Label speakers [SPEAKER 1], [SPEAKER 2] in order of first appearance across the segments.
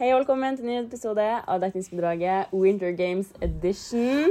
[SPEAKER 1] Hei og velkommen til en ny episode av dekningsbidraget Winter Games Edition.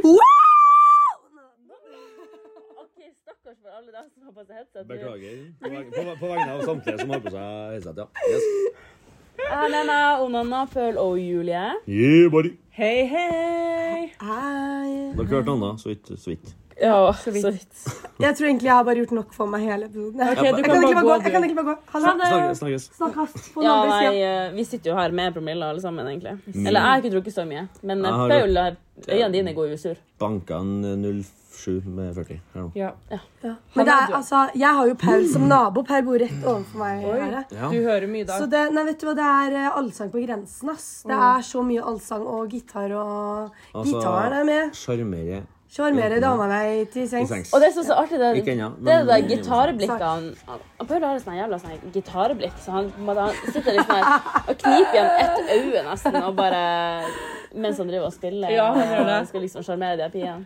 [SPEAKER 1] Ok, stakkars for alle dere som har på seg headset.
[SPEAKER 2] Beklager. På, veg- på, på vegne av samtlige som har på seg headset, ja. Yes.
[SPEAKER 1] Jeg har med meg Onana, Pøl og Julie.
[SPEAKER 2] Yeah, buddy.
[SPEAKER 1] Hei, hei!
[SPEAKER 3] Nei.
[SPEAKER 2] Dere hørte Anna, så vidt. Så vidt.
[SPEAKER 1] Ja,
[SPEAKER 3] så vidt.
[SPEAKER 1] vidt.
[SPEAKER 3] Jeg tror egentlig jeg har bare gjort nok for meg hele episoden. Jeg,
[SPEAKER 1] Ok, du
[SPEAKER 3] jeg
[SPEAKER 1] kan
[SPEAKER 3] kan
[SPEAKER 1] bare
[SPEAKER 3] egentlig bare
[SPEAKER 1] gå,
[SPEAKER 3] gå.
[SPEAKER 1] du.
[SPEAKER 3] Jeg kan egentlig bare gå. Ha det.
[SPEAKER 2] Snakkes. snakkes.
[SPEAKER 3] Snakkes på den
[SPEAKER 1] Ja,
[SPEAKER 3] andre
[SPEAKER 1] nei,
[SPEAKER 3] siden.
[SPEAKER 1] eh, vi sitter jo her med promille alle sammen, egentlig. Eller jeg har ikke drukket så mye, men eh,
[SPEAKER 2] Jeg har
[SPEAKER 1] Paul, har- øynene dine går jo sur.
[SPEAKER 2] Banka en 07 med 40. Her nå.
[SPEAKER 4] Ja.
[SPEAKER 1] Ja.
[SPEAKER 3] Ja. Men det er, altså, jeg har jo Paul som nabo. Paul bor rett overfor meg.
[SPEAKER 4] Oi.
[SPEAKER 3] Her.
[SPEAKER 2] Ja.
[SPEAKER 4] Du hører mye i dag.
[SPEAKER 3] Så det, nei, vet du hva, det er eh, allsang på grensen, ass. Det er så mye allsang og gitar og
[SPEAKER 2] Altså-
[SPEAKER 3] Gitaren er med.
[SPEAKER 2] Sjarmere.
[SPEAKER 3] Sjarmerer dama meg til
[SPEAKER 2] i
[SPEAKER 3] sengs.
[SPEAKER 2] sengs.
[SPEAKER 1] Og det som er så artig, det er
[SPEAKER 2] Ikke ennå, men-
[SPEAKER 1] det, er sånn. det gitarblikkene han- han Paul har et sånt jævla sånn gitarblikk, så han, på en måte, han sitter litt sånn her og kniper igjen ett øye nesten og bare Mens han driver og spiller.
[SPEAKER 4] Ja, han gjør det.
[SPEAKER 1] Og skal liksom sjarmere de her pigene.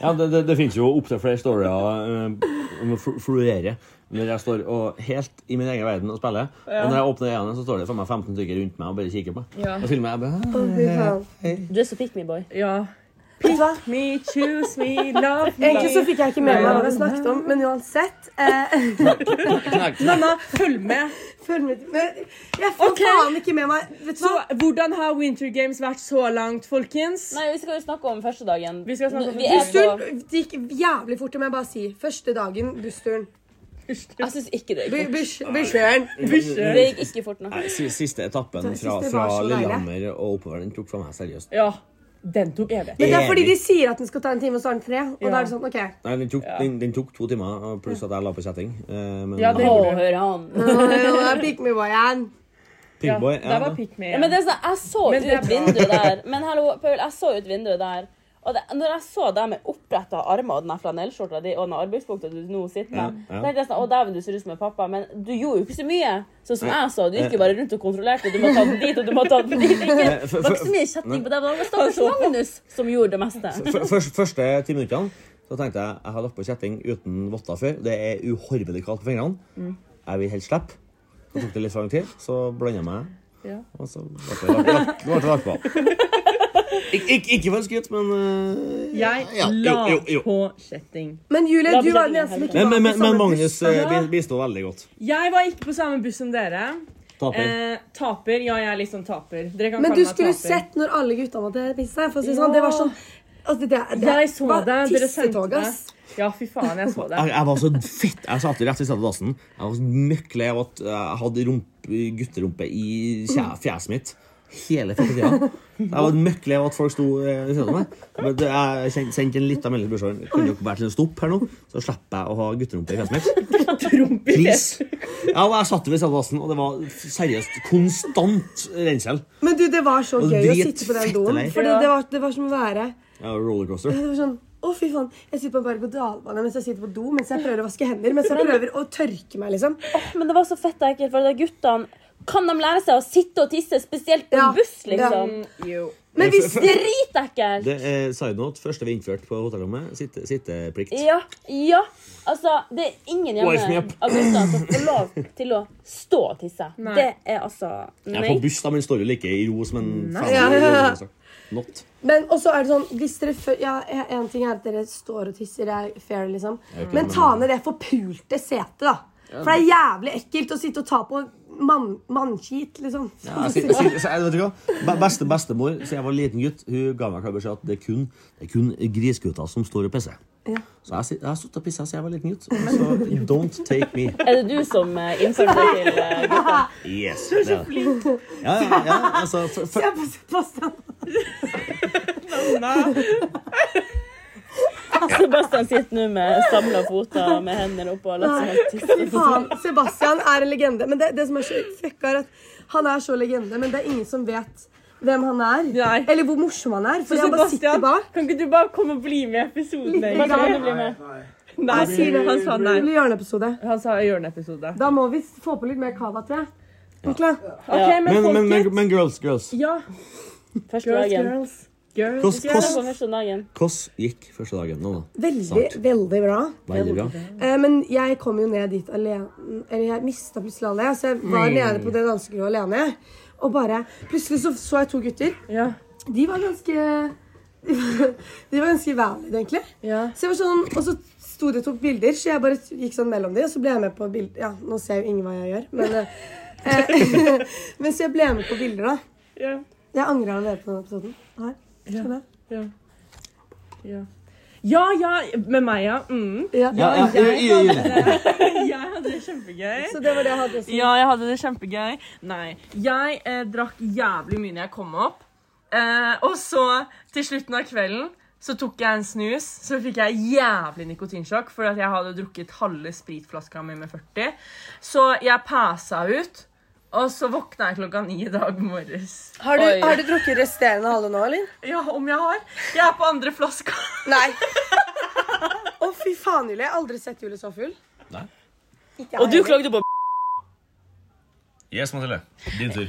[SPEAKER 2] Ja, det, det, det finnes jo opptil flere storyer eh, om å fl- florere. Når jeg står og helt i min egen verden og spiller. Og når jeg åpner øynene, så står det faen meg 15 stykker rundt meg og bare kikker på meg.
[SPEAKER 4] Ja.
[SPEAKER 2] Og filmer jeg bare
[SPEAKER 3] Å, fy faen.
[SPEAKER 1] Du er så pick me, boy.
[SPEAKER 4] ja.
[SPEAKER 3] Vet du hva?
[SPEAKER 4] Me, choose me, love me.
[SPEAKER 3] Egentlig så fikk jeg ikke med
[SPEAKER 4] Nei,
[SPEAKER 3] meg hva
[SPEAKER 4] ja.
[SPEAKER 3] vi snakket om, men uansett eh,
[SPEAKER 2] knakk, knakk.
[SPEAKER 4] Nanna, følg med.
[SPEAKER 3] Følg med men Jeg får
[SPEAKER 4] Ok.
[SPEAKER 3] faen ikke med meg. Vet du
[SPEAKER 4] Så
[SPEAKER 3] hva?
[SPEAKER 4] hvordan har Winter Games vært så langt, folkens?
[SPEAKER 1] Nei, vi skal jo snakke om første dagen.
[SPEAKER 4] Vi skal snakke om
[SPEAKER 1] Nå-
[SPEAKER 4] første
[SPEAKER 1] er på-
[SPEAKER 3] Bussturen det gikk jævlig fort, det må jeg bare si. Første dagen, bussturen.
[SPEAKER 1] Jeg syns ikke det gikk
[SPEAKER 3] Bu-
[SPEAKER 1] fort.
[SPEAKER 3] buss- Bussturen.
[SPEAKER 1] Altså, Det gikk ikke fort nok.
[SPEAKER 2] Nei, si- Siste etappen
[SPEAKER 3] Den siste
[SPEAKER 2] fra,
[SPEAKER 3] var
[SPEAKER 2] fra
[SPEAKER 3] så deilig.
[SPEAKER 2] Lillehammer og oppover, den tok for meg seriøst.
[SPEAKER 4] Ja, den tok evig.
[SPEAKER 3] Men det er fordi de sier at den skal ta en time, og så er den tre. Og
[SPEAKER 4] Ja.
[SPEAKER 3] da er det sånn, OK.
[SPEAKER 2] Nei, den tok, den, den tok to timer, og pluss at jeg la på kjetting. Eh, Men
[SPEAKER 4] Ja, det
[SPEAKER 1] Å,
[SPEAKER 4] gjorde du.
[SPEAKER 1] hør han.
[SPEAKER 3] Nå, Pick me boy igjen.
[SPEAKER 4] Ja,
[SPEAKER 2] Pigboy.
[SPEAKER 4] der var pick me.
[SPEAKER 1] Ja, men det er sånn, jeg så
[SPEAKER 4] Men det er
[SPEAKER 1] ut
[SPEAKER 4] bra.
[SPEAKER 1] vinduet der. Men hallo, Paul, jeg så ut vinduet der. Og det, når jeg så deg med oppretta armer og den her flanellskjorta di og den arbeidsbukta du nå sitter med,
[SPEAKER 2] Ja, ja.
[SPEAKER 1] tenkte jeg sånn Å, dæven, du ser ut som en pappa. Men du gjorde jo ikke så mye. Sånn som jeg så. Du
[SPEAKER 4] Eh,
[SPEAKER 1] gikk jo bare rundt og kontrollerte. Du må ta den dit, og du må ta den dit. Ikke, det var ikke så mye kjetting på deg. men Det var stakkars Magnus som gjorde det meste.
[SPEAKER 2] F- først- Første ti minuttene så tenkte jeg jeg har lagt på kjetting uten votter før. Det er uhorvelig kaldt på fingrene.
[SPEAKER 4] Mm.
[SPEAKER 2] Jeg vil helst slippe. Så tok det litt for lang tid, så blanda jeg meg.
[SPEAKER 4] Ja.
[SPEAKER 2] Og så ble det lagt- lagt- ble det lagt på. Ik ik ikke for å skryte, men eh,
[SPEAKER 4] Jeg
[SPEAKER 2] ja,
[SPEAKER 4] la
[SPEAKER 2] jo, jo, jo.
[SPEAKER 4] på kjetting.
[SPEAKER 3] Men Julie,
[SPEAKER 1] La
[SPEAKER 3] du var
[SPEAKER 1] bussen
[SPEAKER 3] den eneste som ikke
[SPEAKER 2] Men, men,
[SPEAKER 3] var på
[SPEAKER 2] men, men
[SPEAKER 3] samme
[SPEAKER 2] Magnus
[SPEAKER 3] buss.
[SPEAKER 2] eh, bi- bistod veldig godt.
[SPEAKER 4] Jeg var ikke på samme buss som dere.
[SPEAKER 2] Taper.
[SPEAKER 4] Eh, taper. Ja, jeg er litt sånn taper. Dere kan
[SPEAKER 3] Men
[SPEAKER 4] kalle
[SPEAKER 3] du
[SPEAKER 4] meg
[SPEAKER 3] skulle
[SPEAKER 4] taper.
[SPEAKER 3] sett når alle gutta måtte pisse seg. For å si det
[SPEAKER 4] Ja.
[SPEAKER 3] sånn, det var sånn altså, det, det,
[SPEAKER 4] Jeg så
[SPEAKER 3] var
[SPEAKER 4] det. Dere sendte
[SPEAKER 3] tissetog,
[SPEAKER 4] det.
[SPEAKER 3] ass.
[SPEAKER 4] Ja, fy faen, jeg så det.
[SPEAKER 2] Jeg, jeg var så fett. Jeg satt rett i stedet dassen. Jeg var så møkk lei av at jeg hadde rump, gutterumpe i kje- fjeset mitt hele fette tida. Jeg var møkk lei av at folk sto eh, ved siden av meg. Men det- Jeg sen- sendte en liten melding til bursdagen. Kunne dere vært til en stopp her nå, så slipper jeg å ha gutterumpe i fjeset mitt?
[SPEAKER 4] Trump i fjeset.
[SPEAKER 2] Please. Ja, og jeg satt ved siden av dassen, og det var seriøst konstant rensel.
[SPEAKER 3] Men du, det var så
[SPEAKER 2] Og
[SPEAKER 3] gøy å
[SPEAKER 2] drit
[SPEAKER 3] sitte på den
[SPEAKER 2] fette
[SPEAKER 3] doen.
[SPEAKER 2] lei.
[SPEAKER 3] Fordi
[SPEAKER 4] Ja.
[SPEAKER 3] det var, det var som å være
[SPEAKER 2] Ja, rollercoaster.
[SPEAKER 3] Det var sånn å, fy faen. Jeg sitter på en berg-og-dal-bane mens jeg sitter på do, mens jeg prøver å vaske hender, mens jeg prøver å tørke meg, liksom.
[SPEAKER 1] Men det var så fett ekkelt, for de guttene Kan de lære seg å sitte og tisse, spesielt på
[SPEAKER 3] Ja.
[SPEAKER 1] en buss, liksom?
[SPEAKER 4] Mm, Jo.
[SPEAKER 3] Men hvis
[SPEAKER 2] for-
[SPEAKER 3] dere
[SPEAKER 1] Dritekkelt!
[SPEAKER 2] Det er side note. Første vi innførte på hotellrommet. Sitte, sitteplikt.
[SPEAKER 1] Ja, ja. Altså, det er ingen
[SPEAKER 2] Wise me
[SPEAKER 1] hjemme
[SPEAKER 2] up.
[SPEAKER 1] av guttene som får lov til å stå og tisse.
[SPEAKER 4] Nei.
[SPEAKER 1] Det er altså
[SPEAKER 2] Jeg
[SPEAKER 1] Nei.
[SPEAKER 2] er på buss, da, men står jo like i ro som en
[SPEAKER 3] Ja, ja, ja.
[SPEAKER 2] faen. Not.
[SPEAKER 3] Men også er det sånn hvis dere fø- Ja, en ting er at dere står og tisser, det er fair, liksom. Men ta ned det forpulte setet, da. For det er jævlig ekkelt å sitte og ta på mann- mannskit, liksom.
[SPEAKER 2] Ja, jeg sier- sier- sier- vet du hva? Be- Beste bestemor, siden jeg var liten gutt, hun ga meg klar beskjed at det er kun, det er kun grisgutter som står og pisser.
[SPEAKER 3] Ja.
[SPEAKER 2] Så jeg, sit- jeg har sittet og pissa siden jeg var liten gutt. Så don't take me.
[SPEAKER 1] Er det du som eh, innførte det til eh, gutta?
[SPEAKER 2] Yes. Du er så flink. Ja, ja, ja. Altså, for, for,
[SPEAKER 3] Se på Sebastian.
[SPEAKER 1] Sebastian sitter nå med samla føtter med hendene oppå og later som han
[SPEAKER 3] Fy
[SPEAKER 1] tisser.
[SPEAKER 3] faen. Sebastian er en legende. Men det, det som er så fucka, er at han er så legende, men det er ingen som vet hvem han er.
[SPEAKER 4] Nei.
[SPEAKER 3] Eller hvor morsom han er.
[SPEAKER 4] Så
[SPEAKER 3] Fordi han bare sitter bak.
[SPEAKER 4] kan ikke du bare komme og bli med i episoden?
[SPEAKER 3] Lite
[SPEAKER 4] egentlig?
[SPEAKER 3] grann.
[SPEAKER 4] Nei,
[SPEAKER 3] Han sier det.
[SPEAKER 4] han sa nei.
[SPEAKER 3] Det blir hjørneepisode.
[SPEAKER 4] Han sa hjørneepisode.
[SPEAKER 3] Da må vi få på litt mer cava, tror jeg. Er du klar?
[SPEAKER 4] OK,
[SPEAKER 2] men,
[SPEAKER 4] men,
[SPEAKER 2] men, men,
[SPEAKER 4] folkens
[SPEAKER 2] men girls, girls.
[SPEAKER 4] Ja,
[SPEAKER 1] Første
[SPEAKER 4] girls,
[SPEAKER 1] dagen.
[SPEAKER 4] girls. girls.
[SPEAKER 2] Hvordan
[SPEAKER 1] Hvordan
[SPEAKER 2] hvordan-
[SPEAKER 1] går første dagen?
[SPEAKER 2] hvordan gikk første dagen? Nå, da?
[SPEAKER 3] Veldig,
[SPEAKER 2] Sant.
[SPEAKER 3] veldig bra.
[SPEAKER 2] Veldig bra.
[SPEAKER 3] Eh, men jeg kom jo ned dit alene. Eller jeg mista plutselig alle. Så jeg var nede på det dansegulvet alene. Og bare Plutselig så, så jeg to gutter.
[SPEAKER 4] Ja.
[SPEAKER 3] De var ganske De var ganske valid, egentlig.
[SPEAKER 4] Ja.
[SPEAKER 3] Så jeg var sånn, Og så sto de og tok bilder, så jeg bare gikk sånn mellom de, og så ble jeg med på bilder Ja, nå ser jo ingen hva jeg gjør, men eh, eh, Men så jeg ble med på bilder, da.
[SPEAKER 4] Ja.
[SPEAKER 3] Jeg angrer allerede på den episoden. Her. Skjønner jeg?
[SPEAKER 4] Ja. Ja. Ja, ja, med meg, ja. Mm.
[SPEAKER 3] Ja.
[SPEAKER 2] Ja, ja, i- i- i-
[SPEAKER 4] Jeg hadde det kjempegøy.
[SPEAKER 3] Så det var det jeg hadde. også.
[SPEAKER 4] Ja, jeg hadde det kjempegøy. Nei. Jeg eh, drakk jævlig mye når jeg kom opp. Eh, og så, til slutten av kvelden, så tok jeg en snus. Så fikk jeg jævlig nikotinsjokk fordi at jeg hadde drukket halve spritflaska mi med 40. Så jeg passa ut, og så våkna jeg klokka ni i dag morges.
[SPEAKER 3] Har, du,
[SPEAKER 1] Oi.
[SPEAKER 3] har du drukket resterende halve nå, eller?
[SPEAKER 4] Ja, om jeg har? Jeg er på andre flaska.
[SPEAKER 3] Nei. Å, fy faen, Julie. Jeg har aldri sett Julie så full.
[SPEAKER 2] Nei.
[SPEAKER 3] Ikke jeg
[SPEAKER 1] Og du
[SPEAKER 3] heller.
[SPEAKER 1] klagde på
[SPEAKER 2] Yes, Mathilde. Din tur.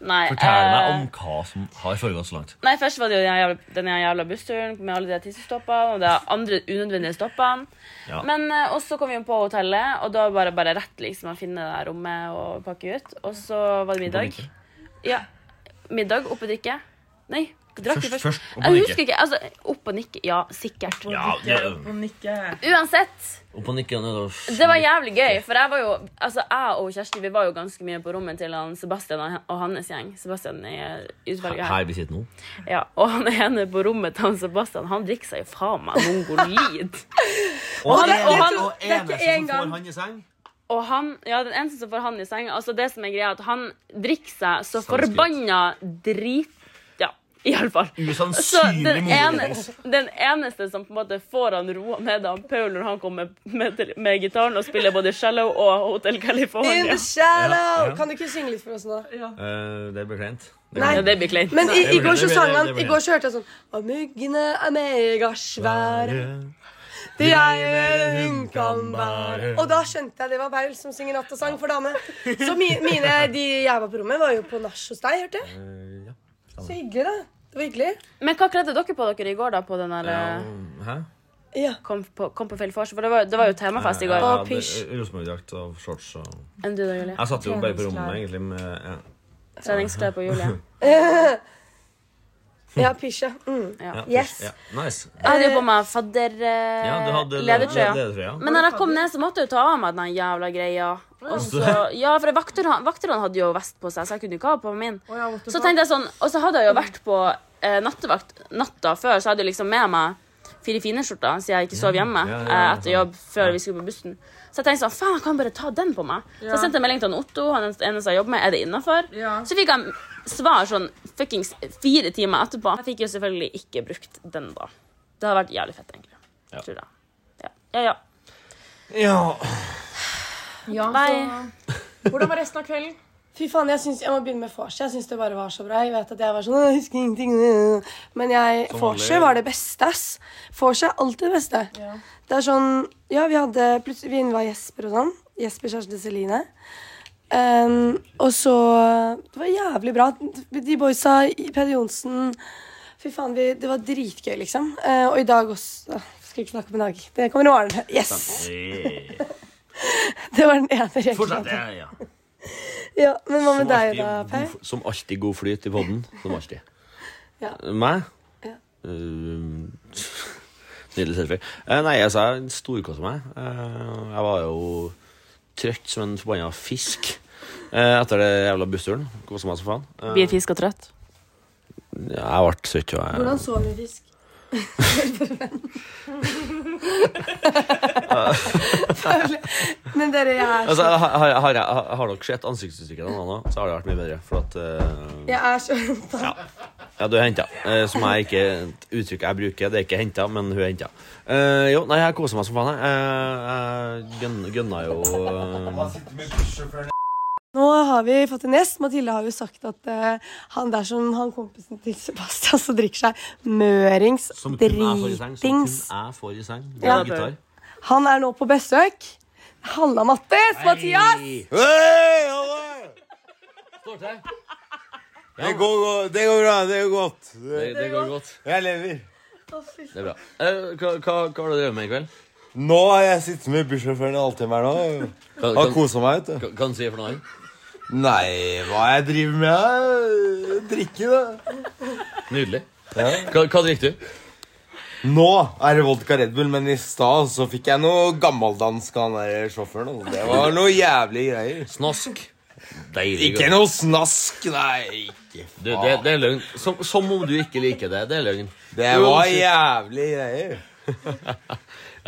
[SPEAKER 1] Nei.
[SPEAKER 2] Fortell meg
[SPEAKER 1] eh,
[SPEAKER 2] om hva som har foregått så langt.
[SPEAKER 1] Nei, først var det jo den jævla, den jævla bussturen med alle de tissestoppene og de andre unødvendige stoppene.
[SPEAKER 2] Ja.
[SPEAKER 1] Men eh, og så kom vi jo på hotellet, og da var det bare rett liksom å finne det der rommet og pakke ut. Og så var det middag.
[SPEAKER 2] drikke?
[SPEAKER 1] Ja. Middag, opp og drikke. Nei, drakk vi
[SPEAKER 2] Først-
[SPEAKER 1] først.
[SPEAKER 2] først opp og
[SPEAKER 1] jeg
[SPEAKER 2] drikke.
[SPEAKER 1] husker ikke. Altså, opp og nikke. Ja, sikkert.
[SPEAKER 2] Ja, det,
[SPEAKER 1] Uansett,
[SPEAKER 2] opp og nikke nedover.
[SPEAKER 1] det var jævlig gøy, for jeg var jo Altså, jeg og Kjersti vi var jo ganske mye på rommet til han Sebastian og- og hans gjeng. Sebastian i eh, utvalget her.
[SPEAKER 2] Her vi sitter nå.
[SPEAKER 1] Ja, og han ene på rommet til han Sebastian, han drikker seg jo faen meg mongolid.
[SPEAKER 2] Og
[SPEAKER 1] det- og han-
[SPEAKER 3] det er ikke en gang.
[SPEAKER 2] han i seng
[SPEAKER 1] Og han, ja, den eneste som får han i senga, altså det som er greia, er at han drikker seg så
[SPEAKER 2] Sanskrit.
[SPEAKER 1] forbanna drit... Ja, iallfall. Så
[SPEAKER 2] Usannsynlig
[SPEAKER 1] den, ene,
[SPEAKER 2] moro.
[SPEAKER 1] den eneste som på en måte får han roa ned, er han Paul når han kommer med, med, med gitaren og spiller både 'Shallow' og 'Hotel
[SPEAKER 3] In
[SPEAKER 1] California'.
[SPEAKER 3] the
[SPEAKER 2] Ja,
[SPEAKER 3] shadow!
[SPEAKER 2] ja.
[SPEAKER 3] Kan du ikke synge litt for oss nå?
[SPEAKER 2] Eh, det blir kleint. Det
[SPEAKER 3] Nei.
[SPEAKER 1] Ja,
[SPEAKER 2] blir kleint.
[SPEAKER 1] det blir kleint.
[SPEAKER 3] Men i,
[SPEAKER 2] det
[SPEAKER 3] i går så
[SPEAKER 2] blir-
[SPEAKER 3] sang
[SPEAKER 2] det
[SPEAKER 3] han
[SPEAKER 2] blir-
[SPEAKER 3] I går så hørte jeg sånn Og muggene er
[SPEAKER 2] Eh,
[SPEAKER 3] megasvære, de eier en hun kan bære Og da skjønte jeg det var Paul som synger natt og sang for dame. Så mi, mine, de jeg var på rommet, var jo på nach hos deg, hørte jeg.
[SPEAKER 2] Eh, ja.
[SPEAKER 3] Så hyggelig, da. Det var hyggelig.
[SPEAKER 1] Men hva kledde dere på dere i går, da? På den der eh,
[SPEAKER 2] Hæ?
[SPEAKER 3] Ja.
[SPEAKER 1] kom, på, kom på feil vors? For det var, det var jo temafest i
[SPEAKER 2] Jeg
[SPEAKER 1] går.
[SPEAKER 3] Å,
[SPEAKER 2] hadde
[SPEAKER 3] pysj.
[SPEAKER 2] Rosenborg-drakt og shorts og
[SPEAKER 1] Enn du da, Julie?
[SPEAKER 2] Jeg satt jo bare på rommet,
[SPEAKER 4] Treningsklær.
[SPEAKER 2] egentlig, med ja.
[SPEAKER 1] Treningsklær på Julie.
[SPEAKER 3] Ja, pysj, ja. Mm.
[SPEAKER 2] Ja,
[SPEAKER 3] Yes.
[SPEAKER 2] pysj. Ja. Nice.
[SPEAKER 1] Jeg hadde eh, jo på meg
[SPEAKER 2] Ja, du hadde
[SPEAKER 1] fadderledertrøya.
[SPEAKER 2] ledertrøya.
[SPEAKER 1] men når jeg kom ned, så måtte jeg jo ta av meg den jævla greia. Og så, ja, for vakterne vakterne hadde jo vest på seg, så jeg kunne ikke ha på meg min. Så tenkte jeg sånn, Og så hadde jeg jo vært på eh, nattevakt natta før, så jeg hadde jeg liksom med meg fire fine skjorter, siden jeg ikke sov hjemme
[SPEAKER 2] Ja, ja, ja,
[SPEAKER 1] eh,
[SPEAKER 2] ja.
[SPEAKER 1] etter jobb før vi skulle på bussen. Så jeg tenkte sånn, faen, jeg kan bare ta den på meg. Så jeg sendte en melding til han Otto, han er den eneste jeg jobber med, er det innafor?
[SPEAKER 4] Ja.
[SPEAKER 1] Så fikk jeg svar sånn fuckings fire timer etterpå. Jeg fikk jo selvfølgelig ikke brukt den da. Det hadde vært jævlig fett, egentlig.
[SPEAKER 2] Ja.
[SPEAKER 1] Tror jeg. Ja, ja. ja.
[SPEAKER 2] Ja.
[SPEAKER 1] Nei.
[SPEAKER 4] Hvordan var resten av kvelden?
[SPEAKER 3] Fy faen, jeg, syns, jeg må begynne med vorset. Jeg syns det bare var så bra. Jeg vet at jeg var sånn «Åh, jeg husker ingenting. øh». Men jeg,
[SPEAKER 2] Som vanlig.
[SPEAKER 3] vorset var det beste, ass. Vorset er alltid det beste. Det er sånn Ja, vi hadde plutselig Vi innvar Jesper og sånn. Jesper, Kjersti, Celine. Ehm, og så Det var jævlig bra. De boysa, Peder Johnsen Fy faen, vi, det var dritgøy, liksom. Eh, og i dag også Åh, Skal ikke snakke om i dag. Det kommer i morgen. Yes!
[SPEAKER 2] Eh,
[SPEAKER 3] Det var den ene regelen.
[SPEAKER 2] Fortsett. Ja, ja.
[SPEAKER 3] Ja, men hva med
[SPEAKER 2] Som
[SPEAKER 3] deg,
[SPEAKER 2] alltid
[SPEAKER 3] da,
[SPEAKER 2] god-
[SPEAKER 3] Per?
[SPEAKER 2] Som alltid god flyt i podden. Som alltid.
[SPEAKER 3] Ja.
[SPEAKER 2] Meg?
[SPEAKER 3] Ja.
[SPEAKER 2] Eh, nydelig selfie. Eh, nei, altså, jeg storkosa meg. Eh, jeg var jo trøtt som en forbanna fisk eh, etter det jævla bussturen. Kosa meg som faen. Eh,
[SPEAKER 1] Blir fisk og trøtt?
[SPEAKER 2] ja, jeg ble trøtt, og jeg
[SPEAKER 3] Hvordan så vi fisk? Men dere, jeg er
[SPEAKER 2] Altså,
[SPEAKER 3] så,
[SPEAKER 2] har, har, har, jeg- har dere sett ansiktsuttrykket til noen annen, så har det vært mye bedre. For at eh,
[SPEAKER 3] jeg er så henta.
[SPEAKER 2] Ja, du er henta. Eh, som jeg ikke et Uttrykk jeg bruker, det er ikke henta, men hun er henta. Eh, jo, nei, jeg koser meg som faen, jeg. Eh, jeg gønn- gønna jo eh,
[SPEAKER 3] Nå har vi fått en gjest. Mathilde har jo sagt at eh, han der som han kompisen til Sebastian som drikker seg mørings,
[SPEAKER 2] Som kun jeg får i seng. Som kun
[SPEAKER 3] dritings.
[SPEAKER 2] jeg får i seng. Det
[SPEAKER 3] Ja.
[SPEAKER 2] er gitar.
[SPEAKER 3] Han er nå på besøk. Halla, Mattis! Mathias!
[SPEAKER 5] Hei, halloi! Det går, go- det går bra. Det går godt.
[SPEAKER 2] Det, det går godt.
[SPEAKER 5] Jeg lever.
[SPEAKER 2] Det er bra. Eh, hva, hva, hva har du drevet med i kveld?
[SPEAKER 5] Nå har jeg sittet med bussjåføren en halvtime her nå.
[SPEAKER 2] Kan,
[SPEAKER 5] Har
[SPEAKER 2] kan,
[SPEAKER 5] kosa meg, vet du.
[SPEAKER 2] kan, kan du si for noe annet?
[SPEAKER 5] Nei, hva jeg driver med? eh, Drikke, da.
[SPEAKER 6] Nydelig.
[SPEAKER 5] Ja.
[SPEAKER 6] Hva, hva drikker du?
[SPEAKER 5] Nå er det vodka Red Bull, men i stad så fikk jeg noe gammeldansk av han der sjåføren. altså. Det var noe jævlig greier.
[SPEAKER 6] Snask. Deilig.
[SPEAKER 5] Ikke noe snask, nei. Ikke
[SPEAKER 6] Du, det, det er løgn. Som, som om du ikke liker det. Det er løgn.
[SPEAKER 5] Det
[SPEAKER 6] Jo,
[SPEAKER 5] var
[SPEAKER 6] shit.
[SPEAKER 5] jævlig greier.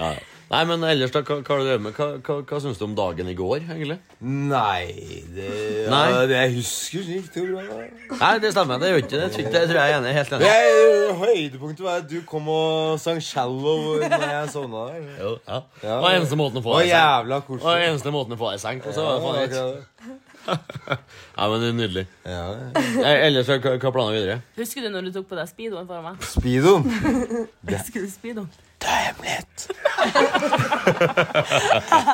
[SPEAKER 6] Ja. Nei, men ellers, da, hva, hva, har du drevet med? hva, hva, hva syns du om dagen i går, egentlig?
[SPEAKER 5] Nei, det,
[SPEAKER 6] Nei.
[SPEAKER 5] Ja, det jeg husker så gikk det jo bra. da.
[SPEAKER 6] Nei, det stemmer. Det gjør ikke det. Det tror jeg er enig. Helt enig.
[SPEAKER 5] Jeg, høydepunktet var at du kom og sang 'Shallow' når jeg sovna der.
[SPEAKER 6] Jo, ja. Det
[SPEAKER 5] Ja.
[SPEAKER 6] var eneste måten å
[SPEAKER 5] Det
[SPEAKER 6] få
[SPEAKER 5] var
[SPEAKER 6] deg i senk.
[SPEAKER 5] jævla
[SPEAKER 6] Det var
[SPEAKER 5] koselig.
[SPEAKER 6] eneste måten å få deg i senk på.
[SPEAKER 5] Ja,
[SPEAKER 6] Så var det faen
[SPEAKER 5] det
[SPEAKER 6] ikke.
[SPEAKER 5] var
[SPEAKER 6] Nei, men det er nydelig.
[SPEAKER 5] det. Ja.
[SPEAKER 6] Eh, Ellers, hva, hva planer videre?
[SPEAKER 1] Husker du når du tok på deg speedoen for meg?
[SPEAKER 5] Speedoen.
[SPEAKER 1] Husker du speedoen?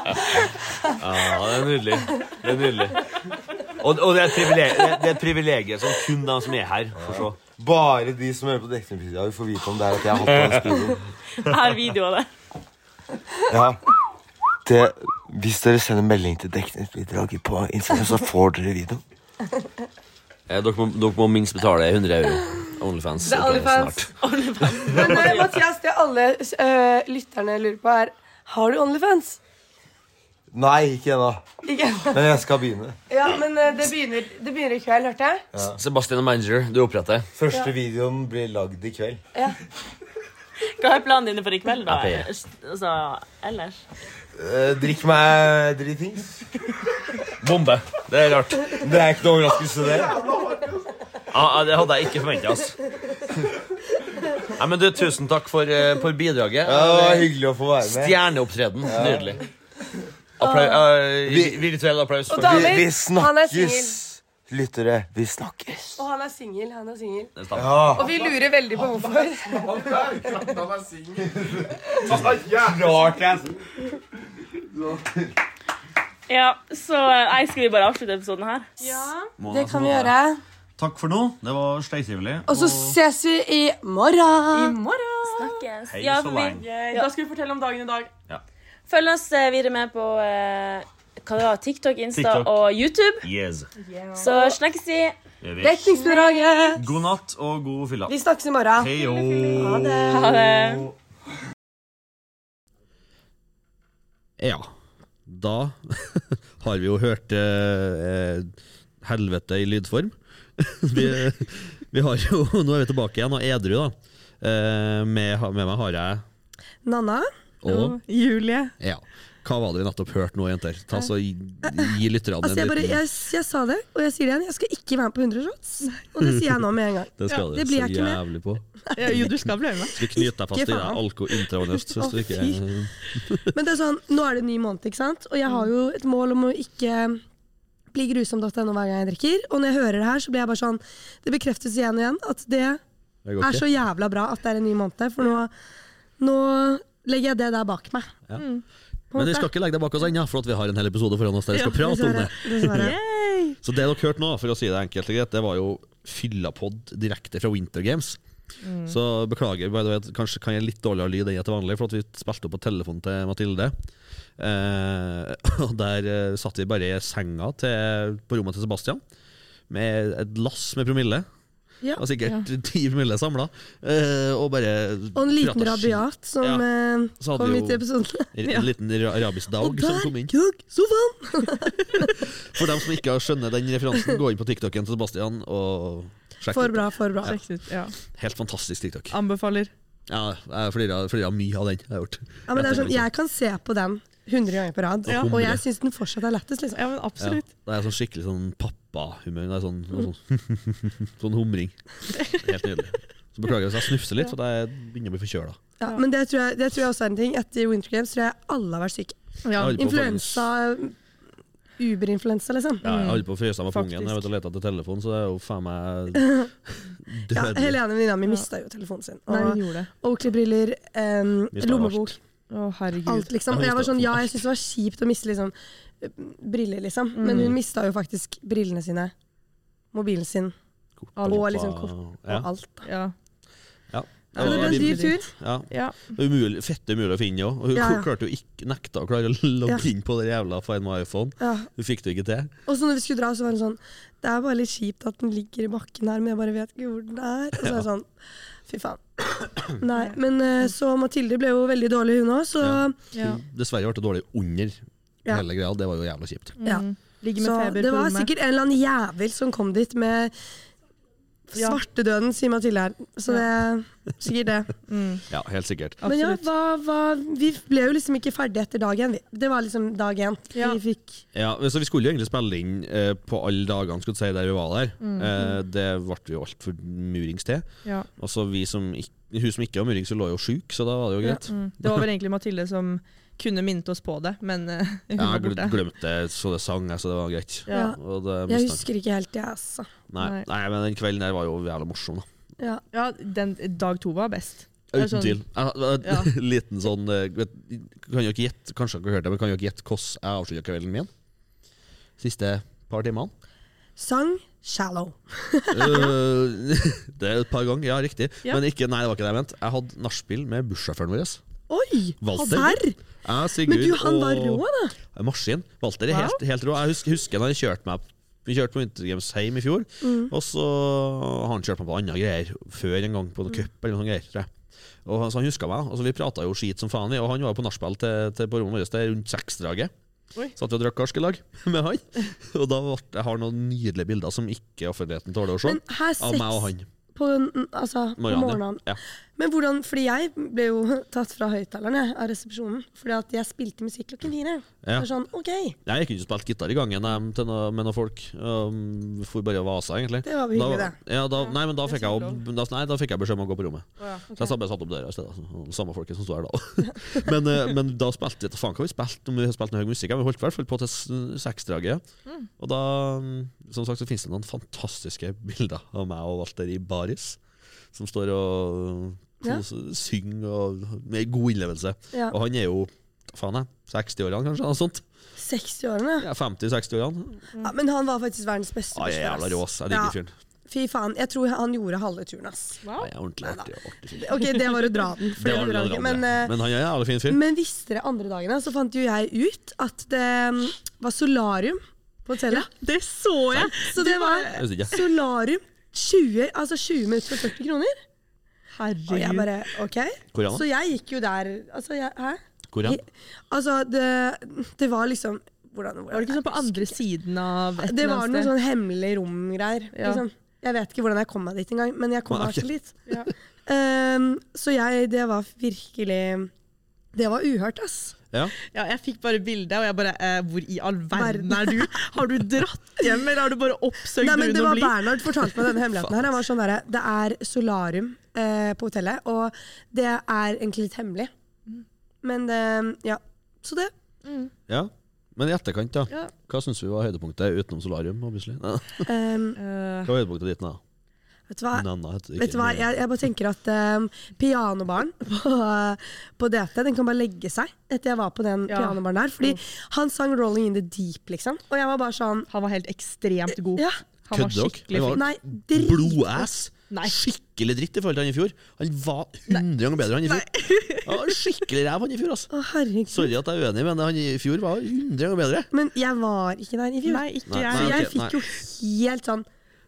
[SPEAKER 6] Ja, det er nydelig. Det er nydelig. Og, og det, er et privilegium, det, det er et privilegium som kun de som er her, får se.
[SPEAKER 5] Bare de som hører på Dekningspizza, vil få vite om det er at jeg har hatt på en speedo.
[SPEAKER 1] Jeg har video av det.
[SPEAKER 5] Ja. Det, hvis dere sender melding til dekningsbidraget på Instagram, så får dere videoen.
[SPEAKER 6] Eh, Dere må, dere må minst betale 100 euro. Onlyfans.
[SPEAKER 7] Det er
[SPEAKER 6] ok,
[SPEAKER 7] Onlyfans.
[SPEAKER 6] snart.
[SPEAKER 7] Men eh, Mathias, det alle eh, lytterne lurer på, er Har du Onlyfans?
[SPEAKER 5] Nei, ikke ennå.
[SPEAKER 7] Ikke?
[SPEAKER 5] Men jeg skal begynne.
[SPEAKER 7] Ja, men eh, det, begynner, det begynner i kveld, hørte jeg.
[SPEAKER 6] Sebastian og manager, du oppretter.
[SPEAKER 5] Første videoen blir lagd i kveld.
[SPEAKER 1] Hva er planen dine for i kveld, da?
[SPEAKER 6] Jeg peier.
[SPEAKER 1] Altså, ellers?
[SPEAKER 5] Eh, drikk meg dritings.
[SPEAKER 6] Bombe. Det er rart.
[SPEAKER 5] Det er ikke noe overraskelse, det.
[SPEAKER 6] Ja, ja, det hadde jeg ikke forventa, altså. Nei, men du, tusen takk for, eh, for bidraget. Eh,
[SPEAKER 5] Ja, det var hyggelig å få være med.
[SPEAKER 6] Stjerneopptreden. Nydelig. Applau eh, vi- virtuell applaus. For
[SPEAKER 7] da-
[SPEAKER 5] Vi, vi
[SPEAKER 7] Han er
[SPEAKER 5] snakkes,
[SPEAKER 7] singel.
[SPEAKER 5] lyttere. Vi snakkes.
[SPEAKER 7] Og han er singel. Han er singel.
[SPEAKER 5] Ja.
[SPEAKER 7] Og vi lurer veldig på hvorfor.
[SPEAKER 5] Rart, jeg.
[SPEAKER 1] Ja, så nei, skal vi bare avslutte episoden her?
[SPEAKER 2] Altså,
[SPEAKER 7] Det kan vi gjøre.
[SPEAKER 2] Takk for nå. Det var steitrivelig.
[SPEAKER 7] Og så ses vi i morgen.
[SPEAKER 4] I morgen!
[SPEAKER 1] Snakkes.
[SPEAKER 2] Hei
[SPEAKER 1] Ja,
[SPEAKER 2] så
[SPEAKER 1] for vi-
[SPEAKER 2] lenge.
[SPEAKER 4] Yay, Da skal vi fortelle om dagen i dag.
[SPEAKER 1] Følg oss eh, videre med på eh, hva det var, TikTok, Insta
[SPEAKER 2] TikTok.
[SPEAKER 1] og YouTube.
[SPEAKER 2] Yes.
[SPEAKER 1] Så snakkes vi.
[SPEAKER 2] Gjør vi.
[SPEAKER 7] Dekningsbidraget.
[SPEAKER 2] God natt og god fylla.
[SPEAKER 7] Vi snakkes i morgen.
[SPEAKER 2] Hei
[SPEAKER 7] Ha det.
[SPEAKER 1] Ha det.
[SPEAKER 6] Ja. Da har vi jo hørt eh, helvete i lydform. vi, vi har jo Nå er vi tilbake igjen, og edru, da. Eh, med, med meg har jeg
[SPEAKER 3] Nanna
[SPEAKER 6] og
[SPEAKER 3] og Julie.
[SPEAKER 6] Ja. Hva var det vi nettopp hørte nå, jenter? Ta så Gi, gi lytterne
[SPEAKER 3] Altså jeg,
[SPEAKER 6] en
[SPEAKER 3] bare,
[SPEAKER 6] liten
[SPEAKER 3] jeg, jeg sa det, og jeg sier det igjen. Jeg skal ikke være med på 100 shots. Og det sier jeg nå med en gang.
[SPEAKER 6] Det skal du
[SPEAKER 3] det blir
[SPEAKER 6] så
[SPEAKER 3] jeg ikke med.
[SPEAKER 6] jævlig på.
[SPEAKER 8] Ja, jo, du skal bli med.
[SPEAKER 6] Du knyter deg fast i
[SPEAKER 3] Ikke
[SPEAKER 6] det
[SPEAKER 3] faen.
[SPEAKER 6] alko intravenøst hvis du
[SPEAKER 3] Å,
[SPEAKER 6] ikke
[SPEAKER 3] fy. Men det er sånn, nå er det en ny måned, ikke sant? Og jeg har jo et mål om å ikke bli grusom.no hver gang jeg drikker. Og når jeg hører det her, så blir jeg bare sånn Det bekreftes igjen og igjen at det
[SPEAKER 6] Det går
[SPEAKER 3] er så
[SPEAKER 6] ikke.
[SPEAKER 3] jævla bra at det er en ny måned. For nå, nå legger jeg det der bak meg.
[SPEAKER 6] Ja.
[SPEAKER 3] Mm. På en
[SPEAKER 6] Men vi
[SPEAKER 3] måte.
[SPEAKER 6] skal ikke legge deg bak oss ennå, for at vi har en hel episode foran oss der vi skal
[SPEAKER 3] Ja,
[SPEAKER 6] prate om det.
[SPEAKER 3] dessverre, Dessverre.
[SPEAKER 6] Så det dere hørte nå, for å si det enkelt og greit, det var jo fyllapod direkte fra Winter Games.
[SPEAKER 3] Mm.
[SPEAKER 6] Så beklager, by the way, at kanskje kan jeg litt dårligere lyd enn jeg til vanlig, for at vi spilte opp på telefonen til Mathilde. Eh, og der eh, satt vi bare i senga til, på rommet til Sebastian, med et lass med promille.
[SPEAKER 3] Ja.
[SPEAKER 6] Og sikkert ti promille samla. Eh, og bare
[SPEAKER 3] Og en liten
[SPEAKER 6] pratet skit.
[SPEAKER 3] rabiat som
[SPEAKER 6] Ja.
[SPEAKER 3] eh,
[SPEAKER 6] Så hadde
[SPEAKER 3] kom
[SPEAKER 6] vi
[SPEAKER 3] midt i
[SPEAKER 6] jo-
[SPEAKER 3] episoden.
[SPEAKER 6] En
[SPEAKER 3] Ja.
[SPEAKER 6] liten ra- arabisk
[SPEAKER 3] Og
[SPEAKER 6] dag som
[SPEAKER 3] der
[SPEAKER 6] kom inn.
[SPEAKER 3] kuk sofaen!
[SPEAKER 6] For dem som ikke har skjønner den referansen, gå inn på TikToken til Sebastian og sjekk
[SPEAKER 3] For
[SPEAKER 6] ut.
[SPEAKER 3] bra, for bra.
[SPEAKER 8] Sjekk ut. Ja.
[SPEAKER 6] Helt fantastisk TikTok.
[SPEAKER 8] Anbefaler.
[SPEAKER 6] Ja, jeg flirer flirer mye av den jeg har gjort.
[SPEAKER 3] Ja, men det er sånn, jeg kan se på den 100 ganger på rad,
[SPEAKER 6] Ja.
[SPEAKER 3] og jeg syns den fortsatt er lættis. Liksom.
[SPEAKER 8] Ja, men absolutt.
[SPEAKER 6] Det er sånn skikkelig sånn pappahumør. Det er sånn, sånn, sånn humring. Helt nydelig. Så Beklager hvis jeg snufser litt, for jeg begynner å bli forkjøla.
[SPEAKER 3] Ja, men det tror, jeg, det tror jeg også er en ting. Etter Winter Games tror jeg alle har vært syke.
[SPEAKER 8] Ja.
[SPEAKER 6] Jeg holder på å
[SPEAKER 3] Influensa, uberinfluensa, liksom.
[SPEAKER 6] Ja, jeg holder på å fryse av meg pungen. Jeg
[SPEAKER 8] Faktisk.
[SPEAKER 6] vet å lete etter telefonen, så det er jo faen meg
[SPEAKER 3] Ja,
[SPEAKER 6] dødelig.
[SPEAKER 3] Helene, venninna mi, mista jo telefonen sin.
[SPEAKER 8] Nei, hun
[SPEAKER 3] Og
[SPEAKER 8] gjorde det.
[SPEAKER 3] Oakley-briller, em,
[SPEAKER 6] Mistet
[SPEAKER 3] lommebok,
[SPEAKER 8] Å, herregud.
[SPEAKER 3] alt, liksom. Og jeg var sånn, ja, jeg syns det var kjipt å miste liksom, briller, liksom. Men
[SPEAKER 8] Mm.
[SPEAKER 3] hun mista jo faktisk brillene sine, mobilen sin
[SPEAKER 6] Kort
[SPEAKER 3] og liksom
[SPEAKER 6] lompa.
[SPEAKER 3] kort og
[SPEAKER 6] Ja.
[SPEAKER 3] alt.
[SPEAKER 8] Ja.
[SPEAKER 6] Ja. Ja,
[SPEAKER 8] Ja, det ble en dyr tur.
[SPEAKER 6] Ja.
[SPEAKER 8] Ja.
[SPEAKER 6] Det er Umulig, fett umulig å finne òg. Hun
[SPEAKER 3] Ja, ja.
[SPEAKER 6] klarte jo ikke nekta å klare å logge
[SPEAKER 3] Ja.
[SPEAKER 6] inn på den jævla Find my iPhone.
[SPEAKER 3] Ja.
[SPEAKER 6] Hun fikk det ikke til.
[SPEAKER 3] Og så når vi skulle dra, så var det sånn Det er bare litt kjipt at den ligger i bakken her, men jeg bare vet ikke hvor den er. Og så er det sånn Fy faen. Nei, men eh, så Mathilde ble jo veldig dårlig, hun òg, så
[SPEAKER 6] Ja.
[SPEAKER 8] Ja.
[SPEAKER 6] Dessverre ble det dårlig under
[SPEAKER 3] Ja.
[SPEAKER 6] hele greia. Det var jo jævla kjipt.
[SPEAKER 3] ja.
[SPEAKER 8] Ligger med
[SPEAKER 3] Så
[SPEAKER 8] feber
[SPEAKER 3] det
[SPEAKER 8] på
[SPEAKER 3] var
[SPEAKER 8] rommet.
[SPEAKER 3] sikkert en eller annen jævel som kom dit med
[SPEAKER 8] Ja.
[SPEAKER 3] svartedøden, sier Mathilde her. Så det er sikkert det.
[SPEAKER 6] Ja, helt sikkert.
[SPEAKER 3] Men ja,
[SPEAKER 8] Absolutt.
[SPEAKER 3] hva, hva, vi ble jo liksom ikke ferdig etter dag én. vi. Det var liksom dag én.
[SPEAKER 8] Ja.
[SPEAKER 3] Vi fikk
[SPEAKER 6] Ja, men så Vi skulle jo egentlig spille inn eh, på alle dagene skulle jeg si, der vi var der. Eh, det ble vi jo altfor murings til.
[SPEAKER 8] Ja.
[SPEAKER 6] Og så vi som ikk- Hun som ikke var murings, hun lå jo sjuk, så da var det jo greit.
[SPEAKER 8] Mm. Det var vel egentlig Mathilde som kunne minnet oss på det, men eh, hun
[SPEAKER 6] Ja,
[SPEAKER 8] var
[SPEAKER 6] jeg
[SPEAKER 8] borte.
[SPEAKER 6] gl- glemte så det sang, jeg, så det var greit.
[SPEAKER 8] Ja.
[SPEAKER 6] Og det
[SPEAKER 3] Jeg
[SPEAKER 6] mistet-
[SPEAKER 3] husker ikke helt, jeg, altså.
[SPEAKER 6] nei,
[SPEAKER 8] Nei.
[SPEAKER 6] nei, men den kvelden der var jo jævla morsom, da.
[SPEAKER 3] Ja.
[SPEAKER 8] ja, den, dag to var best. Det er
[SPEAKER 6] Uten tvil.
[SPEAKER 8] sånn-
[SPEAKER 6] Jeg hadde
[SPEAKER 8] Ja.
[SPEAKER 6] en Liten sånn eh, vet, kan dere ikke gjette, Kanskje dere har hørt det, men kan dere ikke gjette hvordan jeg avslutta kvelden min? Siste par timene?
[SPEAKER 3] Sang 'Shallow'.
[SPEAKER 6] Øh, det er et par ganger, ja, riktig.
[SPEAKER 8] Ja.
[SPEAKER 6] Men ikke, nei, det var ikke det jeg mente. Jeg hadde nachspiel med bussjåføren vår.
[SPEAKER 3] Oi!
[SPEAKER 6] Walter.
[SPEAKER 3] Serr!
[SPEAKER 6] Jeg, Sigurd
[SPEAKER 3] Men du, han var
[SPEAKER 6] og-
[SPEAKER 3] rå, da.
[SPEAKER 6] Maskin. Walter er
[SPEAKER 8] Wow.
[SPEAKER 6] helt, helt rå. Jeg husker, husker da han kjørte meg Vi kjørte på Wintergames hjem i fjor,
[SPEAKER 3] Mm.
[SPEAKER 6] og så har han kjørt meg på andre greier før en gang, på
[SPEAKER 3] Mm.
[SPEAKER 6] noen cup eller noe greier. Tror jeg. Og han- så han huska meg, og så vi prata jo skit som faen, vi. Og han var jo på nachspiel til, til på rommet vårt der rundt seksdraget.
[SPEAKER 8] Oi.
[SPEAKER 6] Satt og drakk karskelag med han. Og da ble, jeg har noen nydelige bilder som ikke offentligheten tåler å se.
[SPEAKER 3] Men her
[SPEAKER 6] Av meg og
[SPEAKER 3] seks
[SPEAKER 6] han.
[SPEAKER 3] på, n- altså, på
[SPEAKER 6] Marianne.
[SPEAKER 3] morgenen.
[SPEAKER 6] Ja.
[SPEAKER 3] Men hvordan, fordi jeg ble jo tatt fra høyttaleren jeg, av resepsjonen. Fordi at jeg spilte musikk klokken fire.
[SPEAKER 6] Ja.
[SPEAKER 3] Det var Sånn, ok,
[SPEAKER 6] Nei, Jeg kunne ikke spilt gitar i gangen jeg, til noe, med noen folk. Um, for bare å vase, egentlig.
[SPEAKER 3] Det var hyggelig,
[SPEAKER 6] da, ja, da, nei, men da
[SPEAKER 8] det
[SPEAKER 6] fikk,
[SPEAKER 8] er
[SPEAKER 6] jeg,
[SPEAKER 8] kjempelov.
[SPEAKER 6] jo- da, nei, da fikk jeg beskjed om å gå på rommet. Så jeg satt- bare satt opp døra i stedet. altså. Samme folket som sto her da. men, eh, men da spilte vi faen hva vi spilte, om vi spilte noe høy musikk. ja. Vi holdt i hvert fall på til s- seksdraget. Og da, mm, som sagt, så finnes det noen fantastiske bilder av meg og Walter i baris. Som står og
[SPEAKER 3] Ja.
[SPEAKER 6] koser- synger og, med god innlevelse.
[SPEAKER 3] Ja.
[SPEAKER 6] Og han er jo faen jeg, 60-årene kanskje, noe sånt.
[SPEAKER 3] 60-årene.
[SPEAKER 6] Ja, 50-60-årene.
[SPEAKER 8] Mm.
[SPEAKER 3] Ja, men han var faktisk verdens beste
[SPEAKER 6] Ja, jeg er jævla
[SPEAKER 3] bussjåfør.
[SPEAKER 6] rå,
[SPEAKER 3] ass.
[SPEAKER 6] ass. Jeg digger
[SPEAKER 3] Ja.
[SPEAKER 6] fyren.
[SPEAKER 3] Fy faen, jeg tror han gjorde halve turen, ass.
[SPEAKER 6] Ja, jeg er ordentlig artig, artig fyr.
[SPEAKER 3] Ok, det var å dra den. For det
[SPEAKER 6] Det var
[SPEAKER 3] var å dra den.
[SPEAKER 6] men,
[SPEAKER 3] Men, eh,
[SPEAKER 6] men han er en jævla fin fyr.
[SPEAKER 3] men visste dere andre dagene, så fant jo jeg ut at det mm, var solarium på hotellet.
[SPEAKER 8] Det så jeg!
[SPEAKER 3] Så det var
[SPEAKER 6] Jeg synes ikke.
[SPEAKER 3] solarium 20, altså 20 minutter for 40 kroner. Og jeg
[SPEAKER 8] Herregud.
[SPEAKER 3] bare OK.
[SPEAKER 6] Hvor er han?
[SPEAKER 3] Så jeg gikk jo der altså, jeg, Hæ?
[SPEAKER 6] Hvor er han?
[SPEAKER 3] Altså, det, det var liksom hvordan, hvordan,
[SPEAKER 8] Var det ikke sånn på andre siden av et
[SPEAKER 3] Det
[SPEAKER 8] eller
[SPEAKER 3] var
[SPEAKER 8] annet
[SPEAKER 3] noe
[SPEAKER 8] sted?
[SPEAKER 3] sånn hemmelig rom-greier.
[SPEAKER 8] Ja.
[SPEAKER 3] Liksom. Jeg vet ikke hvordan jeg kom meg dit engang, men jeg kom
[SPEAKER 6] Nei,
[SPEAKER 3] meg
[SPEAKER 6] ok.
[SPEAKER 3] ikke dit. Ehm, så jeg Det var virkelig Det var uhørt, ass.
[SPEAKER 6] Ja.
[SPEAKER 8] Ja, jeg fikk bare bildet, og jeg bare eh, Hvor i all verden
[SPEAKER 3] Verden.
[SPEAKER 8] er du? Har du dratt hjem, eller har du bare oppsøkt
[SPEAKER 3] Nei, men det
[SPEAKER 8] brun og
[SPEAKER 3] var
[SPEAKER 8] blid?
[SPEAKER 3] Bernhard fortalte meg denne hemmeligheten her. Han var sånn derre Det er solarium eh, på hotellet, og det er egentlig litt hemmelig.
[SPEAKER 8] Mm.
[SPEAKER 3] Men det- ja. Så det
[SPEAKER 6] ja. Men i etterkant, da.
[SPEAKER 8] Ja.
[SPEAKER 6] Hva syns vi var høydepunktet utenom solarium? obviously? Nei,
[SPEAKER 3] ehm,
[SPEAKER 8] Eh,
[SPEAKER 6] Hva var høydepunktet ditt, da?
[SPEAKER 3] Vet du hva?
[SPEAKER 6] Nanna heter det ikke.
[SPEAKER 3] Vet du hva? Jeg, jeg bare tenker at um, pianobaren på, på DT den kan bare legge seg etter jeg var på den
[SPEAKER 8] Ja. Mm.
[SPEAKER 3] pianobaren der. Fordi han sang 'Rolling in the Deep', liksom. Og jeg var bare sånn
[SPEAKER 8] han var helt ekstremt god.
[SPEAKER 3] Ja,
[SPEAKER 8] Han var
[SPEAKER 6] Kødder dere?
[SPEAKER 8] skikkelig
[SPEAKER 6] Han var-
[SPEAKER 8] fin.
[SPEAKER 3] nei, drit.
[SPEAKER 6] Blodass!
[SPEAKER 8] Nei.
[SPEAKER 6] Skikkelig dritt i forhold til han i fjor. Han var 100 ganger bedre enn han i fjor. Han var skikkelig ræv, han i fjor. ass.
[SPEAKER 3] Å, herregud.
[SPEAKER 6] Sorry at jeg er uenig, men han i fjor var 100 ganger bedre.
[SPEAKER 3] Men jeg var ikke der i fjor.
[SPEAKER 8] Nei, ikke
[SPEAKER 6] Nei,
[SPEAKER 8] jeg.
[SPEAKER 3] Så
[SPEAKER 6] nei.
[SPEAKER 3] jeg
[SPEAKER 6] ok,
[SPEAKER 3] fikk jo helt sånn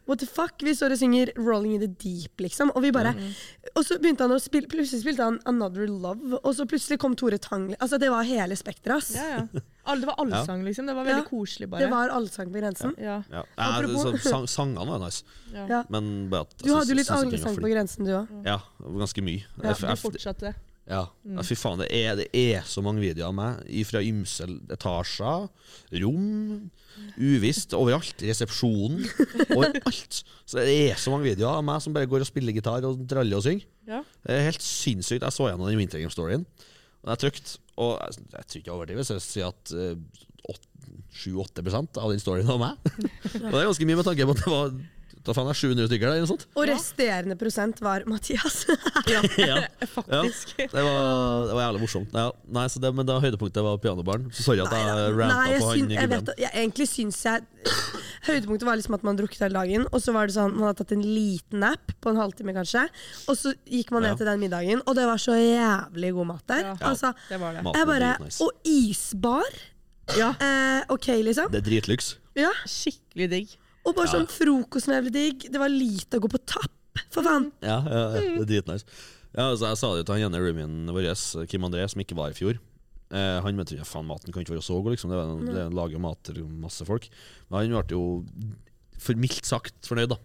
[SPEAKER 3] What the fuck? Vi står og synger 'Rolling in the Deep', liksom. Og vi bare
[SPEAKER 6] Mm.
[SPEAKER 3] Og så begynte han å spille Plutselig spilte han 'Another Love', og så plutselig kom Tore Tang. Altså, det var hele spekteret, ass.
[SPEAKER 8] Ja, ja. Alle- Det var allsang, liksom. Det var
[SPEAKER 3] Ja.
[SPEAKER 8] veldig koselig, bare.
[SPEAKER 3] Det var allsang på grensen.
[SPEAKER 8] ja.
[SPEAKER 6] Ja. Nei, det-
[SPEAKER 3] Apropos-
[SPEAKER 6] så, sang, sangene var nice,
[SPEAKER 8] Ja.
[SPEAKER 3] Ja.
[SPEAKER 6] men bare at
[SPEAKER 3] Du hadde jo litt
[SPEAKER 6] synes- synes at den var
[SPEAKER 3] allsang
[SPEAKER 6] for
[SPEAKER 3] på grensen, du òg.
[SPEAKER 6] Ja, ganske mye.
[SPEAKER 3] Ja,
[SPEAKER 6] Jeg-
[SPEAKER 8] Du
[SPEAKER 6] jeg-
[SPEAKER 8] fortsatte.
[SPEAKER 6] Ja. ja, fy faen, det er, det er så mange videoer av meg i- fra ymse etasjer, rom, uvisst, overalt, resepsjonen, overalt. Så det er så mange videoer av meg som bare går og spiller gitar og traller og synger.
[SPEAKER 8] Ja.
[SPEAKER 6] Det er helt sinnssykt. Jeg så gjennom den Winter Game Storyen, og det er trygt. Og jeg, jeg tror ikke jeg overdriver, så jeg sier at eh, åt- 7-8 av den storyen var meg. og det er ganske mye med tanke på at det var da faen er 700 stykker der, eller noe sånt.
[SPEAKER 3] Og resterende prosent var Mathias.
[SPEAKER 6] Ja.
[SPEAKER 8] Faktisk.
[SPEAKER 6] Ja, det, var, det var jævlig morsomt. Ja, nei, så det, men da høydepunktet var pianobaren. Så sorry at jeg
[SPEAKER 3] Nei,
[SPEAKER 6] ranta
[SPEAKER 3] jeg,
[SPEAKER 6] på
[SPEAKER 3] syn,
[SPEAKER 6] han
[SPEAKER 3] jeg vet,
[SPEAKER 6] gubben.
[SPEAKER 3] jeg, egentlig syns jeg Høydepunktet var liksom at man drukket hele dagen, og så var det sånn, man hadde tatt en liten nap på en halvtime kanskje, og så gikk man ned
[SPEAKER 6] Ja.
[SPEAKER 3] til den middagen, og det var så jævlig god mat der.
[SPEAKER 8] Ja.
[SPEAKER 3] Altså,
[SPEAKER 8] Det var det.
[SPEAKER 6] Maten
[SPEAKER 3] jeg
[SPEAKER 6] er
[SPEAKER 3] bare,
[SPEAKER 6] dritnice.
[SPEAKER 3] og isbar? Eh, ok, liksom.
[SPEAKER 6] Det er dritlyks.
[SPEAKER 3] Ja.
[SPEAKER 8] Skikkelig digg.
[SPEAKER 3] Og bare sånn frokosten var jævlig digg, det var lite å gå på tapp, for
[SPEAKER 8] Mm,
[SPEAKER 3] faen.
[SPEAKER 6] Ja, ja, ja,
[SPEAKER 3] Mm.
[SPEAKER 6] det er dritnice. Ja, altså, jeg sa det jo til han ene roomien vår, Kim André, som ikke var i fjor. Eh, han mente jo faen, maten kan ikke være så god, liksom. Det, er- det lager jo mat til masse folk. Men han ble jo for mildt sagt fornøyd, da.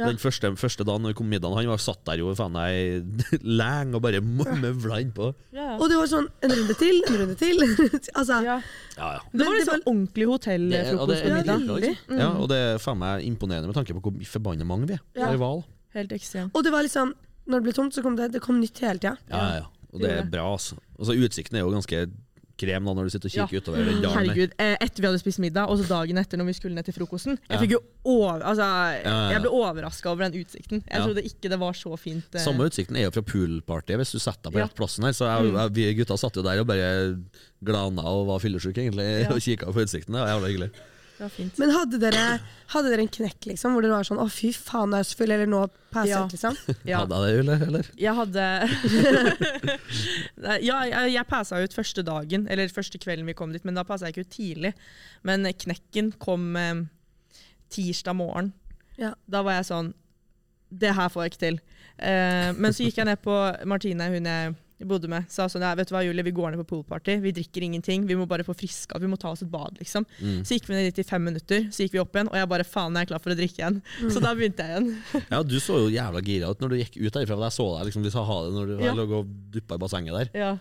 [SPEAKER 6] Den første, første dagen når vi kom middagen, han var satt der jo faen ei leng og bare møvla innpå.
[SPEAKER 3] Og det var sånn, en runde til, en runde til. altså,
[SPEAKER 8] Ja.
[SPEAKER 6] Ja, ja.
[SPEAKER 8] Det var
[SPEAKER 3] Men det
[SPEAKER 8] liksom ordentlig
[SPEAKER 6] Det- og det
[SPEAKER 8] hotellfrokost
[SPEAKER 6] er
[SPEAKER 8] og middag.
[SPEAKER 6] nydelig, liksom. Ja, og det er faen meg imponerende med tanke på hvor forbanna mange vi er.
[SPEAKER 3] Ja.
[SPEAKER 6] Ja. Rival.
[SPEAKER 8] Helt ekstremt.
[SPEAKER 3] og det var liksom, når det ble tomt, så kom det, det kom nytt hele tiden.
[SPEAKER 6] Ja, ja, ja. Og det er bra, altså. Altså, Utsikten er jo ganske krem da, når du sitter og kikker
[SPEAKER 8] Ja.
[SPEAKER 6] utover den dalen. der.
[SPEAKER 8] Herregud, eh, etter vi hadde spist middag, og så dagen etter når vi skulle ned til frokosten Jeg fikk jo over, altså,
[SPEAKER 6] ja, ja.
[SPEAKER 8] jeg ble overraska over den utsikten. Jeg
[SPEAKER 6] Ja.
[SPEAKER 8] trodde ikke det var så fint. eh,
[SPEAKER 6] Samme utsikten er jo fra poolpartyet, hvis du setter deg på
[SPEAKER 8] Ja.
[SPEAKER 6] rett plassen her. Så jeg, jeg, vi gutta satt jo der og bare glana og var fyllesyke, egentlig, og kikka på utsikten. Det var jævla hyggelig.
[SPEAKER 8] Det var fint.
[SPEAKER 3] Men hadde dere, hadde dere en knekk liksom, hvor dere var sånn 'å, fy faen, nå er jeg så full', eller 'nå passer
[SPEAKER 8] Ja.
[SPEAKER 3] jeg'? Liksom?
[SPEAKER 8] Ja.
[SPEAKER 6] Hadde jeg det, eller? eller?
[SPEAKER 8] Jeg hadde Nei, Ja, jeg, jeg passa ut første dagen, eller første kvelden vi kom dit, men da passa jeg ikke ut tidlig. Men knekken kom eh, tirsdag morgen.
[SPEAKER 3] Ja.
[SPEAKER 8] Da var jeg sånn Det her får jeg ikke til. Eh, men så gikk jeg ned på Martine, hun jeg bodde med, sa sånn ja, Vet du hva, Julie, vi går ned på poolparty. Vi drikker ingenting. Vi må bare få friska Vi må ta oss et bad, liksom. Så gikk vi ned dit i fem minutter, så gikk vi opp igjen, og jeg bare faen, jeg er klar for å drikke igjen.
[SPEAKER 3] Mm.
[SPEAKER 8] Så da begynte jeg igjen.
[SPEAKER 6] Ja, du så jo jævla gira ut når du gikk ut derifra. for Jeg så deg liksom, du sa ha det når du
[SPEAKER 8] Ja.
[SPEAKER 6] lå og duppa i bassenget der.
[SPEAKER 8] Ja,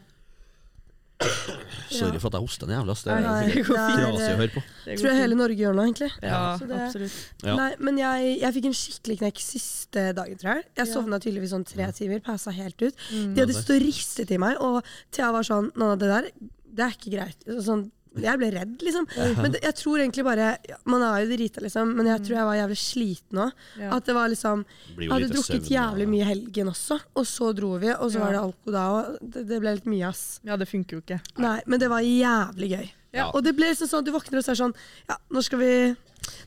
[SPEAKER 6] Sorry for at jeg hoster en jævla ass. Det er
[SPEAKER 3] Nei,
[SPEAKER 6] sikkert trasig å
[SPEAKER 3] det er,
[SPEAKER 6] høre på.
[SPEAKER 8] det går
[SPEAKER 3] tror jeg
[SPEAKER 8] fint.
[SPEAKER 3] hele Norge gjør nå, egentlig.
[SPEAKER 8] ja,
[SPEAKER 3] Så det-
[SPEAKER 8] absolutt.
[SPEAKER 6] Ja.
[SPEAKER 3] Nei, men jeg, jeg fikk en skikkelig knekk siste dagen, tror jeg. Jeg sovna tydeligvis sånn tre timer, passa helt ut.
[SPEAKER 6] Mm.
[SPEAKER 3] De hadde stått og ristet i meg, og Thea var sånn 'Nå, det der, det er ikke greit'. Og Sånn, jeg ble redd, liksom. Men det- jeg tror egentlig bare ja, Man er jo drita, liksom, men jeg tror jeg var jævlig sliten òg.
[SPEAKER 8] Ja.
[SPEAKER 3] At det var liksom
[SPEAKER 6] Mm. Blir
[SPEAKER 3] Jeg
[SPEAKER 6] jo
[SPEAKER 3] hadde
[SPEAKER 6] lite
[SPEAKER 3] drukket
[SPEAKER 6] søvn, ja.
[SPEAKER 3] jævlig mye i helgen også, og så dro vi, og så
[SPEAKER 8] Ja.
[SPEAKER 3] var det alko da òg. Det, det ble litt mye, ass.
[SPEAKER 8] Ja, det funker jo ikke.
[SPEAKER 3] Nei, men det var jævlig gøy.
[SPEAKER 6] Ja.
[SPEAKER 3] Og det ble liksom sånn at du våkner og så er det sånn Ja, nå skal vi,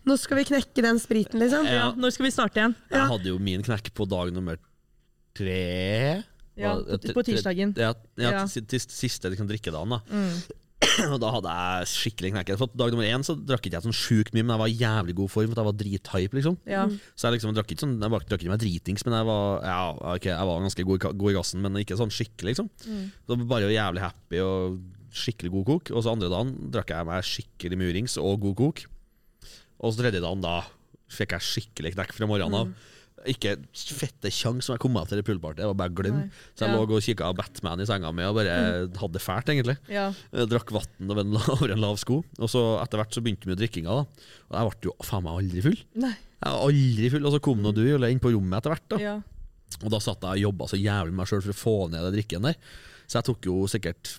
[SPEAKER 3] nå skal vi knekke den spriten, liksom.
[SPEAKER 8] Ja, når skal vi starte igjen?
[SPEAKER 3] Ja.
[SPEAKER 6] Jeg hadde jo min knekk på dag nummer tre.
[SPEAKER 8] Ja,
[SPEAKER 6] Hva-
[SPEAKER 8] på- på tirsdagen.
[SPEAKER 6] Ja, ja,
[SPEAKER 8] Ja. Mm.
[SPEAKER 6] til sist- siste liksom, drikkedagen. Da. Og da hadde jeg skikkelig knekken. For at dag nummer én så drakk ikke jeg sånn sjukt mye, men jeg var i jævlig god form. For at jeg var drithype, liksom.
[SPEAKER 8] Ja.
[SPEAKER 6] Så jeg liksom drakk ikke sånn, jeg var- drakk ikke meg dritings, men jeg var, ja, ok, jeg var ganske god, i ka- god i gassen, men ikke sånn skikkelig, liksom.
[SPEAKER 8] Mm.
[SPEAKER 6] Så bare jævlig happy og skikkelig god kok. Og så andre dagen drakk jeg meg skikkelig murings og god kok. Og så tredje dagen da fikk jeg skikkelig knekk fra morgenen av.
[SPEAKER 8] Mm.
[SPEAKER 6] Ikke fette kjangs som jeg kom meg opp til det poolpartyet, det var bare glem.
[SPEAKER 8] Nei.
[SPEAKER 6] Så jeg
[SPEAKER 8] Ja. Mm.
[SPEAKER 6] lå og kikka Batman i senga mi og bare hadde det fælt, egentlig.
[SPEAKER 8] Ja.
[SPEAKER 6] Jeg drakk vann over, en la- over en lav sko. Og så etter hvert så begynte vi med drikkinga. da Og jeg ble jo faen meg aldri full.
[SPEAKER 8] Nei.
[SPEAKER 6] Jeg var aldri full Og så kom nå du Jule, inn på rommet etter hvert. da
[SPEAKER 8] Ja.
[SPEAKER 6] Og da satt jeg og jobba så jævlig med meg sjøl for å få ned den drikken der. Så jeg tok jo sikkert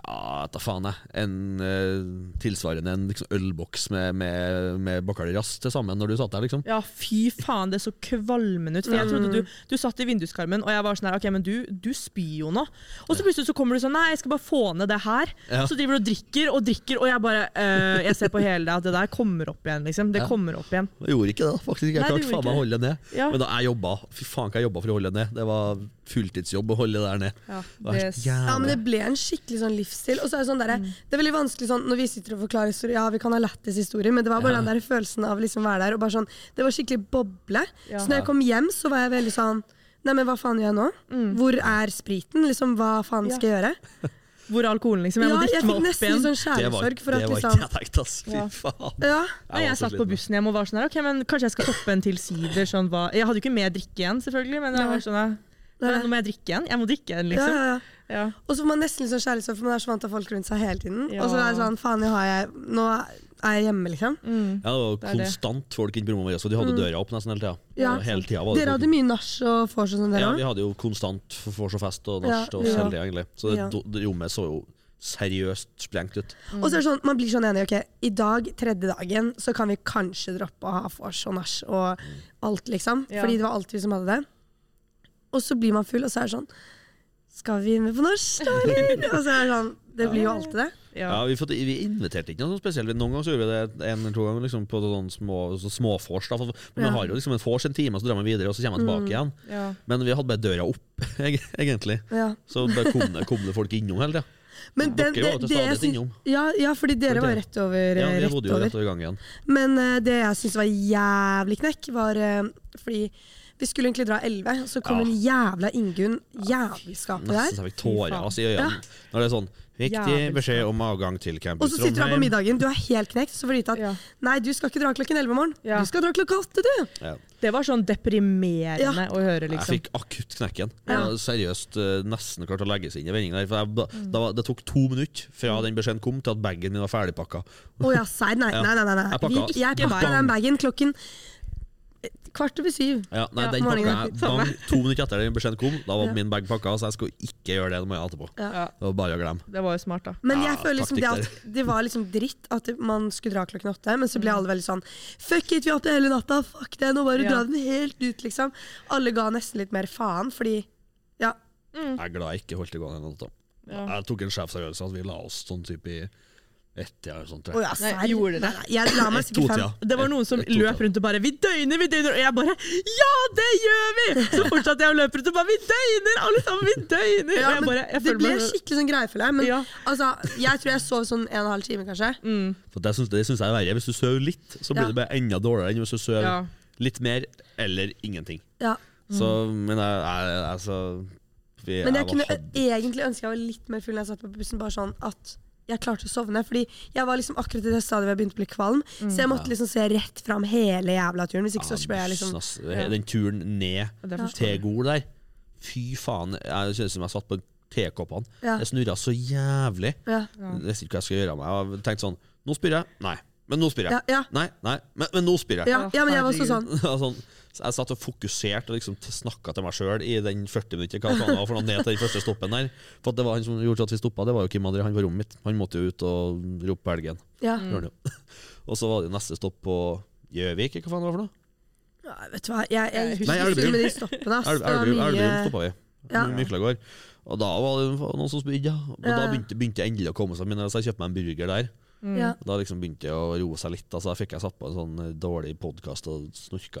[SPEAKER 6] Ja, ta faen, jeg. En eh, tilsvarende en liksom, ølboks med, med, med Bacardi Ras til sammen når du satt der, liksom.
[SPEAKER 8] ja, fy faen, det så kvalmende ut. For jeg trodde du, du satt i vinduskarmen, og jeg var sånn her, ok, men du, du spyr jo nå. Og så plutselig så kommer du sånn, nei, jeg skal bare få ned det her.
[SPEAKER 6] Ja.
[SPEAKER 8] Så driver du og drikker og drikker, og jeg bare, eh, jeg ser på hele det at det der kommer opp igjen, liksom. Det
[SPEAKER 6] Ja.
[SPEAKER 8] kommer opp igjen.
[SPEAKER 6] Jeg gjorde ikke det, da, faktisk. Jeg
[SPEAKER 8] Nei, du
[SPEAKER 6] klarte faen meg
[SPEAKER 8] gjorde
[SPEAKER 6] å
[SPEAKER 8] ikke
[SPEAKER 6] holde det ned.
[SPEAKER 8] Ja.
[SPEAKER 6] Men da jeg jobba, fy faen hva jeg jobba for å holde det ned. Det var fulltidsjobb å holde det der ned.
[SPEAKER 8] Ja,
[SPEAKER 6] Det Mm. var helt
[SPEAKER 8] det-
[SPEAKER 6] jævlig.
[SPEAKER 3] Ja, men det ble en skikkelig sånn livsstil. Og så er det sånn derre- det er veldig vanskelig sånn når vi sitter og forklarer historier, ja, vi kan ha lættis historier, men det var bare den der følelsen av liksom å være der og bare sånn Det var skikkelig boble.
[SPEAKER 8] Ja.
[SPEAKER 3] Så når jeg kom hjem, så var jeg veldig sånn Nei, men hva faen gjør jeg nå?
[SPEAKER 6] Mm.
[SPEAKER 3] Hvor er spriten? Liksom, hva faen skal jeg gjøre?
[SPEAKER 8] Hvor er alkoholen, liksom? Jeg
[SPEAKER 3] Ja,
[SPEAKER 8] må
[SPEAKER 3] jeg
[SPEAKER 8] drikke
[SPEAKER 3] fikk
[SPEAKER 8] meg opp
[SPEAKER 3] nesten
[SPEAKER 8] igjen.
[SPEAKER 3] litt sånn
[SPEAKER 6] Det var,
[SPEAKER 3] kjærlighetssorg for
[SPEAKER 6] det
[SPEAKER 3] at
[SPEAKER 6] var
[SPEAKER 3] liksom
[SPEAKER 6] ikke jeg tenkte, ass. Fy
[SPEAKER 8] Ja.
[SPEAKER 6] faen.
[SPEAKER 3] Ja.
[SPEAKER 8] Nei, jeg
[SPEAKER 6] var så
[SPEAKER 8] satt på
[SPEAKER 6] sliten.
[SPEAKER 8] bussen hjem og var sånn her, ok, men kanskje jeg skal toppe en til sider, sånn hva Jeg hadde jo ikke mer drikke igjen, selvfølgelig, men jeg var sånn, ja,
[SPEAKER 3] Nei.
[SPEAKER 8] nå må jeg drikke igjen. Jeg må drikke igjen,
[SPEAKER 3] Ja,
[SPEAKER 8] liksom.
[SPEAKER 3] ja, ja.
[SPEAKER 8] Ja.
[SPEAKER 3] Og så får man nesten litt sånn kjærlighetssorg, for man er så vant til folk rundt seg hele tiden.
[SPEAKER 8] Ja.
[SPEAKER 3] Og så er det sånn, faen, nå, har jeg, nå er jeg hjemme, liksom.
[SPEAKER 6] Ja, det var
[SPEAKER 8] er det. Mm.
[SPEAKER 6] konstant folk inne på rommet vårt, så de hadde døra opp nesten hele tida.
[SPEAKER 3] Ja.
[SPEAKER 6] Hele tiden var det
[SPEAKER 3] Dere
[SPEAKER 6] folk-
[SPEAKER 3] hadde mye nach og vors og sånn,
[SPEAKER 6] Ja,
[SPEAKER 3] dere
[SPEAKER 6] vi
[SPEAKER 3] òg?
[SPEAKER 6] hadde jo konstant vors og fest og
[SPEAKER 3] Ja,
[SPEAKER 6] nach og
[SPEAKER 3] ja.
[SPEAKER 6] hele tida, egentlig. Så det,
[SPEAKER 3] Ja.
[SPEAKER 6] do- det rommet så jo seriøst sprengt ut.
[SPEAKER 3] Og så er det sånn, man blir sånn enig, ok, i dag, tredje dagen, så kan vi kanskje droppe å ha vors og nach og alt, liksom.
[SPEAKER 8] Ja.
[SPEAKER 3] Fordi det var alltid vi som hadde det. Og så blir man full, og så er det sånn Skal vi med på norsk, da, eller? Og så er det sånn Det blir jo alltid det.
[SPEAKER 8] Ja.
[SPEAKER 6] Ja, vi, fått, vi inviterte ikke noe sånn spesielt. Noen ganger så gjorde vi det en eller to ganger liksom, på sånn små, så småfors. da. For- for Man
[SPEAKER 3] Ja. Mm.
[SPEAKER 6] har jo liksom en vors en time, og så drar man videre, og så kommer man tilbake igjen.
[SPEAKER 8] Ja.
[SPEAKER 6] Men vi hadde bare døra opp, eg- egentlig.
[SPEAKER 3] Ja.
[SPEAKER 6] Så bare kom det, kom det folk innom hele tida.
[SPEAKER 3] Men
[SPEAKER 6] Dere var jo til stadighet
[SPEAKER 3] jeg syns-
[SPEAKER 6] innom.
[SPEAKER 3] ja, ja, fordi dere
[SPEAKER 6] Var
[SPEAKER 3] var
[SPEAKER 6] det?
[SPEAKER 3] rett over.
[SPEAKER 6] Ja,
[SPEAKER 3] eh,
[SPEAKER 6] vi
[SPEAKER 3] rett
[SPEAKER 6] bodde jo rett
[SPEAKER 3] over.
[SPEAKER 6] over gangen.
[SPEAKER 3] Men eh, det jeg syns var jævlig knekk, var eh, fordi vi skulle egentlig dra 11, så kom
[SPEAKER 6] Ja.
[SPEAKER 3] en jævla Ingunn jævelskapet
[SPEAKER 6] Nesten
[SPEAKER 3] der.
[SPEAKER 6] så jeg fikk tårer altså, i øynene.
[SPEAKER 3] Ja.
[SPEAKER 6] Når det er sånn Viktig
[SPEAKER 8] Jævelskap.
[SPEAKER 6] beskjed om avgang til campus
[SPEAKER 3] Og så sitter du her på middagen, du er helt knekt, så får du vite at
[SPEAKER 8] Ja.
[SPEAKER 3] nei, du skal ikke dra klokken 11 om morgenen.
[SPEAKER 8] Ja.
[SPEAKER 3] Du skal dra klokka 8, du!
[SPEAKER 6] Ja.
[SPEAKER 8] Det var sånn deprimerende
[SPEAKER 3] Ja.
[SPEAKER 8] å høre,
[SPEAKER 6] Jeg
[SPEAKER 8] liksom.
[SPEAKER 6] fikk akutt knekken.
[SPEAKER 3] Ja.
[SPEAKER 6] Jeg seriøst eh, nesten klart å legge seg inn i vendingen der. For jeg, da,
[SPEAKER 3] Mm.
[SPEAKER 6] da, var- det tok to minutter fra den beskjeden kom til at bagen min var ferdigpakka.
[SPEAKER 3] Å ja, serr. Nei,
[SPEAKER 6] Ja.
[SPEAKER 3] nei, nei. nei, nei.
[SPEAKER 6] Jeg pakka-
[SPEAKER 3] Vi- Jeg
[SPEAKER 6] ikke
[SPEAKER 3] pakka
[SPEAKER 6] meg.
[SPEAKER 3] den bagen klokken eh, kvart over syv.
[SPEAKER 6] Ja, nei,
[SPEAKER 3] Ja,
[SPEAKER 6] den pakka
[SPEAKER 3] morgenen
[SPEAKER 6] jeg bang, to minutter etter den beskjeden kom. Da var min bag pakka, så jeg skulle ikke gjøre det. Det må jeg etterpå.
[SPEAKER 3] Ja.
[SPEAKER 6] Det var bare å glemme.
[SPEAKER 8] Det var jo smart, da.
[SPEAKER 3] Men jeg
[SPEAKER 6] Ja,
[SPEAKER 3] føler liksom det
[SPEAKER 6] Ah, taktikk
[SPEAKER 3] at det var liksom dritt at det- man skulle dra klokken åtte, men så ble alle veldig sånn Fuck it, vi er oppe hele natta, fuck det, nå bare
[SPEAKER 8] Mm. Ja.
[SPEAKER 3] dra den helt ut, liksom. Alle ga nesten litt mer faen, fordi ja. Mm.
[SPEAKER 6] Jeg er glad jeg ikke holdt i gang den natta.
[SPEAKER 8] Ja.
[SPEAKER 6] Jeg tok en sjefsavgjørelse at vi la oss sånn type i ett eller sånt.
[SPEAKER 3] Å ja,
[SPEAKER 8] Nei,
[SPEAKER 3] serr.
[SPEAKER 8] gjorde dere?
[SPEAKER 3] Nei, nei, Jeg la meg sikkert fem.
[SPEAKER 6] To-tida.
[SPEAKER 8] Det var noen som
[SPEAKER 6] Et- et to-tall.
[SPEAKER 8] løp rundt og bare 'Vi døgner, vi døgner!' Og jeg bare 'Ja, det gjør vi!' Så fortsatte jeg å løpe rundt og bare 'Vi døgner, alle sammen! Vi døgner!' Og
[SPEAKER 3] Ja,
[SPEAKER 8] jeg
[SPEAKER 3] men
[SPEAKER 8] bare, jeg
[SPEAKER 3] det
[SPEAKER 8] føler
[SPEAKER 3] ble
[SPEAKER 8] meg-
[SPEAKER 3] skikkelig sånn greiefelle. Men
[SPEAKER 8] Ja. Mm.
[SPEAKER 3] altså, jeg tror jeg sov sånn en og en halv time, kanskje.
[SPEAKER 6] For det syns, det syns jeg er verre. Hvis du sover litt, så blir
[SPEAKER 3] Ja.
[SPEAKER 6] det bare enda dårligere enn hvis du sover
[SPEAKER 8] Ja.
[SPEAKER 6] litt mer eller ingenting.
[SPEAKER 3] Ja.
[SPEAKER 6] Så, men jeg, jeg, altså vi,
[SPEAKER 3] Mm. Men jeg
[SPEAKER 6] var-
[SPEAKER 3] kunne
[SPEAKER 6] hadde-
[SPEAKER 3] egentlig ønske jeg var litt mer full når jeg satt på bussen, bare sånn at jeg klarte å sovne. Fordi jeg var liksom akkurat i det stadiet hvor jeg begynte å bli kvalm.
[SPEAKER 8] Mm.
[SPEAKER 3] Så jeg måtte liksom se rett fram hele jævla turen. Hvis
[SPEAKER 6] Ah,
[SPEAKER 3] ikke så ble jeg liksom
[SPEAKER 6] Ass, ass. eh, Den turen ned
[SPEAKER 8] det forstår
[SPEAKER 6] til Gol der Fy faen, jeg kjennes som jeg satt på tekoppene.
[SPEAKER 3] Ja.
[SPEAKER 6] Jeg snurra så jævlig.
[SPEAKER 3] Ja.
[SPEAKER 6] Jeg visste ikke hva jeg skulle gjøre av meg. Jeg tenkte sånn Nå spyr jeg. Nei. Men nå spyr jeg.
[SPEAKER 3] Ja, ja.
[SPEAKER 6] Nei, nei. Men, men nå spyr jeg.
[SPEAKER 3] Ja, ja, men jeg var også sånn.
[SPEAKER 6] sånn, så jeg satt og fokuserte og liksom snakka til meg sjøl i den 40 minutter hva faen det var for noe ned til den første stoppen der. For at det var han som gjorde at vi stoppa, det var jo Kim André, han var rommet mitt. Han måtte jo ut og rope på helgen.
[SPEAKER 3] sånn, Ja.
[SPEAKER 6] Det gjorde han jo. Og så var det neste stopp på Gjøvik, eller hva faen det var for noe?
[SPEAKER 3] Ja, vet du hva, jeg, jeg gikk
[SPEAKER 6] Nei,
[SPEAKER 3] ikke
[SPEAKER 6] Elverum.
[SPEAKER 3] så med de stoppene. ass.
[SPEAKER 6] Elv-
[SPEAKER 3] Det var
[SPEAKER 6] Elverum
[SPEAKER 3] mye-
[SPEAKER 6] Elverum stoppa vi.
[SPEAKER 3] Ja.
[SPEAKER 6] Myklagård. Og da var det noen som spydde, ja. Og da begynte, begynte jeg endelig å komme seg mine, så jeg kjøpte meg en burger der.
[SPEAKER 3] Ja.
[SPEAKER 6] Da liksom begynte jeg å roe seg litt. Altså, da fikk jeg satt på en sånn eh, dårlig podkast og snorka.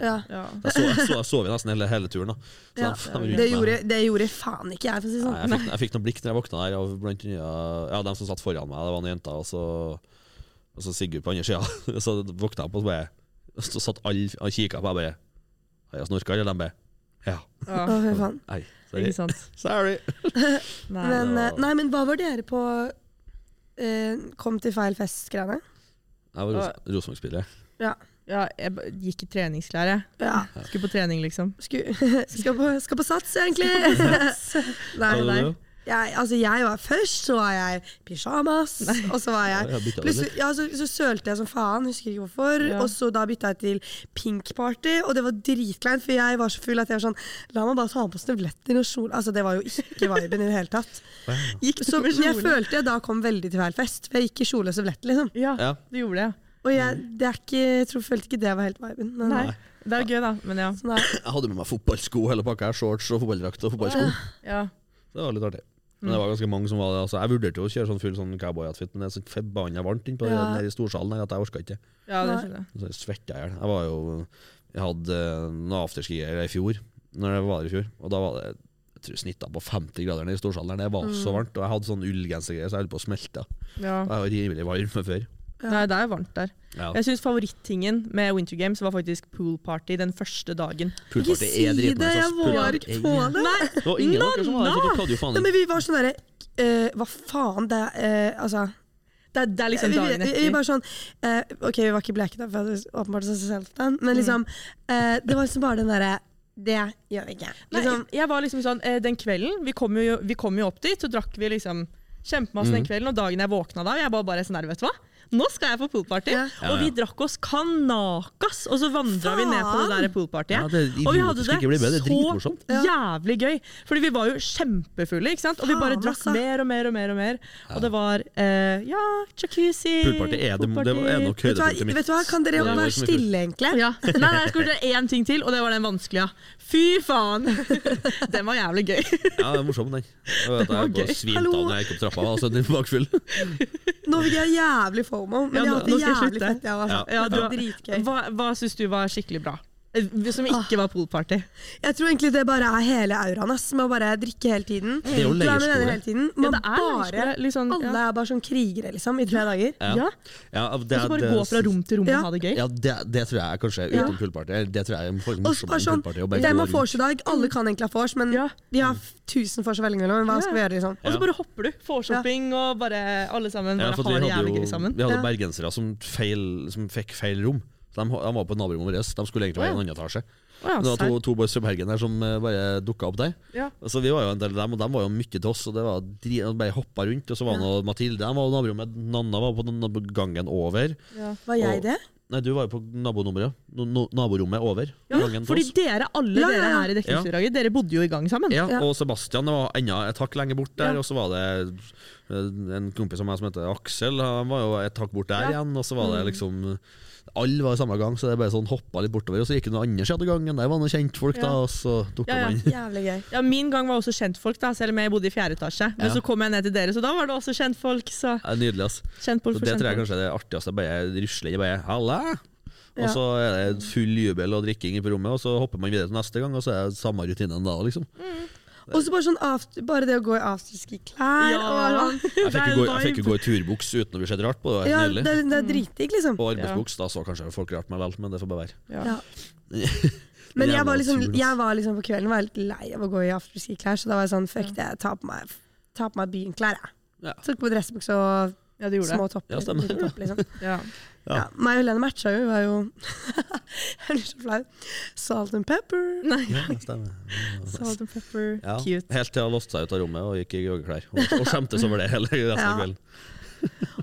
[SPEAKER 3] Ja.
[SPEAKER 8] Ja.
[SPEAKER 6] Jeg sov, jeg sov, jeg sov jo nesten hele, hele turen. da Så
[SPEAKER 3] Ja.
[SPEAKER 6] da faen rundt
[SPEAKER 3] Det,
[SPEAKER 6] meg.
[SPEAKER 3] gjorde, det gjorde faen ikke jeg, for å si det
[SPEAKER 6] Nei,
[SPEAKER 3] sånn.
[SPEAKER 6] jeg, fikk, jeg fikk noen blikk når jeg våkna der, av blant annet ja, dem som satt foran meg. Det var noen jenter, og så, og så Sigurd på andre sida. Så våkna jeg opp, og så, bare, så satt alle og kikka på meg bare Har jeg snorka, eller? De bare Ja.
[SPEAKER 3] Å, fy faen.
[SPEAKER 6] Nei, sorry.
[SPEAKER 8] Ikke sant?
[SPEAKER 6] Sorry.
[SPEAKER 8] Nei.
[SPEAKER 3] Men,
[SPEAKER 6] det
[SPEAKER 3] eh,
[SPEAKER 6] var-
[SPEAKER 3] nei, men hva var dere på eh, kom til feil fest-greiene?
[SPEAKER 6] Jeg var Ros- Rosenborg-spiller.
[SPEAKER 8] Ja, jeg ba- gikk i treningsklær, jeg.
[SPEAKER 3] Ja.
[SPEAKER 8] Skulle på trening, liksom.
[SPEAKER 3] Sku, skal, på, skal på sats, egentlig. Nei,
[SPEAKER 6] Hva var
[SPEAKER 3] nei.
[SPEAKER 6] det?
[SPEAKER 3] Jeg, altså, jeg var først, så var jeg pysjamas, og så var
[SPEAKER 6] Ja, jeg
[SPEAKER 3] jeg
[SPEAKER 6] bytta det
[SPEAKER 3] Plutselig,
[SPEAKER 6] litt.
[SPEAKER 3] ja, så, så sølte jeg som faen, husker ikke hvorfor.
[SPEAKER 8] Ja.
[SPEAKER 3] Og så da bytta jeg til pink party, og det var dritkleint, for jeg var så full at jeg var sånn La meg bare ta på støvletter og kjole Altså, det var jo ikke viben i det hele tatt.
[SPEAKER 8] Gikk
[SPEAKER 3] Så men jeg følte jeg da kom veldig til feil fest, for jeg gikk i kjole og støvletter, liksom.
[SPEAKER 8] Ja,
[SPEAKER 6] Ja.
[SPEAKER 8] du gjorde det. ja.
[SPEAKER 3] Og jeg,
[SPEAKER 6] Mm.
[SPEAKER 3] det er ikke, jeg tror, følte ikke det var helt viben. Men,
[SPEAKER 8] Nei. Det er gøy, da. Men ja.
[SPEAKER 3] Sånn er-
[SPEAKER 6] Jeg hadde med meg fotballsko hele pakka. her, Shorts og fotballdrakt og fotballsko.
[SPEAKER 8] ja.
[SPEAKER 6] Det var litt artig. Men det var ganske mange som var det. Altså, jeg vurderte jo å kjøre sånn full sånn cowboy-outfit, men det er så forbanna varmt inne på
[SPEAKER 3] Ja.
[SPEAKER 6] den der i storsalen her at jeg orka ikke.
[SPEAKER 8] ja det skjønner jeg.
[SPEAKER 6] Så jeg svetta i hjel. Jeg var jo Jeg hadde eh, noe afterskier i fjor, når det var i fjor, og da var det jeg tror snitta på 50 grader nede i storsalen. her. Det var så
[SPEAKER 3] Mm.
[SPEAKER 6] varmt. Og jeg hadde sånn ullgensergreier, så jeg holdt på å smelte.
[SPEAKER 8] Ja.
[SPEAKER 6] Og jeg var rimelig varm fra før.
[SPEAKER 8] Nei, det er varmt der.
[SPEAKER 6] Ja.
[SPEAKER 8] Jeg syns favorittingen med Winter Games var faktisk pool party den første dagen.
[SPEAKER 3] Ikke
[SPEAKER 6] Poolparty
[SPEAKER 3] si
[SPEAKER 6] er
[SPEAKER 3] det,
[SPEAKER 6] dritnice.
[SPEAKER 3] jeg
[SPEAKER 6] ass.
[SPEAKER 3] var
[SPEAKER 6] Poolparty
[SPEAKER 3] ikke
[SPEAKER 6] er
[SPEAKER 3] på
[SPEAKER 6] jævlig-
[SPEAKER 3] det.
[SPEAKER 6] Det var sånn ingen av dere som var der, så dere hadde jo faen
[SPEAKER 3] Ja, men vi var sånn derre eh, Hva faen, det er eh, Altså
[SPEAKER 8] Det er, det er liksom
[SPEAKER 3] vi, vi,
[SPEAKER 8] dagen
[SPEAKER 3] vi, vi
[SPEAKER 8] etter.
[SPEAKER 3] bare sånn eh, Ok, vi var ikke bleke da, for vi hadde åpenbart oss selv den, men liksom eh, Det var liksom bare den derre Det gjør vi ikke.
[SPEAKER 8] Nei,
[SPEAKER 3] Liksom,
[SPEAKER 8] jeg var liksom sånn, eh, Den kvelden Vi kom
[SPEAKER 6] Mm.
[SPEAKER 8] jo, vi kom jo opp dit, så drakk vi liksom kjempemasse den kvelden. Og dagen jeg våkna da, jeg var bare sånn der, vet du hva. Nå skal jeg på poolparty! Og vi drakk oss kanakas, og så vandra vi ned på det der poolpartyet.
[SPEAKER 6] Ja, det-
[SPEAKER 8] og vi
[SPEAKER 6] idioter
[SPEAKER 8] hadde
[SPEAKER 6] skal ikke bli med, det er
[SPEAKER 8] så
[SPEAKER 6] dritmorsomt.
[SPEAKER 8] jævlig gøy! Fordi vi var jo kjempefulle, ikke sant? og vi bare
[SPEAKER 3] Faen,
[SPEAKER 8] drakk
[SPEAKER 3] altså.
[SPEAKER 8] mer og mer og mer. Og mer. Og det var eh, ja, jacuzzi
[SPEAKER 6] Poolparty er, det, det er nok
[SPEAKER 3] Vet du, hva,
[SPEAKER 6] høydepunktet mitt.
[SPEAKER 3] vet du hva, kan dere
[SPEAKER 6] Ja, det var
[SPEAKER 3] være
[SPEAKER 6] ikke mye
[SPEAKER 3] stille, egentlig?
[SPEAKER 8] Ja. Nei, nei, jeg skulle gjøre én ting til, og det var den vanskelige. Fy faen! Den var jævlig gøy.
[SPEAKER 6] Ja, det er morsom, den. Jeg vet,
[SPEAKER 8] var
[SPEAKER 6] jeg
[SPEAKER 8] gøy.
[SPEAKER 6] bare svimte av
[SPEAKER 3] Hallo.
[SPEAKER 6] når jeg gikk opp trappa. Altså, den var bakfull.
[SPEAKER 3] Nå fikk jeg jævlig fomo, men
[SPEAKER 8] Ja,
[SPEAKER 3] jeg
[SPEAKER 8] nå-
[SPEAKER 3] hadde
[SPEAKER 8] nå
[SPEAKER 3] det
[SPEAKER 8] skal jeg
[SPEAKER 3] jævlig
[SPEAKER 8] slutte.
[SPEAKER 3] fett. Jeg var,
[SPEAKER 8] Ja,
[SPEAKER 3] det
[SPEAKER 8] du-
[SPEAKER 3] var dritgøy.
[SPEAKER 8] Hva, hva syns du var skikkelig bra? Eh, Som ikke var poolparty.
[SPEAKER 3] Jeg tror egentlig det bare er hele auraen ass, med å bare drikke hele tiden.
[SPEAKER 6] er jo
[SPEAKER 3] du er med venner
[SPEAKER 6] leirskole.
[SPEAKER 3] hele tiden.
[SPEAKER 8] Ja,
[SPEAKER 3] Man
[SPEAKER 8] det er
[SPEAKER 3] bare,
[SPEAKER 8] leirskole, liksom, ja.
[SPEAKER 3] Alle er bare som krigere liksom, i tre dager.
[SPEAKER 6] Ja.
[SPEAKER 8] Ja.
[SPEAKER 6] Ja,
[SPEAKER 8] Og
[SPEAKER 6] det,
[SPEAKER 8] så bare
[SPEAKER 6] det-
[SPEAKER 8] gå fra rom til rom
[SPEAKER 3] Ja.
[SPEAKER 8] og ha det gøy.
[SPEAKER 6] Ja, det, det tror jeg kanskje,
[SPEAKER 3] Ja.
[SPEAKER 6] utenom poolparty. Det tror jeg er folk
[SPEAKER 3] Og
[SPEAKER 6] morsomt
[SPEAKER 3] bare sånn,
[SPEAKER 6] med poolparty. og bare
[SPEAKER 3] Hvem
[SPEAKER 6] gå
[SPEAKER 3] har vors i dag? Alle kan egentlig ha vors, men
[SPEAKER 8] Ja.
[SPEAKER 3] de har f- tusen vors å velge mellom. Hva
[SPEAKER 8] Ja.
[SPEAKER 3] skal vi gjøre? liksom?
[SPEAKER 8] Og så
[SPEAKER 6] Ja.
[SPEAKER 8] bare hopper du. Vorshopping og bare alle sammen
[SPEAKER 6] Ja,
[SPEAKER 8] bare
[SPEAKER 6] for at
[SPEAKER 8] har
[SPEAKER 6] vi
[SPEAKER 8] det
[SPEAKER 6] hadde jo
[SPEAKER 8] jævlig gøy sammen.
[SPEAKER 6] vi
[SPEAKER 3] Ja.
[SPEAKER 6] hadde bergensere som, feil, som fikk feil rom. Så de, de var på naborommet vårt. De skulle egentlig være i en annen etasje.
[SPEAKER 8] Å ja,
[SPEAKER 6] Men Det var to,
[SPEAKER 8] serr.
[SPEAKER 6] to boys fra Bergen der som eh, bare dukka opp der.
[SPEAKER 8] Ja.
[SPEAKER 6] Så vi var jo en del av dem, og de var jo mye til oss. Og det var dri de bare hoppa rundt. Og så var nå Mathilde de var på naborommet, Nanna var på den- på gangen over.
[SPEAKER 3] Var jeg
[SPEAKER 6] Og-
[SPEAKER 3] det?
[SPEAKER 6] Nei, du var jo på nabonummeret. No, no, naborommet over. gangen til
[SPEAKER 8] Fordi
[SPEAKER 6] oss.
[SPEAKER 8] dere, alle
[SPEAKER 3] Ja, ja,
[SPEAKER 8] dere
[SPEAKER 3] ja.
[SPEAKER 8] her i Dekningsdraget, dere bodde jo i gang sammen.
[SPEAKER 6] Ja,
[SPEAKER 3] Ja.
[SPEAKER 6] og Sebastian var enda et hakk lenger bort der.
[SPEAKER 8] Ja.
[SPEAKER 6] Og så var det eh, en kompis av meg som heter Aksel, han var jo et hakk bort der igjen. Og så var
[SPEAKER 8] Mm.
[SPEAKER 6] det liksom Alle var i samme gang, så det bare sånn hoppa litt bortover. Og så gikk det noen andre sider av gangen, der var noen kjentfolk, da,
[SPEAKER 8] Ja.
[SPEAKER 6] og så dukka
[SPEAKER 8] Ja, ja.
[SPEAKER 6] man inn.
[SPEAKER 3] Jævlig gøy.
[SPEAKER 8] Ja, Min gang var også kjentfolk, da, selv om jeg bodde i fjerde etasje. Men
[SPEAKER 6] Ja.
[SPEAKER 8] så kom jeg ned til dere, så da var det også kjentfolk. Så
[SPEAKER 6] Det er Nydelig, ass.
[SPEAKER 8] kjentfolk
[SPEAKER 6] Så
[SPEAKER 8] for
[SPEAKER 6] det tror jeg
[SPEAKER 8] kjentfolk.
[SPEAKER 6] kanskje er det artigste. Bare rusle inn og bare 'halla'.
[SPEAKER 3] Ja.
[SPEAKER 6] Og så er det full jubel og drikking på rommet, og så hopper man videre til neste gang, og så er det samme rutinen da, liksom.
[SPEAKER 3] Og så bare, sånn after, bare det å gå i afterski-klær.
[SPEAKER 8] Ja.
[SPEAKER 3] og bare sånn-
[SPEAKER 6] Jeg
[SPEAKER 8] Det
[SPEAKER 6] fikk
[SPEAKER 8] er
[SPEAKER 6] jo gå,
[SPEAKER 8] en
[SPEAKER 6] jeg fikk jo
[SPEAKER 8] vibe.
[SPEAKER 6] gå i turbuks uten å bli sett rart på, det var
[SPEAKER 3] Ja,
[SPEAKER 6] helt
[SPEAKER 3] det,
[SPEAKER 6] nydelig.
[SPEAKER 3] det er dritdigg, liksom.
[SPEAKER 6] Og arbeidsbuks, da så kanskje folk rart meg vel, men det får bare være.
[SPEAKER 3] Ja. Men jeg
[SPEAKER 6] Jævla
[SPEAKER 3] var, liksom,
[SPEAKER 6] tull, ass.
[SPEAKER 3] jeg var liksom på kvelden var jeg litt lei av å gå i afterski-klær, så da var jeg sånn fuck det, ta på meg, ta på meg byenklær, jeg.
[SPEAKER 6] Ja.
[SPEAKER 3] Tok på dressbukse og
[SPEAKER 8] Ja, du gjorde
[SPEAKER 3] små
[SPEAKER 8] det.
[SPEAKER 3] topper.
[SPEAKER 6] Ja, stemmer.
[SPEAKER 3] liten topp, liksom.
[SPEAKER 8] Ja.
[SPEAKER 6] Ja.
[SPEAKER 3] ja, meg og Helene matcha jo, vi var jo Jeg blir så flau. Salt and pepper.
[SPEAKER 6] Ja, stemmer.
[SPEAKER 8] Salt and pepper.
[SPEAKER 6] Ja.
[SPEAKER 8] Cute.
[SPEAKER 6] Helt til jeg låste seg ut av rommet og gikk i joggeklær. Og, og skjemtes over det hele resten
[SPEAKER 3] Ja.
[SPEAKER 6] av kvelden.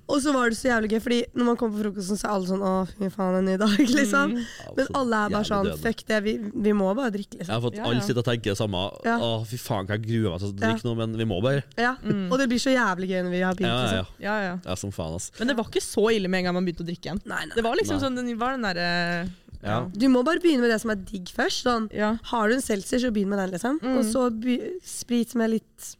[SPEAKER 3] Og så var det så jævlig gøy, fordi når man kom på frokosten, så er alle sånn å, fy faen, en ny dag,
[SPEAKER 8] Mm.
[SPEAKER 3] liksom. Men alle er bare
[SPEAKER 6] Jævlig
[SPEAKER 3] sånn
[SPEAKER 6] dødende.
[SPEAKER 3] fuck det, vi, vi må bare drikke,
[SPEAKER 6] Jeg
[SPEAKER 3] liksom.
[SPEAKER 6] har fått
[SPEAKER 8] Ja, ja.
[SPEAKER 6] alle sitte og tenke det samme.
[SPEAKER 3] Ja.
[SPEAKER 6] Å, fy faen, kan jeg grue meg til å drikke noe, men vi må bare.
[SPEAKER 3] Ja.
[SPEAKER 8] Mm.
[SPEAKER 3] Og det blir så jævlig gøy når vi har
[SPEAKER 6] Ja,
[SPEAKER 3] begynt,
[SPEAKER 6] ja,
[SPEAKER 3] liksom.
[SPEAKER 6] ja.
[SPEAKER 8] Ja, ja.
[SPEAKER 6] ja som faen, ass.
[SPEAKER 8] Men det var ikke så ille med en gang man begynte å drikke igjen.
[SPEAKER 3] Nei, nei.
[SPEAKER 8] Det var liksom
[SPEAKER 6] Nei.
[SPEAKER 8] sånn, den var den eh, derre ja.
[SPEAKER 6] Ja.
[SPEAKER 3] Du må bare begynne med det som er digg først. Sånn.
[SPEAKER 8] Ja. Mm.
[SPEAKER 3] Har du en seltzer, så begynn med den. liksom Og så by sprit med litt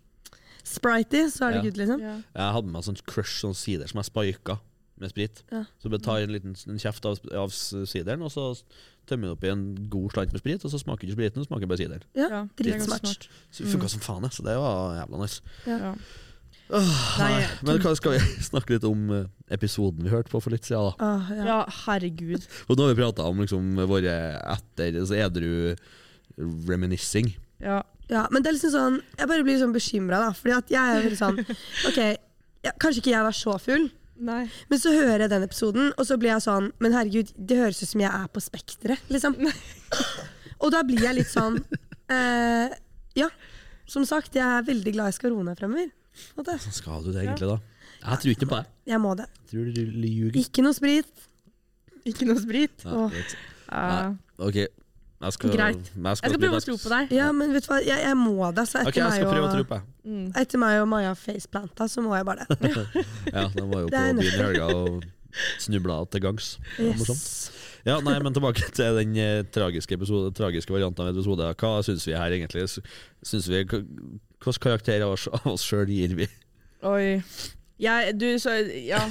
[SPEAKER 3] sprite i, så er det
[SPEAKER 6] Ja.
[SPEAKER 3] good. liksom
[SPEAKER 8] Ja.
[SPEAKER 6] Jeg hadde med meg sånn crush sånn sider som jeg spika med sprit.
[SPEAKER 3] Ja.
[SPEAKER 6] Så bare tar jeg en liten en kjeft av, av sideren, og så tømmer jeg oppi en god slant med sprit, og så smaker ikke spriten, smaker bare sideren.
[SPEAKER 3] Ja,
[SPEAKER 8] Ja, det er ganske
[SPEAKER 3] Dritsmart.
[SPEAKER 8] smart.
[SPEAKER 6] Så det
[SPEAKER 3] Mm.
[SPEAKER 6] funka som faen, jeg, så det var jævla nice.
[SPEAKER 8] Ja.
[SPEAKER 6] Nei, men hva skal vi snakke litt om eh, episoden vi hørte på for litt siden? da?
[SPEAKER 3] Åh, ja.
[SPEAKER 8] ja, herregud.
[SPEAKER 6] Og nå har vi prata om liksom våre etter altså edru reminiscing.
[SPEAKER 8] Ja.
[SPEAKER 3] Ja, men det er liksom sånn Jeg bare blir sånn bekymra, da. Fordi at jeg er veldig sånn Ok, ja, kanskje ikke jeg var så full,
[SPEAKER 8] Nei.
[SPEAKER 3] men så hører jeg den episoden, og så blir jeg sånn Men herregud, det høres ut som jeg er på Spekteret, liksom. og da blir jeg litt sånn eh, Ja. Som sagt, jeg er veldig glad jeg skal roe ned fremover. på en måte.
[SPEAKER 6] Skal du det egentlig, da? Jeg tror ikke på deg.
[SPEAKER 3] Jeg må det.
[SPEAKER 6] Jeg Tror du ljuger.
[SPEAKER 3] Ikke noe sprit.
[SPEAKER 8] Ikke noe sprit.
[SPEAKER 6] Nei,
[SPEAKER 8] Åh.
[SPEAKER 6] greit.
[SPEAKER 8] Ja.
[SPEAKER 6] Ok, jeg skal
[SPEAKER 8] Greit.
[SPEAKER 6] Jeg
[SPEAKER 8] Jeg skal prøve å tro på deg.
[SPEAKER 3] Ja, men vet du hva, jeg, jeg må det. Så etter,
[SPEAKER 6] Ok, jeg skal prøve å
[SPEAKER 3] meg
[SPEAKER 6] tro
[SPEAKER 3] og,
[SPEAKER 6] på deg.
[SPEAKER 3] etter meg og Maja faceplanta, så må jeg bare det.
[SPEAKER 6] Ja, den var jo
[SPEAKER 3] Det er
[SPEAKER 6] på byen i
[SPEAKER 3] nødt til.
[SPEAKER 6] helga og snubla til gangs. Det var morsomt.
[SPEAKER 3] Yes.
[SPEAKER 6] Ja, nei, men tilbake til den eh, tragiske, episode, tragiske varianten av episoden. Hva syns vi her egentlig? Synes vi, hvilken karakter av oss- av oss sjøl gir vi?
[SPEAKER 8] Oi. Jeg, du, så, ja.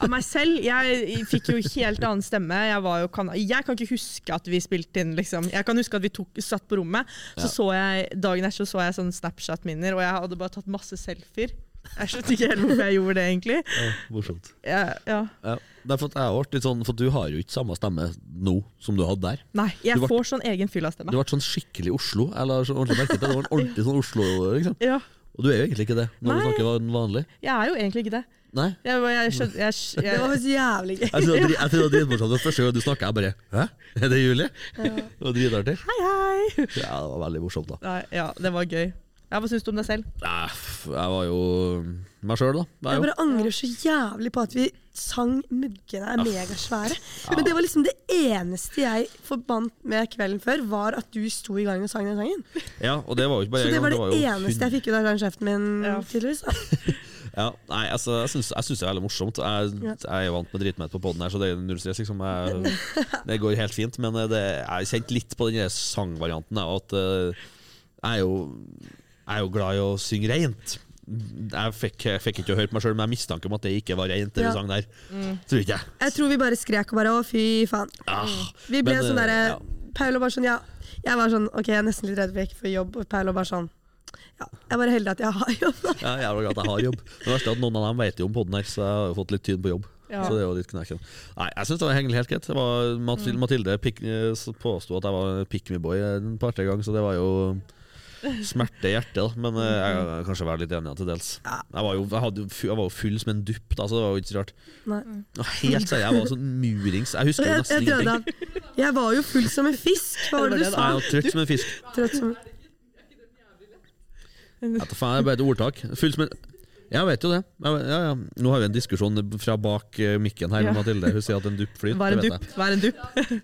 [SPEAKER 8] Av meg selv. Jeg fikk jo helt annen stemme. Jeg, var jo kan, jeg kan ikke huske at vi spilte inn, liksom. Jeg kan huske at vi tok, satt på rommet. Så
[SPEAKER 6] Ja.
[SPEAKER 8] så jeg, dagen etter så så jeg sånne Snapchat-minner, og jeg hadde bare tatt masse selfier. Jeg skjønte ikke helt hvorfor jeg gjorde det, egentlig.
[SPEAKER 6] Ja, morsomt.
[SPEAKER 8] Jeg, ja.
[SPEAKER 6] Ja, det er for at jeg har vært litt sånn, for du har jo ikke samme stemme nå som du hadde der.
[SPEAKER 8] Nei, jeg
[SPEAKER 6] Du ble-
[SPEAKER 8] får sånn egen fyll av
[SPEAKER 6] Du
[SPEAKER 8] stemme.
[SPEAKER 6] har vært sånn skikkelig Oslo. Eller sånn ordentlig merket, det var en ordentlig sånn Oslo, liksom.
[SPEAKER 8] Ja,
[SPEAKER 6] Og du er jo egentlig ikke det, når
[SPEAKER 8] Nei.
[SPEAKER 6] du snakker van- vanlig.
[SPEAKER 8] jeg er jo egentlig ikke det.
[SPEAKER 6] Nei.
[SPEAKER 8] Jeg, jeg, skjøn- jeg, jeg,
[SPEAKER 3] Det var visst jævlig gøy.
[SPEAKER 6] Jeg tror det var dri- jeg tror det var dritmorsomt. Det første gang du snakka, jeg bare Hæ, er det Julie? Det var dritartig.
[SPEAKER 8] Hei, hei!
[SPEAKER 6] Ja, det var veldig morsomt, da.
[SPEAKER 8] Nei, ja, det var gøy. Ja, hva syns du om deg selv?
[SPEAKER 6] Nei, f- Jeg var jo meg sjøl, da. Det
[SPEAKER 3] Jeg
[SPEAKER 6] er jo.
[SPEAKER 3] bare angrer så jævlig på at vi sang 'Muggene er megasvære'. Men det var liksom det eneste jeg forbandt med kvelden før, var at du sto i gangen og sang den sangen.
[SPEAKER 6] Ja, og det var jo ikke bare
[SPEAKER 3] Så
[SPEAKER 6] jeg,
[SPEAKER 3] det var det
[SPEAKER 6] det var jo
[SPEAKER 3] eneste jeg fikk ut av den kjeften min, tydeligvis.
[SPEAKER 6] Ja, nei, altså, jeg syns jeg syns det er veldig morsomt. Jeg, jeg er vant med dritmett på poden her, så det er null stress. Liksom. Jeg, det går helt fint. Men eh, det, jeg kjente litt på den der sangvarianten. jeg, At eh, jeg, er jo, jeg er jo glad i å synge rent. Jeg fikk, jeg fikk ikke hørt meg sjøl, men jeg mistanke om at det ikke var rent, det vi
[SPEAKER 3] Ja. Mm.
[SPEAKER 6] sang der. Tror ikke jeg.
[SPEAKER 3] Jeg tror vi bare skrek og bare 'å, fy faen'.
[SPEAKER 6] Ah,
[SPEAKER 3] Vi ble
[SPEAKER 6] men,
[SPEAKER 3] sånn
[SPEAKER 6] eh,
[SPEAKER 3] derre
[SPEAKER 6] ja.
[SPEAKER 3] Paolo var sånn, ja. Jeg var sånn, ok, jeg er nesten litt redd for jeg ikke får jobb. Og Paolo bare sånn, ja. Jeg er bare heldig at jeg har jobb. da.
[SPEAKER 6] Jeg er jævla glad at jeg har jobb. Det verste er at noen av dem vet jo om podden her, så jeg har jo fått litt tyn på jobb.
[SPEAKER 8] Ja.
[SPEAKER 6] Så det er jo litt knekken. Nei, jeg syns det var egentlig helt greit. Det var Mathilde,
[SPEAKER 3] Mm.
[SPEAKER 6] Mathilde pik, eh, s- påsto at jeg var pick me boy en par-tre ganger, så det var jo smerte i hjertet, da. Men eh, jeg
[SPEAKER 3] Mm.
[SPEAKER 6] kan kanskje være litt enig til dels. Jeg var jo, jeg hadde, jo fu- jeg var jo full som en dupp, da, så det var jo ikke så rart.
[SPEAKER 3] Nei.
[SPEAKER 6] Og Helt seriøst, jeg var sånn murings. Jeg
[SPEAKER 3] Og
[SPEAKER 6] husker jo
[SPEAKER 3] jeg, jeg
[SPEAKER 6] nesten
[SPEAKER 3] døde
[SPEAKER 6] ingenting.
[SPEAKER 3] av. Jeg var jo full som en fisk. Hva var det du
[SPEAKER 8] Det
[SPEAKER 3] sa?
[SPEAKER 6] Jeg var trøtt som en fisk.
[SPEAKER 3] Trøtt som
[SPEAKER 6] Vet du faen, det er bare et ordtak. Full som en jeg vet jo det. Jeg, ja, ja. Nå har vi en diskusjon fra bak eh, mikken her med Mathilde. Hun sier at en dupp flyter.
[SPEAKER 8] Hva er en
[SPEAKER 6] det vet
[SPEAKER 8] dupp? Hva er en dupp?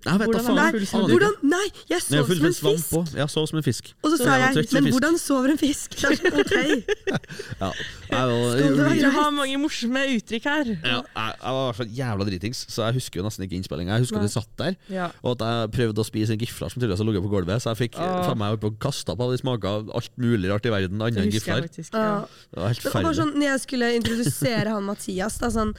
[SPEAKER 6] Jeg Jeg vet da
[SPEAKER 8] Hvordan
[SPEAKER 6] faen.
[SPEAKER 3] Nei,
[SPEAKER 8] er full som en
[SPEAKER 6] Aner
[SPEAKER 3] hvordan,
[SPEAKER 6] ikke.
[SPEAKER 3] nei, jeg
[SPEAKER 6] Nei,
[SPEAKER 3] sov
[SPEAKER 6] full
[SPEAKER 3] som en
[SPEAKER 6] svamp
[SPEAKER 3] fisk.
[SPEAKER 6] også. Ja, sov som en fisk.
[SPEAKER 3] Og så sa
[SPEAKER 6] Ja,
[SPEAKER 3] jeg,
[SPEAKER 6] trøtt som
[SPEAKER 3] men
[SPEAKER 6] fisk.
[SPEAKER 3] hvordan sover en fisk? Det er sånn, ok.
[SPEAKER 6] Ja. Jeg, var,
[SPEAKER 3] Skal det være-
[SPEAKER 8] Du har mange morsomme uttrykk her.
[SPEAKER 6] ja, jeg, jeg var i hvert fall jævla dritings, så jeg husker jo nesten ikke innspillinga. Jeg husker at jeg satt der,
[SPEAKER 8] Ja.
[SPEAKER 6] og at jeg prøvde å spise en gifler som tydeligvis hadde ligget på gulvet, så jeg fikk eh,
[SPEAKER 8] Åh.
[SPEAKER 6] faen meg holdt på å kaste opp av det smaka av alt mulig rart i verden,
[SPEAKER 8] Det
[SPEAKER 6] annet enn
[SPEAKER 8] husker jeg
[SPEAKER 6] gifler.
[SPEAKER 8] faktisk.
[SPEAKER 3] Ja.
[SPEAKER 8] Ja.
[SPEAKER 6] Det var helt
[SPEAKER 3] Det var bare
[SPEAKER 6] ferdig.
[SPEAKER 3] sånn, når jeg skulle introdusere han Mathias, da sånn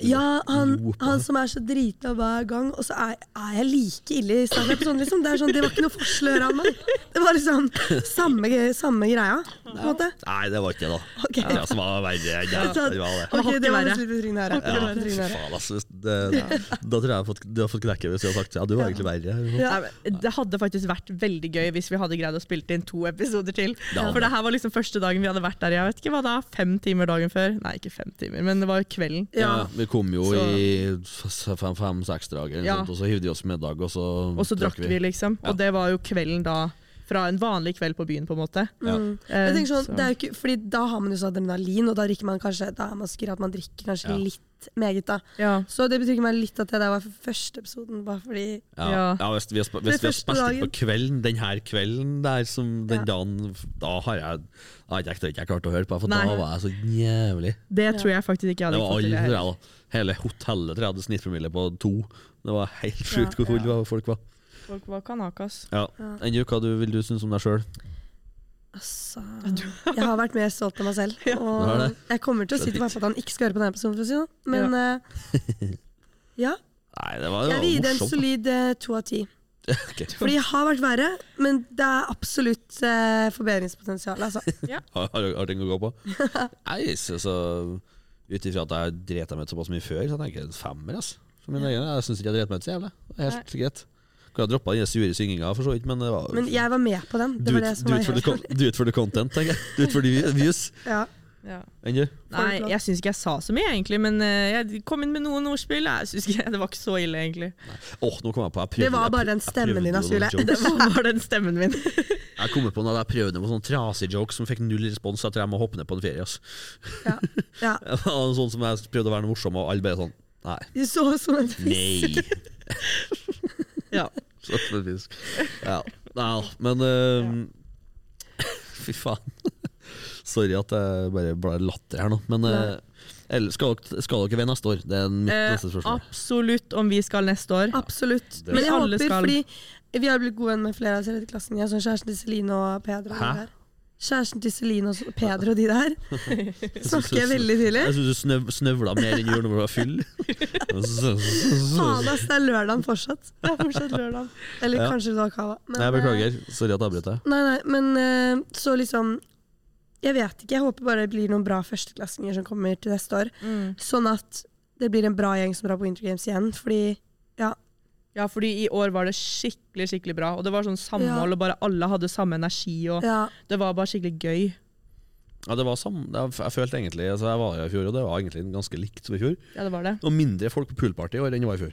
[SPEAKER 3] ja, han, han som er så drita hver gang, og så er, er jeg like ille i standup. Sånn, liksom. Det er sånn, det var ikke noe forskjell å høre av meg. Det var liksom samme, gre- samme greia, på en måte.
[SPEAKER 6] Nei, det var ikke det, da.
[SPEAKER 3] Ok.
[SPEAKER 6] Det som var verre enn det.
[SPEAKER 3] Så-
[SPEAKER 6] Det var det.
[SPEAKER 3] Ok,
[SPEAKER 8] hakket
[SPEAKER 3] det var
[SPEAKER 8] verre.
[SPEAKER 3] litt betryggende å høre.
[SPEAKER 6] Ja,
[SPEAKER 3] Det var
[SPEAKER 6] fy
[SPEAKER 3] betryggende å høre.
[SPEAKER 6] faen, altså. Det, da tror jeg jeg har fått, du har fått knekke hvis jeg har sagt ja, du var egentlig verre.
[SPEAKER 8] Nei, men Det hadde faktisk vært veldig gøy hvis vi hadde greid å spille inn to episoder til.
[SPEAKER 6] hadde
[SPEAKER 8] For det her var liksom første dagen vi hadde vært der. Jeg vet ikke hva da, Fem timer dagen før? Nei, ikke fem timer, men det var kvelden.
[SPEAKER 6] Ja, vi kom jo
[SPEAKER 8] Så-
[SPEAKER 6] i fem-seks-draget,
[SPEAKER 8] Ja.
[SPEAKER 6] og så hivde vi oss middag, og så
[SPEAKER 8] Og så drakk vi, liksom.
[SPEAKER 6] Ja.
[SPEAKER 8] Og det var jo kvelden da. Fra en vanlig kveld på byen, på en måte.
[SPEAKER 6] Ja.
[SPEAKER 8] Eh,
[SPEAKER 3] Jeg tenker sånn,
[SPEAKER 8] så-
[SPEAKER 3] det er jo ikke, fordi da har man jo sånn adrenalin, og da drikker man kanskje Da er man sikker at man drikker kanskje
[SPEAKER 6] Ja.
[SPEAKER 3] litt meget, da.
[SPEAKER 8] Ja.
[SPEAKER 3] Så det betrygger meg litt at det der var første episoden, bare fordi
[SPEAKER 6] Ja, ja.
[SPEAKER 8] Ja.
[SPEAKER 6] hvis vi har, sp- hvis vi har
[SPEAKER 3] første
[SPEAKER 6] spilt
[SPEAKER 3] dagen.
[SPEAKER 6] inn på kvelden, den her kvelden der, som den
[SPEAKER 3] Ja.
[SPEAKER 6] dagen Da har jeg da har jeg ikke- ikke klart å høre på, for
[SPEAKER 8] Nei.
[SPEAKER 6] da var jeg så jævlig
[SPEAKER 8] Det tror jeg faktisk ikke jeg
[SPEAKER 6] Det
[SPEAKER 8] hadde
[SPEAKER 6] var
[SPEAKER 8] fått til.
[SPEAKER 6] alle,
[SPEAKER 8] det her.
[SPEAKER 6] tror jeg, da. Hele hotellet tror jeg hadde snittpromille på to. Det var helt sjukt hvor fulle folk var.
[SPEAKER 8] Folk var kanakas.
[SPEAKER 6] Ja. Enju, hva du, vil du synes om deg sjøl?
[SPEAKER 3] Altså, jeg har vært mer stolt av meg selv.
[SPEAKER 6] Du har
[SPEAKER 3] Og
[SPEAKER 6] det.
[SPEAKER 3] jeg kommer til å si til pappa at han ikke skal høre på denne episoden, for å si det sånn. Men eh, ja,
[SPEAKER 6] Nei, det var, det
[SPEAKER 3] jeg vil gi det
[SPEAKER 6] var
[SPEAKER 3] en
[SPEAKER 6] morsomt.
[SPEAKER 3] solid eh, to av ti.
[SPEAKER 6] Ok.
[SPEAKER 3] Fordi jeg har vært verre, men det er absolutt eh, forbedringspotensial. Altså.
[SPEAKER 6] Har, har, har ting å gå på? Nei, så, så Ut ifra at jeg dreta meg ut såpass mye før, så tenker jeg en femmer. ass. For mine øyne, Jeg syns ikke jeg dreit meg ut så jævlig. Det er Helt greit. Kunne ha droppa den sure synginga, for så vidt, men det var
[SPEAKER 3] Men jeg var med på den.
[SPEAKER 6] Do
[SPEAKER 3] Det var
[SPEAKER 6] it,
[SPEAKER 3] det som
[SPEAKER 6] do it for the
[SPEAKER 3] var
[SPEAKER 6] con- do it for the content, tenker jeg. Do it for the view- views.
[SPEAKER 3] ja.
[SPEAKER 8] Ja.
[SPEAKER 6] Enn du?
[SPEAKER 8] Nei, jeg syns ikke jeg sa så mye, egentlig. Men eh, jeg kom inn med noen ordspill. Jeg synes ikke, Det var ikke så ille, egentlig.
[SPEAKER 6] Åh, nå kom jeg på jeg prøvde,
[SPEAKER 3] Det var
[SPEAKER 6] jeg
[SPEAKER 3] bare den
[SPEAKER 6] prøvde- jeg
[SPEAKER 3] stemmen
[SPEAKER 6] prøvde
[SPEAKER 3] din,
[SPEAKER 6] noen
[SPEAKER 3] Asule.
[SPEAKER 6] jokes.
[SPEAKER 8] Det var bare den stemmen min.
[SPEAKER 6] Jeg kommer på noe jeg prøvde på sånn trasig joke som fikk null respons etter jeg må hoppe ned på en ferie. ass.
[SPEAKER 3] ja.
[SPEAKER 6] Det var Sånn som jeg prøvde å være noe morsom, og alle bare sånn Nei.
[SPEAKER 3] Du så som en fisk.
[SPEAKER 6] Nei.
[SPEAKER 8] Ja.
[SPEAKER 6] Så for en fisk. Ja. ja. Men eh, Fy faen. Sorry at jeg bare ble latter her nå, men eh, eller, skal, dere- skal dere ved neste år? Det er mitt
[SPEAKER 8] Eh,
[SPEAKER 6] neste spørsmål.
[SPEAKER 8] absolutt om vi skal neste år.
[SPEAKER 3] Absolutt.
[SPEAKER 6] Det-
[SPEAKER 3] Men jeg
[SPEAKER 8] Alle
[SPEAKER 3] håper,
[SPEAKER 8] skal-
[SPEAKER 3] fordi vi har blitt gode venn med flere av oss i klassen. Jeg er sånn kjæresten til Celine og Peder og
[SPEAKER 6] Hæ?
[SPEAKER 3] de der. Kjæresten til Celine og så- Peder og de der. Snakker jeg veldig tidlig?
[SPEAKER 6] Jeg syns du snøv, snøvla mer enn du gjorde når du var
[SPEAKER 3] Faen,
[SPEAKER 6] full.
[SPEAKER 3] ass, det er lørdagen fortsatt.
[SPEAKER 8] Det er fortsatt lørdag.
[SPEAKER 3] Eller
[SPEAKER 6] Ja.
[SPEAKER 3] kanskje det var cava. Men,
[SPEAKER 6] Jeg beklager. Sorry at jeg avbrøt deg.
[SPEAKER 3] eh, Nei, nei, men eh, så liksom Jeg vet ikke. Jeg håper bare det blir noen bra førsteklassinger som kommer til neste år.
[SPEAKER 8] Mm.
[SPEAKER 3] Sånn at det blir en bra gjeng som drar på Winter Games igjen. Fordi ja,
[SPEAKER 8] Ja, fordi i år var det skikkelig skikkelig bra. Og det var sånn samhold,
[SPEAKER 3] Ja.
[SPEAKER 8] og bare alle hadde samme energi. Og
[SPEAKER 3] ja,
[SPEAKER 8] det var bare skikkelig gøy.
[SPEAKER 6] Ja, det var sam jeg, jeg følte egentlig altså Jeg var her i fjor, og det var egentlig ganske likt som i fjor.
[SPEAKER 8] Ja, det var det.
[SPEAKER 6] Og mindre folk på poolparty i år enn det var i fjor.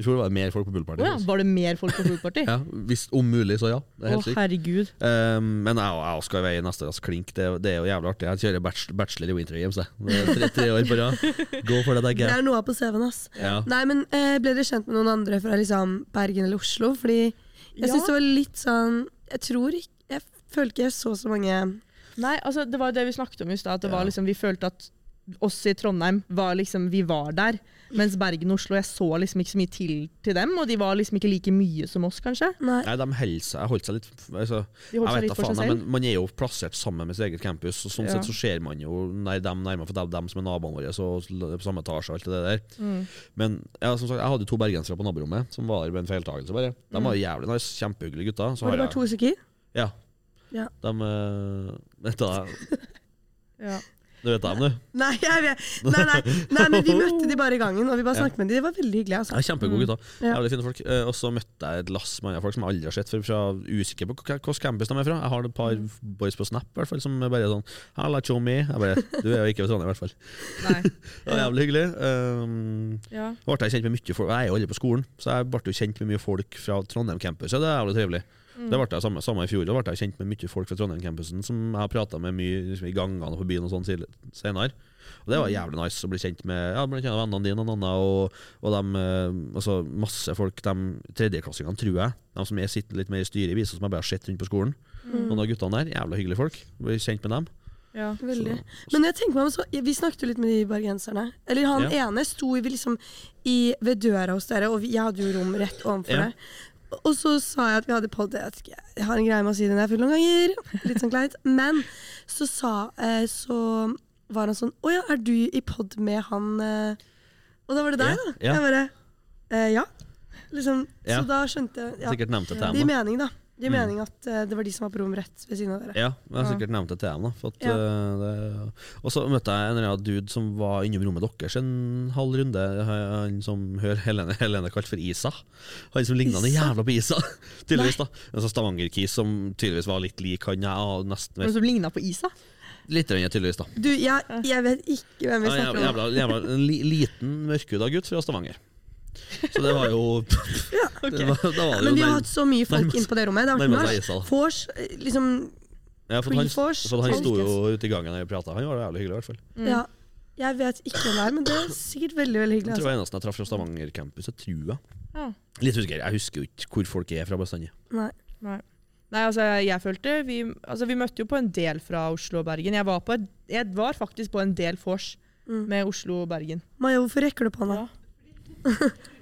[SPEAKER 6] I fjor var det mer folk på poolparty.
[SPEAKER 8] Å ja, var det mer folk på poolparty?
[SPEAKER 6] Ja, hvis om mulig, så ja. Det er
[SPEAKER 8] Å,
[SPEAKER 6] helt sykt.
[SPEAKER 8] herregud.
[SPEAKER 6] Ehm, men jeg, og- jeg skal i vei i neste rask klink. Det, er- det er jo jævlig artig. Jeg kjører bachelor, bachelor i Winter Games, jeg. Det er Tre, tre år på rad. Gå for det, det er
[SPEAKER 3] Det
[SPEAKER 6] gærent.
[SPEAKER 3] er noe av på CV-en, ass.
[SPEAKER 6] Ja.
[SPEAKER 3] Nei, men eh, ble dere kjent med noen andre fra liksom Bergen eller Oslo? Fordi jeg
[SPEAKER 8] Ja.
[SPEAKER 3] syns det var litt sånn Jeg tror ikke Jeg føler ikke jeg så så mange
[SPEAKER 8] Nei, altså, det var jo det vi snakket om i stad. at det var Liksom, vi følte at oss i Trondheim var liksom Vi var der. Mens Bergen og Oslo Jeg så liksom ikke så mye til til dem, og de var liksom ikke like mye som oss, kanskje.
[SPEAKER 3] Nei.
[SPEAKER 6] Nei, de holder seg, holdt seg litt altså,
[SPEAKER 8] De
[SPEAKER 6] jeg
[SPEAKER 8] holdt seg
[SPEAKER 6] vet
[SPEAKER 8] litt
[SPEAKER 6] da
[SPEAKER 8] for
[SPEAKER 6] faen,
[SPEAKER 8] seg
[SPEAKER 6] nei,
[SPEAKER 8] selv.
[SPEAKER 6] men Man er jo plassert sammen med sitt eget campus, og sånn
[SPEAKER 8] Ja.
[SPEAKER 6] sett så ser man jo nei, dem nærmere, for det er dem som er naboene våre, og l- på samme etasje og alt det der.
[SPEAKER 8] Mm.
[SPEAKER 6] Men ja, som sagt, jeg hadde jo to bergensere på naborommet som var her med en feiltagelse, bare.
[SPEAKER 8] Mm.
[SPEAKER 6] De var jo jævlig nice, kjempehyggelige gutter. Så
[SPEAKER 3] Var det bare
[SPEAKER 6] har jeg
[SPEAKER 3] to stykker?
[SPEAKER 6] Ja.
[SPEAKER 3] Ja.
[SPEAKER 6] De øh, Vet du det?
[SPEAKER 8] Ja.
[SPEAKER 6] Du vet dem, du?
[SPEAKER 3] Nei, jeg vet. Nei, nei, nei, men vi møtte de bare i gangen, og vi bare snakket med de. Det var veldig hyggelig.
[SPEAKER 6] Ja,
[SPEAKER 3] altså.
[SPEAKER 8] Mm.
[SPEAKER 6] Kjempegode gutter.
[SPEAKER 3] Ja.
[SPEAKER 6] Jævlig fine folk. Eh, Og så møtte jeg et lass med andre folk som jeg aldri har sett før. Fra usikker på hvilken campus de er fra. Jeg har et par
[SPEAKER 8] Mm.
[SPEAKER 6] boys på Snap i hvert fall, som er bare sånn Halla, chummy. Jeg bare Du er jo ikke fra Trondheim, i hvert fall.
[SPEAKER 8] Nei.
[SPEAKER 6] Det var jævlig hyggelig. Um,
[SPEAKER 8] Ja.
[SPEAKER 6] ble jeg kjent med mye folk Jeg er jo aldri på skolen, så jeg ble jo kjent med mye folk fra Trondheim-campuset. Det er jævlig trivelig.
[SPEAKER 8] Mm.
[SPEAKER 6] Det ble jeg samme, samme i fjor. Da ble jeg kjent med mye folk fra Trondheim-campusen som jeg har prata med mye liksom, i gangene og på byen og sånn sil- senere. Og det var jævlig nice å bli kjent med ja, blant annet vennene dine og Nanna og, og dem, eh, altså, masse folk. De tredjeklassingene, tror jeg, de som jeg sitter litt mer i styret i, viser som jeg bare har sett rundt på skolen. Noen av guttene der, jævla hyggelige folk. Bli kjent med dem.
[SPEAKER 8] Ja.
[SPEAKER 3] Veldig. Men jeg tenker meg om så, Vi snakket jo litt med de bergenserne. Eller han ene sto vi liksom i, ved døra hos dere, og vi, jeg hadde jo rom rett ovenfor
[SPEAKER 6] Ja.
[SPEAKER 3] der. Og så sa jeg at vi hadde podd. Jeg, vet ikke, jeg har en greie med å si det når jeg er full noen ganger. Litt sånn kleint. Men så sa eh, Så var han sånn Å ja, er du i pod med han eh? Og da var det deg,
[SPEAKER 6] Ja,
[SPEAKER 3] da.
[SPEAKER 6] ja.
[SPEAKER 3] Jeg bare eh, Ja. Liksom,
[SPEAKER 6] Ja.
[SPEAKER 3] Så da skjønte jeg ja.
[SPEAKER 6] Sikkert nevnte det
[SPEAKER 3] Det
[SPEAKER 6] til
[SPEAKER 3] gir
[SPEAKER 6] dem. da.
[SPEAKER 3] mening, da. Det gir mening at eh, det var de som var på rom rett ved siden av dere.
[SPEAKER 6] Ja, jeg har sikkert nevnt det til dem. da for at,
[SPEAKER 3] Ja.
[SPEAKER 6] eh, det, Og så møtte jeg en eller annen dude som var innom rommet deres en halv runde. Han som hører Helene, Helene kalt for Isa. Han som ligna noe jævla på Isa, tydeligvis. da En sånn Stavanger-kis som tydeligvis var litt lik han jeg og nesten
[SPEAKER 8] Men som ligna på Isa.
[SPEAKER 6] Litt, grann, tydeligvis, da.
[SPEAKER 3] Du, jeg, jeg vet ikke hvem vi
[SPEAKER 6] Ja,
[SPEAKER 3] snakker
[SPEAKER 6] jævla,
[SPEAKER 3] om.
[SPEAKER 6] jævla, jævla, en li, liten, mørkhuda gutt fra Stavanger. Så det var jo det var, Da var det jo
[SPEAKER 3] Men vi har
[SPEAKER 6] nær-
[SPEAKER 3] hatt så mye folk
[SPEAKER 6] nærmest-
[SPEAKER 3] inn på det rommet. Det har vært
[SPEAKER 6] nærmest
[SPEAKER 3] nach,
[SPEAKER 6] Isa, da.
[SPEAKER 3] vors, eh, liksom
[SPEAKER 6] ja, for at han,
[SPEAKER 3] Freeforce,
[SPEAKER 6] for at han
[SPEAKER 3] sånn.
[SPEAKER 6] sto jo ute i gangen og prata. Han var jævlig hyggelig, i hvert fall.
[SPEAKER 3] Ja. Jeg vet ikke hvem det er, men det er sikkert veldig veldig hyggelig. Altså.
[SPEAKER 6] Jeg tror det var eneste jeg traff fra Stavanger-campuset, tror jeg.
[SPEAKER 8] Ja.
[SPEAKER 6] Litt usikker, jeg husker jo ikke hvor folk er fra bestandig.
[SPEAKER 3] Nei.
[SPEAKER 8] Nei, altså, jeg følte vi, altså, vi møtte jo på en del fra Oslo og Bergen. Jeg var, på, et- jeg var faktisk på en del vors med Oslo og Bergen.
[SPEAKER 3] Maja, hvorfor rekker du på henne?
[SPEAKER 8] Ja.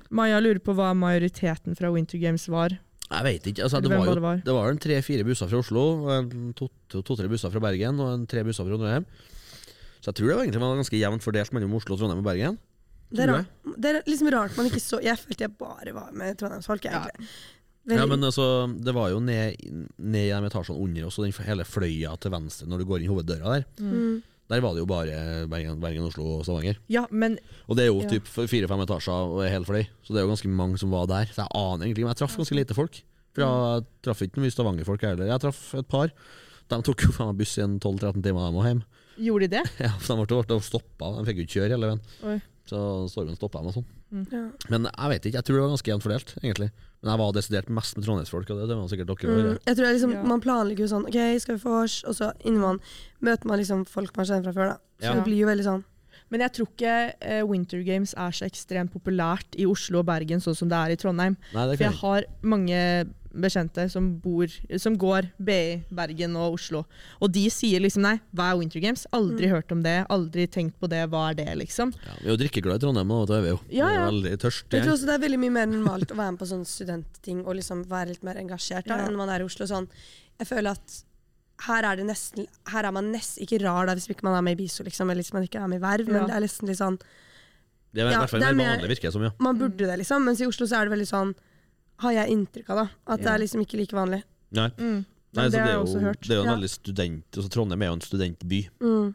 [SPEAKER 8] Maja lurer på hva majoriteten fra Winter Games var.
[SPEAKER 6] Jeg vet ikke, altså, det,
[SPEAKER 8] Hvem
[SPEAKER 6] var jo,
[SPEAKER 8] var det var?
[SPEAKER 6] det var en tre-fire busser fra Oslo, og en to-tre busser fra Bergen og en tre busser fra Trondheim. Så jeg tror det var egentlig var ganske jevnt fordelt mellom Oslo, Trondheim og Bergen.
[SPEAKER 3] Det er,
[SPEAKER 6] Tror
[SPEAKER 3] rart. det er liksom rart man ikke så Jeg følte jeg bare var med trondheimsfolk. jeg, egentlig. Veldig-
[SPEAKER 6] Ja, men altså, Det var jo ned, ned i de etasjene under oss, og den hele fløya til venstre når du går inn hoveddøra der. Der var det jo bare Bergen, Bergen Oslo og Stavanger.
[SPEAKER 8] Ja, men
[SPEAKER 6] Og det er jo typ fire-fem etasjer og er hel fløy, så det er jo ganske mange som var der. Så jeg aner egentlig, men jeg traff ganske lite folk. For jeg traff ikke mye Stavanger-folk heller. Jeg traff et par. De tok jo faen meg buss i en 12-13 timer, de òg hjem.
[SPEAKER 8] gjorde de det?
[SPEAKER 6] Ja, for de ble, ble stoppa, de fikk jo ikke kjøre hele veien.
[SPEAKER 8] Oi.
[SPEAKER 6] Så stormen stoppa dem og sånn.
[SPEAKER 3] Ja.
[SPEAKER 6] Men jeg vet ikke, jeg tror det var ganske jevnt fordelt, egentlig. Men jeg var desidert mest med trondheimsfolk, og det, det var sikkert dere
[SPEAKER 3] Mm,
[SPEAKER 6] òg.
[SPEAKER 3] jeg tror jeg liksom,
[SPEAKER 8] Ja.
[SPEAKER 3] Man planlegger jo sånn OK, skal vi få vors? Og så innen man møter man liksom folk man kjenner fra før. da Så
[SPEAKER 6] Ja.
[SPEAKER 3] det blir jo veldig sånn
[SPEAKER 8] Men jeg tror ikke eh, Winter Games er så ekstremt populært i Oslo og Bergen sånn som det er i Trondheim.
[SPEAKER 6] Nei, det kan
[SPEAKER 8] For jeg
[SPEAKER 6] jeg ikke.
[SPEAKER 8] har mange bekjente som, bor, som går BI, Bergen og Oslo. Og de sier liksom nei, hva er Winter Games? Aldri hørt om det, aldri tenkt på det, hva er det, liksom?
[SPEAKER 6] Ja, vi er jo drikkeglade i Trondheim, og det er vi jo.
[SPEAKER 8] Ja, ja.
[SPEAKER 6] Vi er veldig tørste.
[SPEAKER 3] Jeg tror også det er veldig mye mer normalt å være med på sånn studentting og liksom være litt mer engasjert da,
[SPEAKER 8] Ja.
[SPEAKER 3] enn man er i Oslo. Sånn, jeg føler at her er, det nesten, her er man nesten ikke rar da, hvis ikke man er med i BISO, liksom, eller hvis man ikke er med i Verv.
[SPEAKER 8] Ja.
[SPEAKER 3] Men det er nesten litt sånn,
[SPEAKER 6] Det er i
[SPEAKER 3] Ja,
[SPEAKER 6] hvert fall
[SPEAKER 3] det er
[SPEAKER 6] mer
[SPEAKER 3] mer-
[SPEAKER 6] vanlig, virker det som, ja.
[SPEAKER 3] man burde
[SPEAKER 8] Mm.
[SPEAKER 3] det, liksom. Mens i Oslo så er det veldig sånn, har jeg inntrykk av, da. At det er liksom ikke like vanlig.
[SPEAKER 6] Nei. Nei,
[SPEAKER 8] Men
[SPEAKER 6] så
[SPEAKER 8] Mm. det
[SPEAKER 6] det,
[SPEAKER 8] har
[SPEAKER 6] er
[SPEAKER 8] jeg
[SPEAKER 6] jo,
[SPEAKER 8] også hørt. Mm.
[SPEAKER 6] det er jo en
[SPEAKER 3] Ja.
[SPEAKER 6] veldig student altså Trondheim er jo en studentby,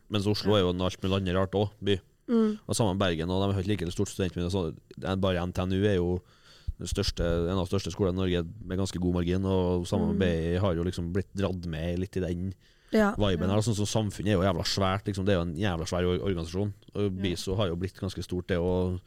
[SPEAKER 6] mens Oslo er jo en alt mulig annet rart òg, by. Og sammen med Bergen, og de har ikke like stort studentmiljø. så det er Bare NTNU er jo den største, en av de største skolene i Norge med ganske god margin, og
[SPEAKER 8] Mm.
[SPEAKER 6] sammen med BI har jo liksom blitt dratt med litt i den
[SPEAKER 3] Ja.
[SPEAKER 6] viben her. Sånn som samfunnet er jo jævla svært, liksom. det er jo en jævla svær or- organisasjon. Og BISO har jo blitt ganske stort, det og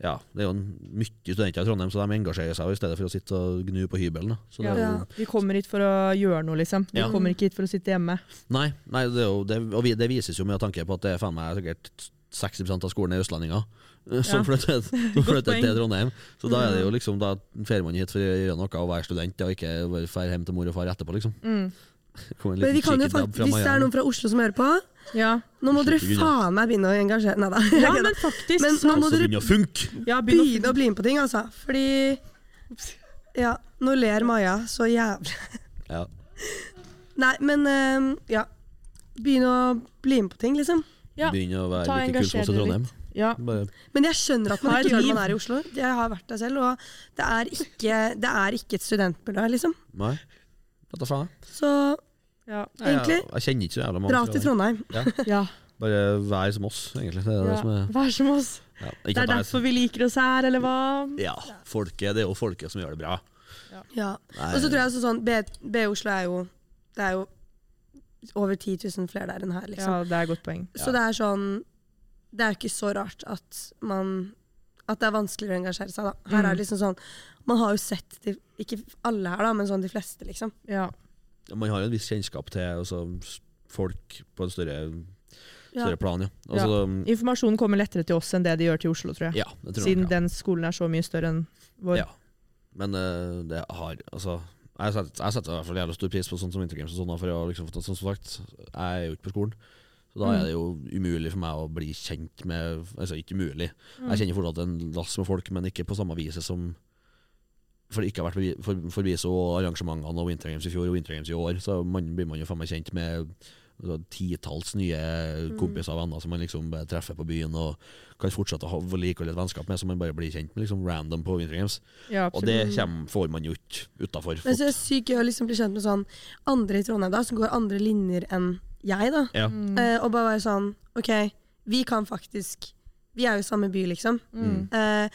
[SPEAKER 6] ja, det er jo en- mye studenter i Trondheim, så de engasjerer seg jo i stedet for å sitte og gnu på hybelen. Da. Så det er jo,
[SPEAKER 8] Ja. Vi kommer hit for å gjøre noe, liksom. Vi
[SPEAKER 6] Ja.
[SPEAKER 8] kommer ikke hit for å sitte hjemme.
[SPEAKER 6] Nei, nei det er jo, det, og vi, det vises jo med tanke på at det er faen meg sikkert 60 av skolen er utlendinger eh, som
[SPEAKER 8] Ja.
[SPEAKER 6] flytter, som flytter
[SPEAKER 8] poeng.
[SPEAKER 6] til Trondheim. Så da er det jo
[SPEAKER 3] Mm.
[SPEAKER 6] liksom Da drar man hit for å gjøre noe og være student, og ikke bare dra hjem til mor og far etterpå, liksom. Kom en
[SPEAKER 3] Mm. Men
[SPEAKER 6] liten
[SPEAKER 3] vi kan jo
[SPEAKER 6] kikkedab
[SPEAKER 3] faktisk,
[SPEAKER 6] fra
[SPEAKER 3] hvis det er
[SPEAKER 6] Miami.
[SPEAKER 3] noen fra Oslo som hører på,
[SPEAKER 8] Ja,
[SPEAKER 3] nå må dere
[SPEAKER 6] Slutt å grine.
[SPEAKER 3] faen meg begynne å engasjere Nei da.
[SPEAKER 8] ja
[SPEAKER 3] jeg kødder.
[SPEAKER 8] men faktisk.
[SPEAKER 3] Men nå må
[SPEAKER 6] Også
[SPEAKER 3] dere
[SPEAKER 6] begynne å funke!
[SPEAKER 8] ja, begynn
[SPEAKER 3] begynne å bli med på ting, altså. Fordi Ja, nå ler Maja så jævlig.
[SPEAKER 6] Ja.
[SPEAKER 3] Nei, men eh, ja. Begynne å bli med på ting, liksom.
[SPEAKER 8] Ja.
[SPEAKER 6] Begynne å
[SPEAKER 8] å
[SPEAKER 6] være
[SPEAKER 8] ta
[SPEAKER 6] like kul som
[SPEAKER 8] engasjer
[SPEAKER 6] oss i
[SPEAKER 8] dere
[SPEAKER 6] Trondheim.
[SPEAKER 8] litt. Ja.
[SPEAKER 6] Bare
[SPEAKER 3] Men jeg skjønner at man
[SPEAKER 8] Ha et
[SPEAKER 3] ikke gjør det
[SPEAKER 8] liv.
[SPEAKER 3] man er i Oslo. Jeg har vært der selv, og det er ikke, det er ikke et studentmiljø, liksom.
[SPEAKER 6] Nei. Vet da faen.
[SPEAKER 3] Så
[SPEAKER 8] Ja.
[SPEAKER 6] Jeg, jeg,
[SPEAKER 3] Egentlig,
[SPEAKER 6] jeg kjenner ikke så jævla mange.
[SPEAKER 3] dra
[SPEAKER 6] fra
[SPEAKER 3] til
[SPEAKER 6] der.
[SPEAKER 3] Trondheim.
[SPEAKER 8] Ja.
[SPEAKER 6] Bare vær som oss, egentlig. Det er det som er
[SPEAKER 8] Vær som oss.
[SPEAKER 6] ja,
[SPEAKER 8] Det er derfor vi liker oss her, eller hva?
[SPEAKER 6] Ja. Folket, det er jo folket som gjør det bra.
[SPEAKER 3] Ja. Og så tror jeg også sånn B, B Oslo er jo Det er jo over 10 000 flere der enn her, liksom.
[SPEAKER 8] Ja, det er et godt poeng.
[SPEAKER 3] Så det er sånn Det er jo ikke så rart at man At det er vanskeligere å engasjere seg, da. Her
[SPEAKER 8] Mm.
[SPEAKER 3] er det liksom sånn Man har jo sett de, Ikke alle her, da, men sånn de fleste, liksom.
[SPEAKER 8] Ja.
[SPEAKER 6] Man har jo en viss kjennskap til altså, folk på en større,
[SPEAKER 3] Ja.
[SPEAKER 6] større plan, ja. Altså, ja.
[SPEAKER 8] Informasjonen kommer lettere til oss enn det de gjør til Oslo, tror jeg.
[SPEAKER 6] det tror jeg.
[SPEAKER 8] Siden
[SPEAKER 6] ja.
[SPEAKER 8] den skolen er så mye større enn vår.
[SPEAKER 6] Ja. Men eh, det har Altså, jeg setter, jeg setter i hvert fall jævlig stor pris på sånt som Intergames og sånn, da, for jeg, har liksom, fått- som sagt, jeg er jo ikke på skolen. Så da er det jo umulig for meg å bli kjent med Altså, ikke umulig. Jeg kjenner fortsatt en lass med folk, men ikke på samme viset som for det ikke har vært forbi- for- forbiso og arrangementene og Winter Games i fjor og Winter Games i år, så man, blir man jo faen meg kjent med altså, titalls nye kompiser og venner som man liksom bare treffer på byen og kan fortsette å ha vedlikeholde et vennskap med, som man bare blir kjent med liksom random på Winter Games.
[SPEAKER 8] Ja,
[SPEAKER 6] Og det kommer, får man jo ikke utafor.
[SPEAKER 3] Men så er det sykt gøy å liksom bli kjent med sånn andre i Trondheim da, som går andre linjer enn jeg, da.
[SPEAKER 6] Ja.
[SPEAKER 8] Mm.
[SPEAKER 3] Eh, og bare være sånn OK, vi kan faktisk Vi er jo i samme by, liksom.
[SPEAKER 6] Mm.
[SPEAKER 3] Eh,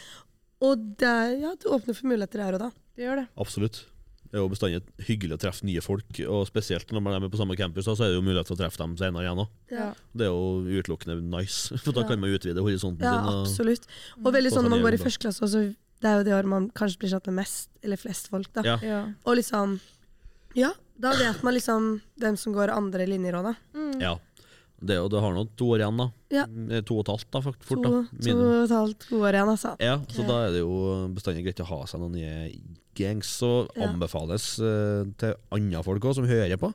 [SPEAKER 3] og det, ja, det åpner for muligheter her og da.
[SPEAKER 8] det gjør det.
[SPEAKER 6] Absolutt. Det er jo bestandig hyggelig å treffe nye folk, og spesielt når man er med på samme campus, da, så er det jo mulighet til å treffe dem senere igjen òg.
[SPEAKER 3] Ja.
[SPEAKER 6] Det er jo utelukkende nice, for da
[SPEAKER 3] Ja.
[SPEAKER 6] kan man utvide horisonten
[SPEAKER 3] Ja,
[SPEAKER 6] sin. Og,
[SPEAKER 3] absolutt. Og veldig
[SPEAKER 6] Og
[SPEAKER 3] sånn
[SPEAKER 6] sånn
[SPEAKER 3] når man
[SPEAKER 6] gjør
[SPEAKER 3] går i
[SPEAKER 6] vi da.
[SPEAKER 3] første klasse, også, det er jo det året man kanskje blir kjent med mest, eller flest folk, da.
[SPEAKER 6] Ja.
[SPEAKER 8] Ja.
[SPEAKER 3] Og liksom Ja, da vet man liksom hvem som går andre linjer òg, da.
[SPEAKER 6] ja. Det, er jo- det har nå to år igjen, da.
[SPEAKER 3] Ja.
[SPEAKER 6] Eh, To og et halvt, da, fakt- fort.
[SPEAKER 3] To, to
[SPEAKER 6] da. Minimum.
[SPEAKER 3] og et halvt to år igjen, altså.
[SPEAKER 6] Ja, så da er det jo bestandig greit å ha seg noen nye gangs, og
[SPEAKER 3] Ja.
[SPEAKER 6] anbefales eh, til andre folk også, som hører på.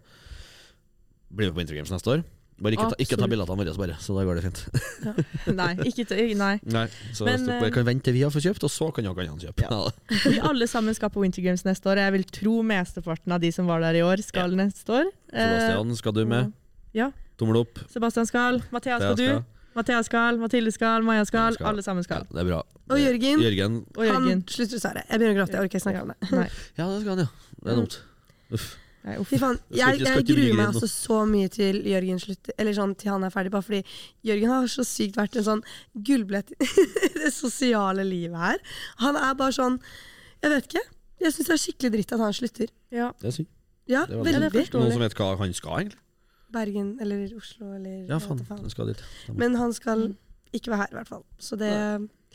[SPEAKER 6] Bli med på Intergames neste år. Bare ikke, ta, ikke ta
[SPEAKER 8] Absolutt.
[SPEAKER 6] bildene våre, bare, så da går det fint.
[SPEAKER 8] Nei, ikke til, nei.
[SPEAKER 6] Nei, så
[SPEAKER 8] Men,
[SPEAKER 6] hvis dere
[SPEAKER 8] eh,
[SPEAKER 6] kan vente til vi har fått kjøpt, og så kan dere andre kjøpe. Ja.
[SPEAKER 8] Vi alle sammen skal på Winter Games neste år. og Jeg vil tro mesteparten av de som var der i år, skal neste år. Eh,
[SPEAKER 6] Sebastian, skal du med?
[SPEAKER 8] Ja.
[SPEAKER 6] Tommel opp.
[SPEAKER 8] Sebastian skal, Mathea skal
[SPEAKER 6] Thea skal.
[SPEAKER 8] du, Mathea skal, Mathilde skal, Maja skal,
[SPEAKER 6] skal.
[SPEAKER 8] alle sammen skal.
[SPEAKER 6] Ja, det er bra.
[SPEAKER 3] Og Jørgen,
[SPEAKER 6] Jørgen
[SPEAKER 8] Og
[SPEAKER 3] han
[SPEAKER 8] Jørgen.
[SPEAKER 3] slutter å svare. Jeg begynner å gråte, jeg orker ikke snakke om det.
[SPEAKER 8] Nei,
[SPEAKER 6] Ja, det skal han, ja. Det er dumt. Uff.
[SPEAKER 8] nei, uff.
[SPEAKER 3] Fy faen,
[SPEAKER 6] Jeg
[SPEAKER 3] jeg,
[SPEAKER 6] skal ikke- jeg skal
[SPEAKER 3] jeg
[SPEAKER 6] ikke
[SPEAKER 3] gruer
[SPEAKER 6] ligge
[SPEAKER 3] meg
[SPEAKER 6] inn nå.
[SPEAKER 3] altså så mye til Jørgen slutter, eller sånn til han er ferdig, bare fordi Jørgen har så sykt vært en sånn gullbillett i det sosiale livet her. Han er bare sånn Jeg vet ikke. Jeg syns det er skikkelig dritt at han slutter.
[SPEAKER 8] Ja.
[SPEAKER 6] Det er synd.
[SPEAKER 3] Ja,
[SPEAKER 6] Det var
[SPEAKER 3] veldig.
[SPEAKER 6] Noen som vet hva han skal, egentlig?
[SPEAKER 3] Bergen eller Oslo eller
[SPEAKER 6] Ja,
[SPEAKER 3] jeg
[SPEAKER 6] faen.
[SPEAKER 3] vet ikke
[SPEAKER 6] Han skal dit.
[SPEAKER 3] Men han skal ikke være her, i hvert fall. Så det,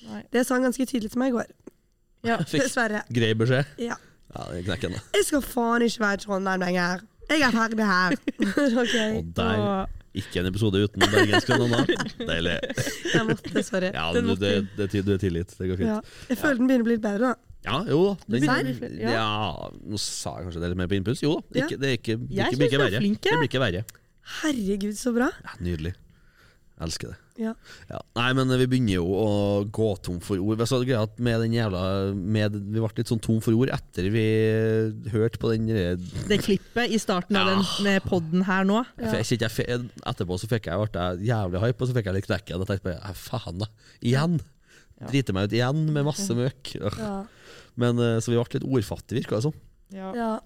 [SPEAKER 8] Nei.
[SPEAKER 3] det sa han ganske tydelig til meg i går.
[SPEAKER 6] Fikk
[SPEAKER 3] Dessverre.
[SPEAKER 6] grei beskjed.
[SPEAKER 3] Ja.
[SPEAKER 6] Ja, det er knekken, da.
[SPEAKER 3] Jeg skal faen ikke være i Trondheim lenger. Jeg er ferdig her. ok,
[SPEAKER 6] Og der Ikke en episode uten bergensk ananas. Deilig.
[SPEAKER 3] jeg måtte, sorry.
[SPEAKER 6] Ja, men du, det, det, er tid- du er tilgitt. Det går
[SPEAKER 3] Ja.
[SPEAKER 6] fint.
[SPEAKER 3] Jeg føler den begynner å bli litt bedre, da.
[SPEAKER 6] Ja, jo da. Den,
[SPEAKER 8] begynner å bli flere, ja.
[SPEAKER 6] ja, nå sa jeg kanskje det er litt mer på impuls. Jo da,
[SPEAKER 3] Ja.
[SPEAKER 6] ikke, det er ikke, det ikke,
[SPEAKER 8] Jeg
[SPEAKER 6] blir
[SPEAKER 8] synes
[SPEAKER 6] ikke
[SPEAKER 8] du er
[SPEAKER 6] verre.
[SPEAKER 8] flink,
[SPEAKER 6] Det
[SPEAKER 8] jeg.
[SPEAKER 6] blir ikke verre.
[SPEAKER 3] Herregud, så bra.
[SPEAKER 6] Ja, nydelig. Jeg elsker det.
[SPEAKER 3] Ja.
[SPEAKER 6] Ja. Nei, men eh, vi begynner jo å gå tom for ord. Så greia at med den jævla med, Vi ble litt sånn tom for ord etter vi hørte på den eh, der-
[SPEAKER 8] Det klippet i starten av den med podden her nå.
[SPEAKER 6] Jeg fikk- jeg fikk- Etterpå så fikk jeg, ble jeg jævlig hype, og så fikk jeg litt knekken. Og tenkte bare "Ja, faen, da. Igjen! Driter meg ut igjen med masse møk. Øh. Men, eh, så vi ble litt ordfattige, virka det som.
[SPEAKER 8] Ja.
[SPEAKER 3] Ja.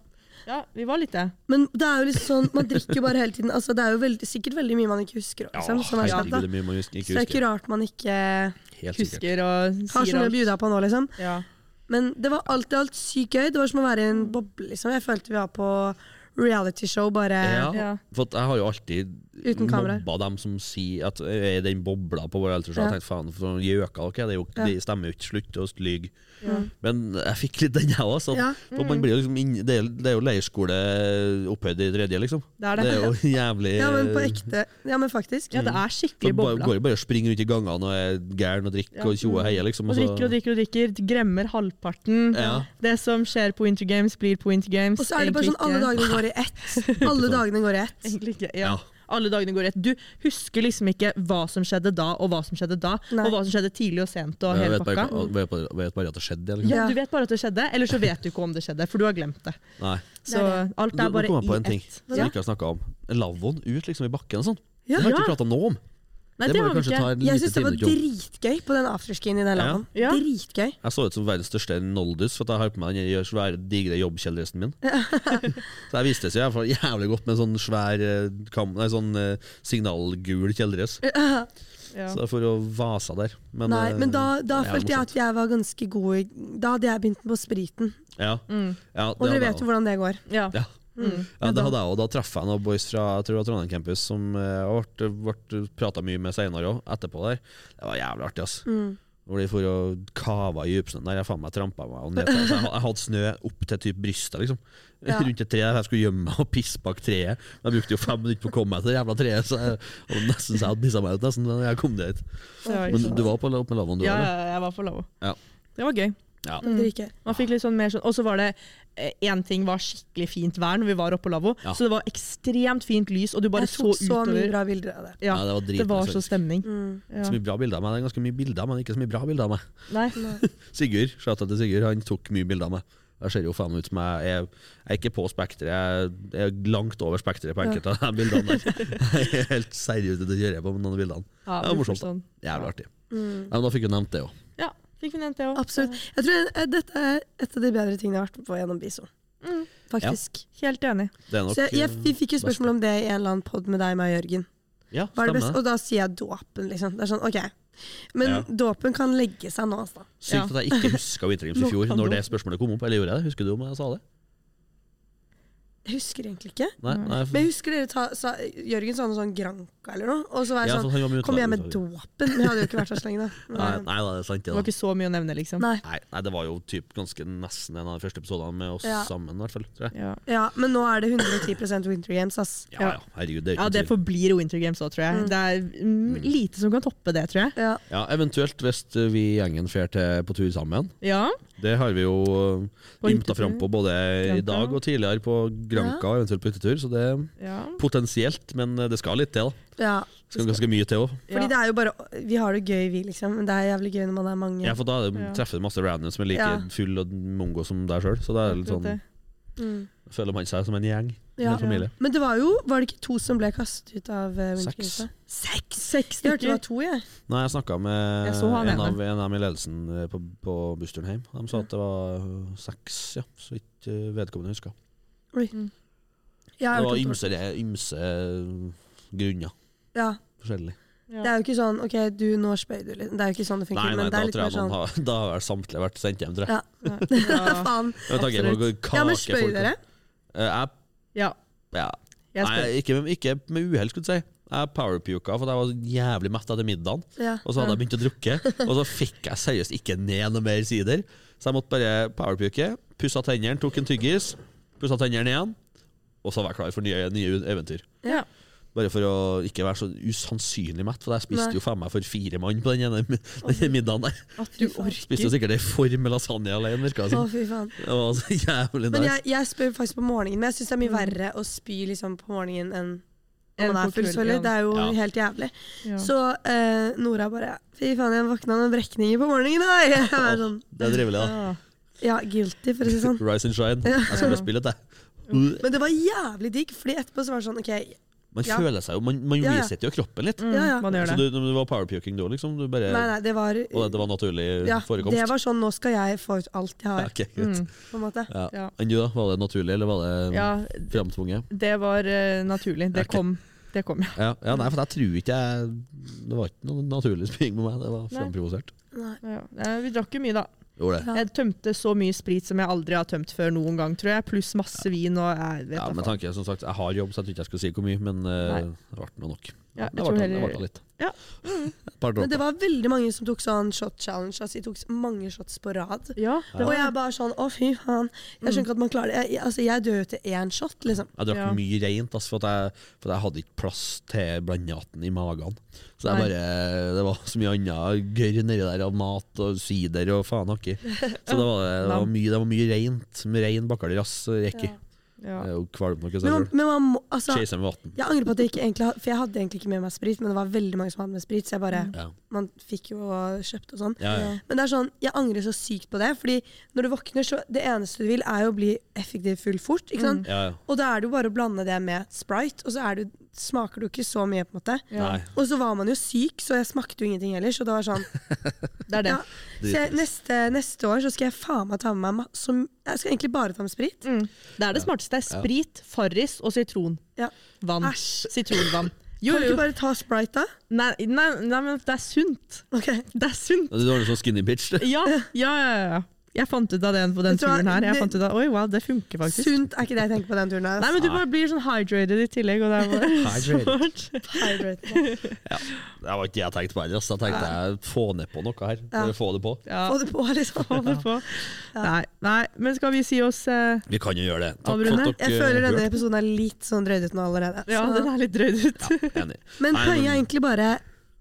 [SPEAKER 8] ja, vi var litt det.
[SPEAKER 3] Men det er jo liksom sånn, man drikker jo bare hele tiden. Altså, det er jo veldig, sikkert veldig mye man ikke husker. Liksom, som er
[SPEAKER 6] herregud,
[SPEAKER 3] sant, da.
[SPEAKER 6] det er mye man hus-
[SPEAKER 3] Så
[SPEAKER 6] ikke
[SPEAKER 3] det er ikke
[SPEAKER 6] husker.
[SPEAKER 3] rart man ikke
[SPEAKER 6] Helt sikkert.
[SPEAKER 8] Husker og
[SPEAKER 3] har så
[SPEAKER 8] sier
[SPEAKER 3] mye å
[SPEAKER 8] alt.
[SPEAKER 3] bjuda på nå, liksom.
[SPEAKER 8] Ja.
[SPEAKER 3] Men det var alt i alt sykt gøy. Det var som å være i en boble, liksom. Jeg følte vi var på realityshow, bare
[SPEAKER 6] Ja,
[SPEAKER 8] Ja.
[SPEAKER 6] for at jeg har jo alltid
[SPEAKER 3] Uten kameraer.
[SPEAKER 6] mobba dem som sier at jeg er i den bobla på vår eldre. Så
[SPEAKER 3] Ja.
[SPEAKER 6] jeg tenkte faen, for noen gjøker dere er, det, er jo,
[SPEAKER 3] Ja.
[SPEAKER 6] det stemmer jo ikke. Slutt å lyge. Men jeg fikk litt den, jeg òg.
[SPEAKER 3] Ja. Mm.
[SPEAKER 6] liksom inn- det, er- det er jo leirskole opphøyd i tredje, liksom.
[SPEAKER 8] Det er det.
[SPEAKER 6] jo jævlig
[SPEAKER 3] Ja, men på ekte. Ja, men faktisk.
[SPEAKER 8] Ja, det er
[SPEAKER 6] Så
[SPEAKER 8] skikkelig
[SPEAKER 6] bare,
[SPEAKER 8] bobla.
[SPEAKER 6] går jo bare og springer rundt i gangene og er gæren og drikker og tjoer og heier, liksom.
[SPEAKER 8] Og
[SPEAKER 6] så-
[SPEAKER 8] drikker og drikker og drikker, gremmer halvparten.
[SPEAKER 6] Ja.
[SPEAKER 8] Det som skjer på Winter Games, blir på Winter Games.
[SPEAKER 3] Og så er det bare
[SPEAKER 8] Egentlig
[SPEAKER 3] sånn alle
[SPEAKER 8] ikke-
[SPEAKER 3] dagene går i ett. Alle dagene går i ett.
[SPEAKER 8] Egentlig ikke, ja.
[SPEAKER 6] Ja.
[SPEAKER 8] Alle dagene går i ett. Du husker liksom ikke hva som skjedde da, og hva som skjedde da,
[SPEAKER 3] Nei.
[SPEAKER 8] og hva som skjedde tidlig og sent. og
[SPEAKER 6] Jeg
[SPEAKER 8] hele
[SPEAKER 6] vet bare,
[SPEAKER 8] pakka.
[SPEAKER 6] jeg vet bare, jeg vet bare at det skjedde. Liksom.
[SPEAKER 3] Ja.
[SPEAKER 8] Du vet bare at det skjedde, eller så vet du ikke om det skjedde, for du har glemt det.
[SPEAKER 6] Nei.
[SPEAKER 8] Så
[SPEAKER 3] Det
[SPEAKER 8] alt
[SPEAKER 6] Nå
[SPEAKER 8] er
[SPEAKER 6] nå
[SPEAKER 8] bare
[SPEAKER 6] kom jeg på en
[SPEAKER 8] i
[SPEAKER 6] ting
[SPEAKER 8] ett.
[SPEAKER 6] som vi ikke har snakka om. Lavvoen ut liksom i bakken og sånn.
[SPEAKER 3] Ja.
[SPEAKER 6] det har vi ikke prata noe om.
[SPEAKER 8] Nei,
[SPEAKER 6] det,
[SPEAKER 8] det
[SPEAKER 6] må
[SPEAKER 8] har
[SPEAKER 6] vi
[SPEAKER 8] vi
[SPEAKER 6] kanskje
[SPEAKER 8] ikke.
[SPEAKER 6] ta en
[SPEAKER 3] Jeg
[SPEAKER 6] liten
[SPEAKER 3] syns det var
[SPEAKER 6] time til.
[SPEAKER 3] dritgøy på den afterskien i den
[SPEAKER 6] Ja.
[SPEAKER 3] lavaen.
[SPEAKER 8] Ja.
[SPEAKER 3] Dritgøy.
[SPEAKER 6] Jeg så ut som verdens største noldus, for at jeg har på meg den gjør svære, digre jobbkjeledressen min. så jeg viste seg i hvert fall jævlig godt med en sånn svær eh, kam, nei, sånn eh, signalgul kjeledress.
[SPEAKER 8] Ja.
[SPEAKER 6] Så for å vasa der. Men,
[SPEAKER 3] Nei,
[SPEAKER 6] eh,
[SPEAKER 3] men da, da
[SPEAKER 6] det er
[SPEAKER 3] følte jeg at jeg var ganske god i Da hadde jeg begynt på spriten.
[SPEAKER 6] ja. Ja, det
[SPEAKER 3] Og
[SPEAKER 6] hadde
[SPEAKER 3] dere
[SPEAKER 6] jeg
[SPEAKER 3] vet jo hvordan det går.
[SPEAKER 8] Ja.
[SPEAKER 6] Ja. Ja, det hadde jeg også. Da traff jeg noen boys fra jeg tror det var Trondheim campus som eh, jeg ble, ble prata mye med senere òg, etterpå der. Det var jævlig artig, ass. Hvor de for og kava i dypsnøen. Der jeg faen meg trampa meg og ned. til- Så jeg, ha- jeg hadde snø opp til typ brystet, liksom. Rundt et tre der jeg skulle gjemme meg og pisse bak treet. Men jeg brukte jo fem minutter på å komme meg til det jævla treet, så jeg og nesten så jeg hadde pissa meg ut nesten da jeg kom dit.
[SPEAKER 8] Det var ikke
[SPEAKER 6] Men
[SPEAKER 8] sant.
[SPEAKER 6] du var på, opp med lavvoen, du
[SPEAKER 8] ja,
[SPEAKER 6] òg?
[SPEAKER 8] ja, jeg var for lavo.
[SPEAKER 6] Ja.
[SPEAKER 8] Det var gøy.
[SPEAKER 6] Ja.
[SPEAKER 8] Mm.
[SPEAKER 3] Drikke.
[SPEAKER 8] Man fikk litt sånn mer sånn, Og så var det én ting var skikkelig fint vær når vi var oppe på lavvo.
[SPEAKER 6] Ja.
[SPEAKER 8] Så det var ekstremt fint lys, og du bare
[SPEAKER 3] Jeg
[SPEAKER 8] så
[SPEAKER 3] tok så mye
[SPEAKER 8] utover.
[SPEAKER 3] bra Mm. bilder av det.
[SPEAKER 8] Ja,
[SPEAKER 6] Ja, det var
[SPEAKER 8] det, var
[SPEAKER 6] dritnice,
[SPEAKER 8] så
[SPEAKER 6] faktisk.
[SPEAKER 8] stemning. Ja.
[SPEAKER 6] Så mye bra bilder av meg. Det er ganske mye bilder av meg, men ikke så mye bra bilder av meg.
[SPEAKER 8] Nei.
[SPEAKER 6] Sigurd, shout-out til Sigurd, han tok mye bilder av meg. Jeg ser jo faen ut som jeg er, jeg er ikke på spekteret, jeg er- jeg er langt over spekteret på enkelte av de bildene der. Jeg er helt seriøst ute å kjøre på med noen av bildene.
[SPEAKER 8] Ja,
[SPEAKER 6] det var morsomt. da.
[SPEAKER 8] sånn.
[SPEAKER 6] Jævlig artig.
[SPEAKER 3] Mm.
[SPEAKER 6] Ja, men da fikk jeg nevnt det òg.
[SPEAKER 8] Ja, fikk vi nevnt det òg.
[SPEAKER 3] Absolutt. Jeg tror eh, dette er et av de bedre tingene jeg har vært med på gjennom Biso.
[SPEAKER 8] Mm.
[SPEAKER 3] Faktisk.
[SPEAKER 8] Helt enig.
[SPEAKER 6] Det er nok eh,
[SPEAKER 3] Så jeg, jeg, vi fikk jo
[SPEAKER 6] beste.
[SPEAKER 3] spørsmål om det i en eller annen pod med deg, meg og Jørgen.
[SPEAKER 6] Ja,
[SPEAKER 3] Hva er det beste?
[SPEAKER 6] stemmer.
[SPEAKER 3] Og da sier jeg dåpen, liksom. Det er sånn, ok. Men dåpen kan legge seg nå, altså.
[SPEAKER 6] Sykt at jeg ikke huska Wintergames i fjor, når det spørsmålet kom opp. Eller gjorde jeg det? Husker du om jeg sa det?
[SPEAKER 3] Jeg husker egentlig ikke.
[SPEAKER 6] Nei, nei
[SPEAKER 3] Mm. Men jeg husker dere ta, sa, Jørgen sa noe sånn Granca eller noe. Og så var jeg
[SPEAKER 6] Ja, sånn, han
[SPEAKER 3] sånn,
[SPEAKER 6] var med
[SPEAKER 3] kom jeg med
[SPEAKER 6] utlandet,
[SPEAKER 3] dåpen? Men jeg hadde jo ikke vært her så lenge, da.
[SPEAKER 6] Nei, nei, da, det er sant det.
[SPEAKER 8] Det var
[SPEAKER 6] da.
[SPEAKER 8] ikke så mye å nevne, liksom.
[SPEAKER 3] Nei.
[SPEAKER 6] Nei, nei, det var jo typ ganske nesten en av de første episodene med oss
[SPEAKER 3] Ja.
[SPEAKER 6] sammen, i hvert fall. Tror jeg.
[SPEAKER 8] Ja.
[SPEAKER 3] Ja, men nå er det 110 Winter Games, ass.
[SPEAKER 6] Ja ja, herregud, det er
[SPEAKER 8] Ja,
[SPEAKER 6] jo
[SPEAKER 8] det forblir Winter Games òg, tror jeg. Det er mm, lite som kan toppe det, tror jeg.
[SPEAKER 3] Ja.
[SPEAKER 6] Ja, Eventuelt hvis vi i gjengen drar til- på tur sammen.
[SPEAKER 8] Ja,
[SPEAKER 6] Det har vi jo uh,
[SPEAKER 8] På
[SPEAKER 6] ymta
[SPEAKER 8] hyttetur.
[SPEAKER 6] fram på både i
[SPEAKER 8] Granca.
[SPEAKER 6] dag og tidligere på Granca og eventuelt på hyttetur, så det er
[SPEAKER 8] ja.
[SPEAKER 6] potensielt, men eh, det skal litt til. da.
[SPEAKER 3] ja.
[SPEAKER 6] Det skal ganske mye til òg.
[SPEAKER 3] Fordi det er jo bare Vi har det gøy, vi, liksom. Men det er jævlig gøy når man er mange.
[SPEAKER 6] Ja, for da er det,
[SPEAKER 8] Ja.
[SPEAKER 6] treffer du masse randoms som er like
[SPEAKER 3] Ja.
[SPEAKER 6] full og mongo som deg sjøl, så det er litt sånn Føler man seg som en gjeng?
[SPEAKER 3] Ja.
[SPEAKER 6] Med familie.
[SPEAKER 3] Mm. Men det var jo Var det ikke to som ble kastet ut av eh, Winter Games?
[SPEAKER 6] Seks.
[SPEAKER 3] da?
[SPEAKER 8] Seks, seks
[SPEAKER 3] Jeg hørte det
[SPEAKER 8] stykker!
[SPEAKER 3] var to, jeg.
[SPEAKER 6] Nei, jeg snakka med
[SPEAKER 8] Jeg så han
[SPEAKER 6] en
[SPEAKER 8] ene.
[SPEAKER 6] av, en av dem i ledelsen eh, på, på bussturen hjem. De sa at det var eh, seks, ja, så vidt eh, vedkommende huska.
[SPEAKER 3] jeg har
[SPEAKER 6] Det var
[SPEAKER 3] hørt om to.
[SPEAKER 6] ymse, ymse grunner.
[SPEAKER 3] ja.
[SPEAKER 6] Forskjellig.
[SPEAKER 3] Det er jo ikke sånn OK, du, nå spøy du litt. Det er jo ikke sånn det funker.
[SPEAKER 6] Nei, nei,
[SPEAKER 3] men det
[SPEAKER 6] da,
[SPEAKER 3] er litt
[SPEAKER 6] tror
[SPEAKER 3] mer
[SPEAKER 6] jeg man
[SPEAKER 3] sånn
[SPEAKER 6] har, da har vel samtlige vært sendt hjem, tror jeg.
[SPEAKER 3] Ja. Faen.
[SPEAKER 6] Jeg tar ikke- jeg må gå i kake,
[SPEAKER 3] Ja, men spøy
[SPEAKER 6] folk.
[SPEAKER 3] dere?
[SPEAKER 6] Eh, Jeg,
[SPEAKER 8] Ja,
[SPEAKER 6] ja.
[SPEAKER 8] jeg spør.
[SPEAKER 6] Nei, ikke, ikke med uhell, skulle jeg si. Jeg powerpuka for jeg var jævlig mett etter middagen.
[SPEAKER 3] Ja.
[SPEAKER 6] Og så hadde jeg begynt å drukke, og så fikk jeg seriøst ikke ned noe mer sider. Så jeg måtte bare powerpuke, pussa tennene, tok en tyggis, pussa tennene igjen, og så var jeg klar for nye, nye eventyr.
[SPEAKER 8] Ja.
[SPEAKER 6] Bare for å ikke være så usannsynlig mett, for jeg spiste
[SPEAKER 3] Nei.
[SPEAKER 6] jo faen meg for fire mann på den ene den middagen der.
[SPEAKER 8] At du
[SPEAKER 6] Spiste jo
[SPEAKER 8] orker.
[SPEAKER 6] sikkert ei form lasagne alene, virka det
[SPEAKER 3] Å,
[SPEAKER 6] som.
[SPEAKER 3] fy faen.
[SPEAKER 6] Det var så jævlig
[SPEAKER 3] Men
[SPEAKER 6] nice.
[SPEAKER 3] jeg, jeg spør faktisk på morgenen, men jeg syns det er mye verre å spy liksom, på morgenen enn når
[SPEAKER 8] Mm. Enn
[SPEAKER 3] man
[SPEAKER 8] på
[SPEAKER 3] er full,
[SPEAKER 8] kvelden,
[SPEAKER 3] selvfølgelig.
[SPEAKER 8] ja.
[SPEAKER 3] Det er jo
[SPEAKER 6] Ja.
[SPEAKER 3] helt jævlig.
[SPEAKER 8] Ja.
[SPEAKER 3] Så eh, Nora bare Fy faen, jeg våkna med brekninger på morgenen i dag! Jeg var sånn,
[SPEAKER 6] Det er trivelig, da.
[SPEAKER 8] Ja.
[SPEAKER 3] ja, guilty, for å si det sånn.
[SPEAKER 6] Rise and shine. Jeg skal bare spille det. Men
[SPEAKER 3] Men det var jævlig digg, Fordi etterpå så var det sånn OK,
[SPEAKER 6] Man
[SPEAKER 3] Ja.
[SPEAKER 6] føler seg jo Man, man
[SPEAKER 3] Ja, ja.
[SPEAKER 6] resetter jo kroppen litt.
[SPEAKER 3] ja ja.
[SPEAKER 8] Mm. Man gjør
[SPEAKER 6] Så
[SPEAKER 8] det.
[SPEAKER 6] du, du var powerpuking du òg, liksom? Du bare,
[SPEAKER 3] Nei, nei, det var
[SPEAKER 6] Og det var naturlig
[SPEAKER 3] ja,
[SPEAKER 6] forekomst?
[SPEAKER 3] Det var sånn Nå skal jeg få ut alt jeg
[SPEAKER 6] Ja,
[SPEAKER 3] har,
[SPEAKER 6] ok, greit.
[SPEAKER 3] på en måte.
[SPEAKER 6] Ja.
[SPEAKER 8] Ja.
[SPEAKER 6] Enn du, da? Var det naturlig, eller var det
[SPEAKER 8] Mm. Ja,
[SPEAKER 6] framtvunget?
[SPEAKER 8] det var eh, naturlig. Det
[SPEAKER 6] Ok.
[SPEAKER 8] kom. Det kom, ja.
[SPEAKER 6] Ja, ja, nei, for jeg tror ikke jeg Det var ikke noe naturlig spying med meg, det var
[SPEAKER 8] Nei.
[SPEAKER 6] framprovosert.
[SPEAKER 8] ja. Eh, Vi drakk jo mye, da.
[SPEAKER 6] Gjorde det.
[SPEAKER 8] Jeg tømte så mye sprit som jeg aldri har tømt før noen gang, tror jeg. Pluss masse vin og jeg vet
[SPEAKER 6] Ja,
[SPEAKER 8] da
[SPEAKER 6] med
[SPEAKER 8] faen.
[SPEAKER 6] tanke, som sagt, Jeg har jobb, så jeg tror ikke jeg skulle si hvor mye, men eh, det ble nå nok.
[SPEAKER 8] Ja, jeg
[SPEAKER 6] det
[SPEAKER 8] tror
[SPEAKER 6] ble, det
[SPEAKER 8] heller-
[SPEAKER 6] ble litt.
[SPEAKER 8] Ja. Mm.
[SPEAKER 6] Et par
[SPEAKER 3] Men det
[SPEAKER 6] dråper.
[SPEAKER 3] var veldig mange som tok sånn shot challenge. Altså, de tok s- mange shots på rad.
[SPEAKER 8] Ja, Mm. det
[SPEAKER 3] Og
[SPEAKER 8] var,
[SPEAKER 3] jeg bare sånn Å, fy faen. Jeg skjønner ikke at man klarer det. Jeg, jeg- altså, jeg dør jo til én shot, liksom.
[SPEAKER 6] Jeg drakk
[SPEAKER 8] Ja.
[SPEAKER 6] mye rent, altså, for, at jeg, for at jeg hadde ikke plass til blandaten i magen. Så jeg
[SPEAKER 8] Nei.
[SPEAKER 6] bare, det var så mye annet gørr nedi der av mat og sider og faen hakker. Så det var, det var, mye, det var mye rent. Rein bakkelrass rekker.
[SPEAKER 8] ja.
[SPEAKER 6] Jeg er jo kvalm nok i seg
[SPEAKER 3] Men, man-
[SPEAKER 6] selv.
[SPEAKER 3] men man må altså,
[SPEAKER 6] Skje seg med vann.
[SPEAKER 3] Jeg angrer på at jeg ikke egentlig had- For jeg hadde egentlig ikke med meg sprit, men det var veldig mange som hadde med sprit, så jeg bare
[SPEAKER 6] Ja.
[SPEAKER 3] Man fikk jo og kjøpt og sånn.
[SPEAKER 6] Mm. Ja, ja.
[SPEAKER 3] Men det er sånn, jeg angrer så sykt på det. Fordi når du våkner, så det eneste du vil, er jo å bli effektiv full fort. ikke sant?
[SPEAKER 6] Mm. Ja, ja.
[SPEAKER 3] Og da er det jo bare å blande det med Sprite, og så er det, smaker du ikke så mye. på en måte.
[SPEAKER 6] Nei.
[SPEAKER 3] Og så var man jo syk, så jeg smakte jo ingenting heller. Så det var sånn.
[SPEAKER 8] Det er det.
[SPEAKER 3] Ja. Så jeg, neste, neste år så skal jeg faen meg ta med meg ma- som, Jeg skal egentlig bare ta med
[SPEAKER 8] Mm.
[SPEAKER 3] sprit.
[SPEAKER 8] Det er det smarteste. Det er sprit, Farris og sitron.
[SPEAKER 3] Ja.
[SPEAKER 8] Vann.
[SPEAKER 3] Æsj.
[SPEAKER 8] Sitronvann. Jo,
[SPEAKER 3] Kan du
[SPEAKER 8] jo.
[SPEAKER 3] ikke bare ta Sprite, da?
[SPEAKER 8] Nei, nei, nei, men det er sunt.
[SPEAKER 3] Ok.
[SPEAKER 8] Det er sunt.
[SPEAKER 6] Du var litt sånn skinny bitch. du.
[SPEAKER 8] Ja, ja, ja. ja. Jeg fant ut av det på den
[SPEAKER 3] Vet du hva,
[SPEAKER 8] turen her. Jeg
[SPEAKER 3] det-
[SPEAKER 8] fant ut av, Oi, wow, det funker faktisk.
[SPEAKER 3] Sunt er ikke det jeg tenker på den turen her.
[SPEAKER 8] Nei,
[SPEAKER 3] ass.
[SPEAKER 8] men du bare blir sånn hydrated i tillegg, og det er bare svårt.
[SPEAKER 3] Hydrate.
[SPEAKER 6] Det var ikke det jeg tenkte på heller. ass. Jeg tenkte jeg få ned på noe her. Bare få det på.
[SPEAKER 8] Ja,
[SPEAKER 3] Få det på, liksom.
[SPEAKER 8] få det på. Nei, nei, men skal vi si oss eh,
[SPEAKER 6] Vi kan jo gjøre det. Takk for
[SPEAKER 8] Avrunde.
[SPEAKER 6] at
[SPEAKER 3] Jeg
[SPEAKER 6] dere
[SPEAKER 3] føler denne
[SPEAKER 6] hørte.
[SPEAKER 3] episoden er litt sånn drøyd ut nå allerede.
[SPEAKER 8] Ja,
[SPEAKER 3] så-
[SPEAKER 8] den er litt drøyd ut.
[SPEAKER 6] Enig.
[SPEAKER 3] Men
[SPEAKER 6] Nei,
[SPEAKER 3] poenget er
[SPEAKER 6] men-
[SPEAKER 3] egentlig bare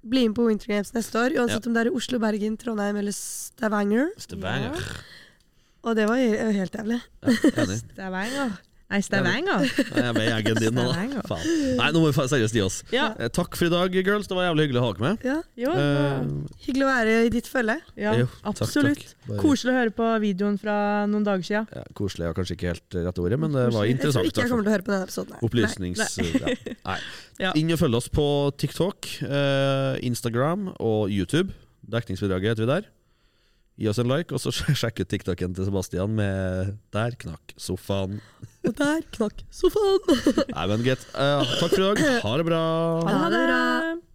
[SPEAKER 3] bli med på Winter Games neste år. Uansett om det er i Oslo, Bergen, Trondheim eller Stavanger.
[SPEAKER 6] Stavanger.
[SPEAKER 3] Og det var jo helt jævlig.
[SPEAKER 6] Enig.
[SPEAKER 8] Stavanger. Nei, Stavanger.
[SPEAKER 6] Nei, Jeg er med i gjengen din nå, da.
[SPEAKER 8] Stavanger.
[SPEAKER 6] Faen. Nei, nå må vi fa- seriøst gi oss.
[SPEAKER 8] Ja.
[SPEAKER 6] Eh, Takk for i dag, girls. Det var jævlig hyggelig å ha dere med.
[SPEAKER 3] Ja,
[SPEAKER 8] Jo,
[SPEAKER 6] Eh,
[SPEAKER 3] Hyggelig å være i ditt følge.
[SPEAKER 8] ja,
[SPEAKER 6] jo, takk,
[SPEAKER 8] absolutt.
[SPEAKER 6] takk. Bare-
[SPEAKER 8] Koselig å høre på videoen fra noen dager siden.
[SPEAKER 6] ja, koselig er kanskje ikke helt rette ordet, men det var
[SPEAKER 3] Jeg tror
[SPEAKER 6] interessant.
[SPEAKER 3] ikke jeg
[SPEAKER 6] i hvert
[SPEAKER 3] kommer til å høre på denne episoden. her.
[SPEAKER 6] Opplysnings... Ja. Nei.
[SPEAKER 8] Ja.
[SPEAKER 6] Inn og følg oss på TikTok, eh, Instagram og YouTube. Dekningsbidraget heter vi der. Gi oss en like, og så sj- sjekk ut TikToken til Sebastian med Der knakk sofaen.
[SPEAKER 3] Nei. Og der knakk sofaen!
[SPEAKER 6] Nei, men greit. Eh, takk for i dag. Ha det bra.
[SPEAKER 8] Ha det!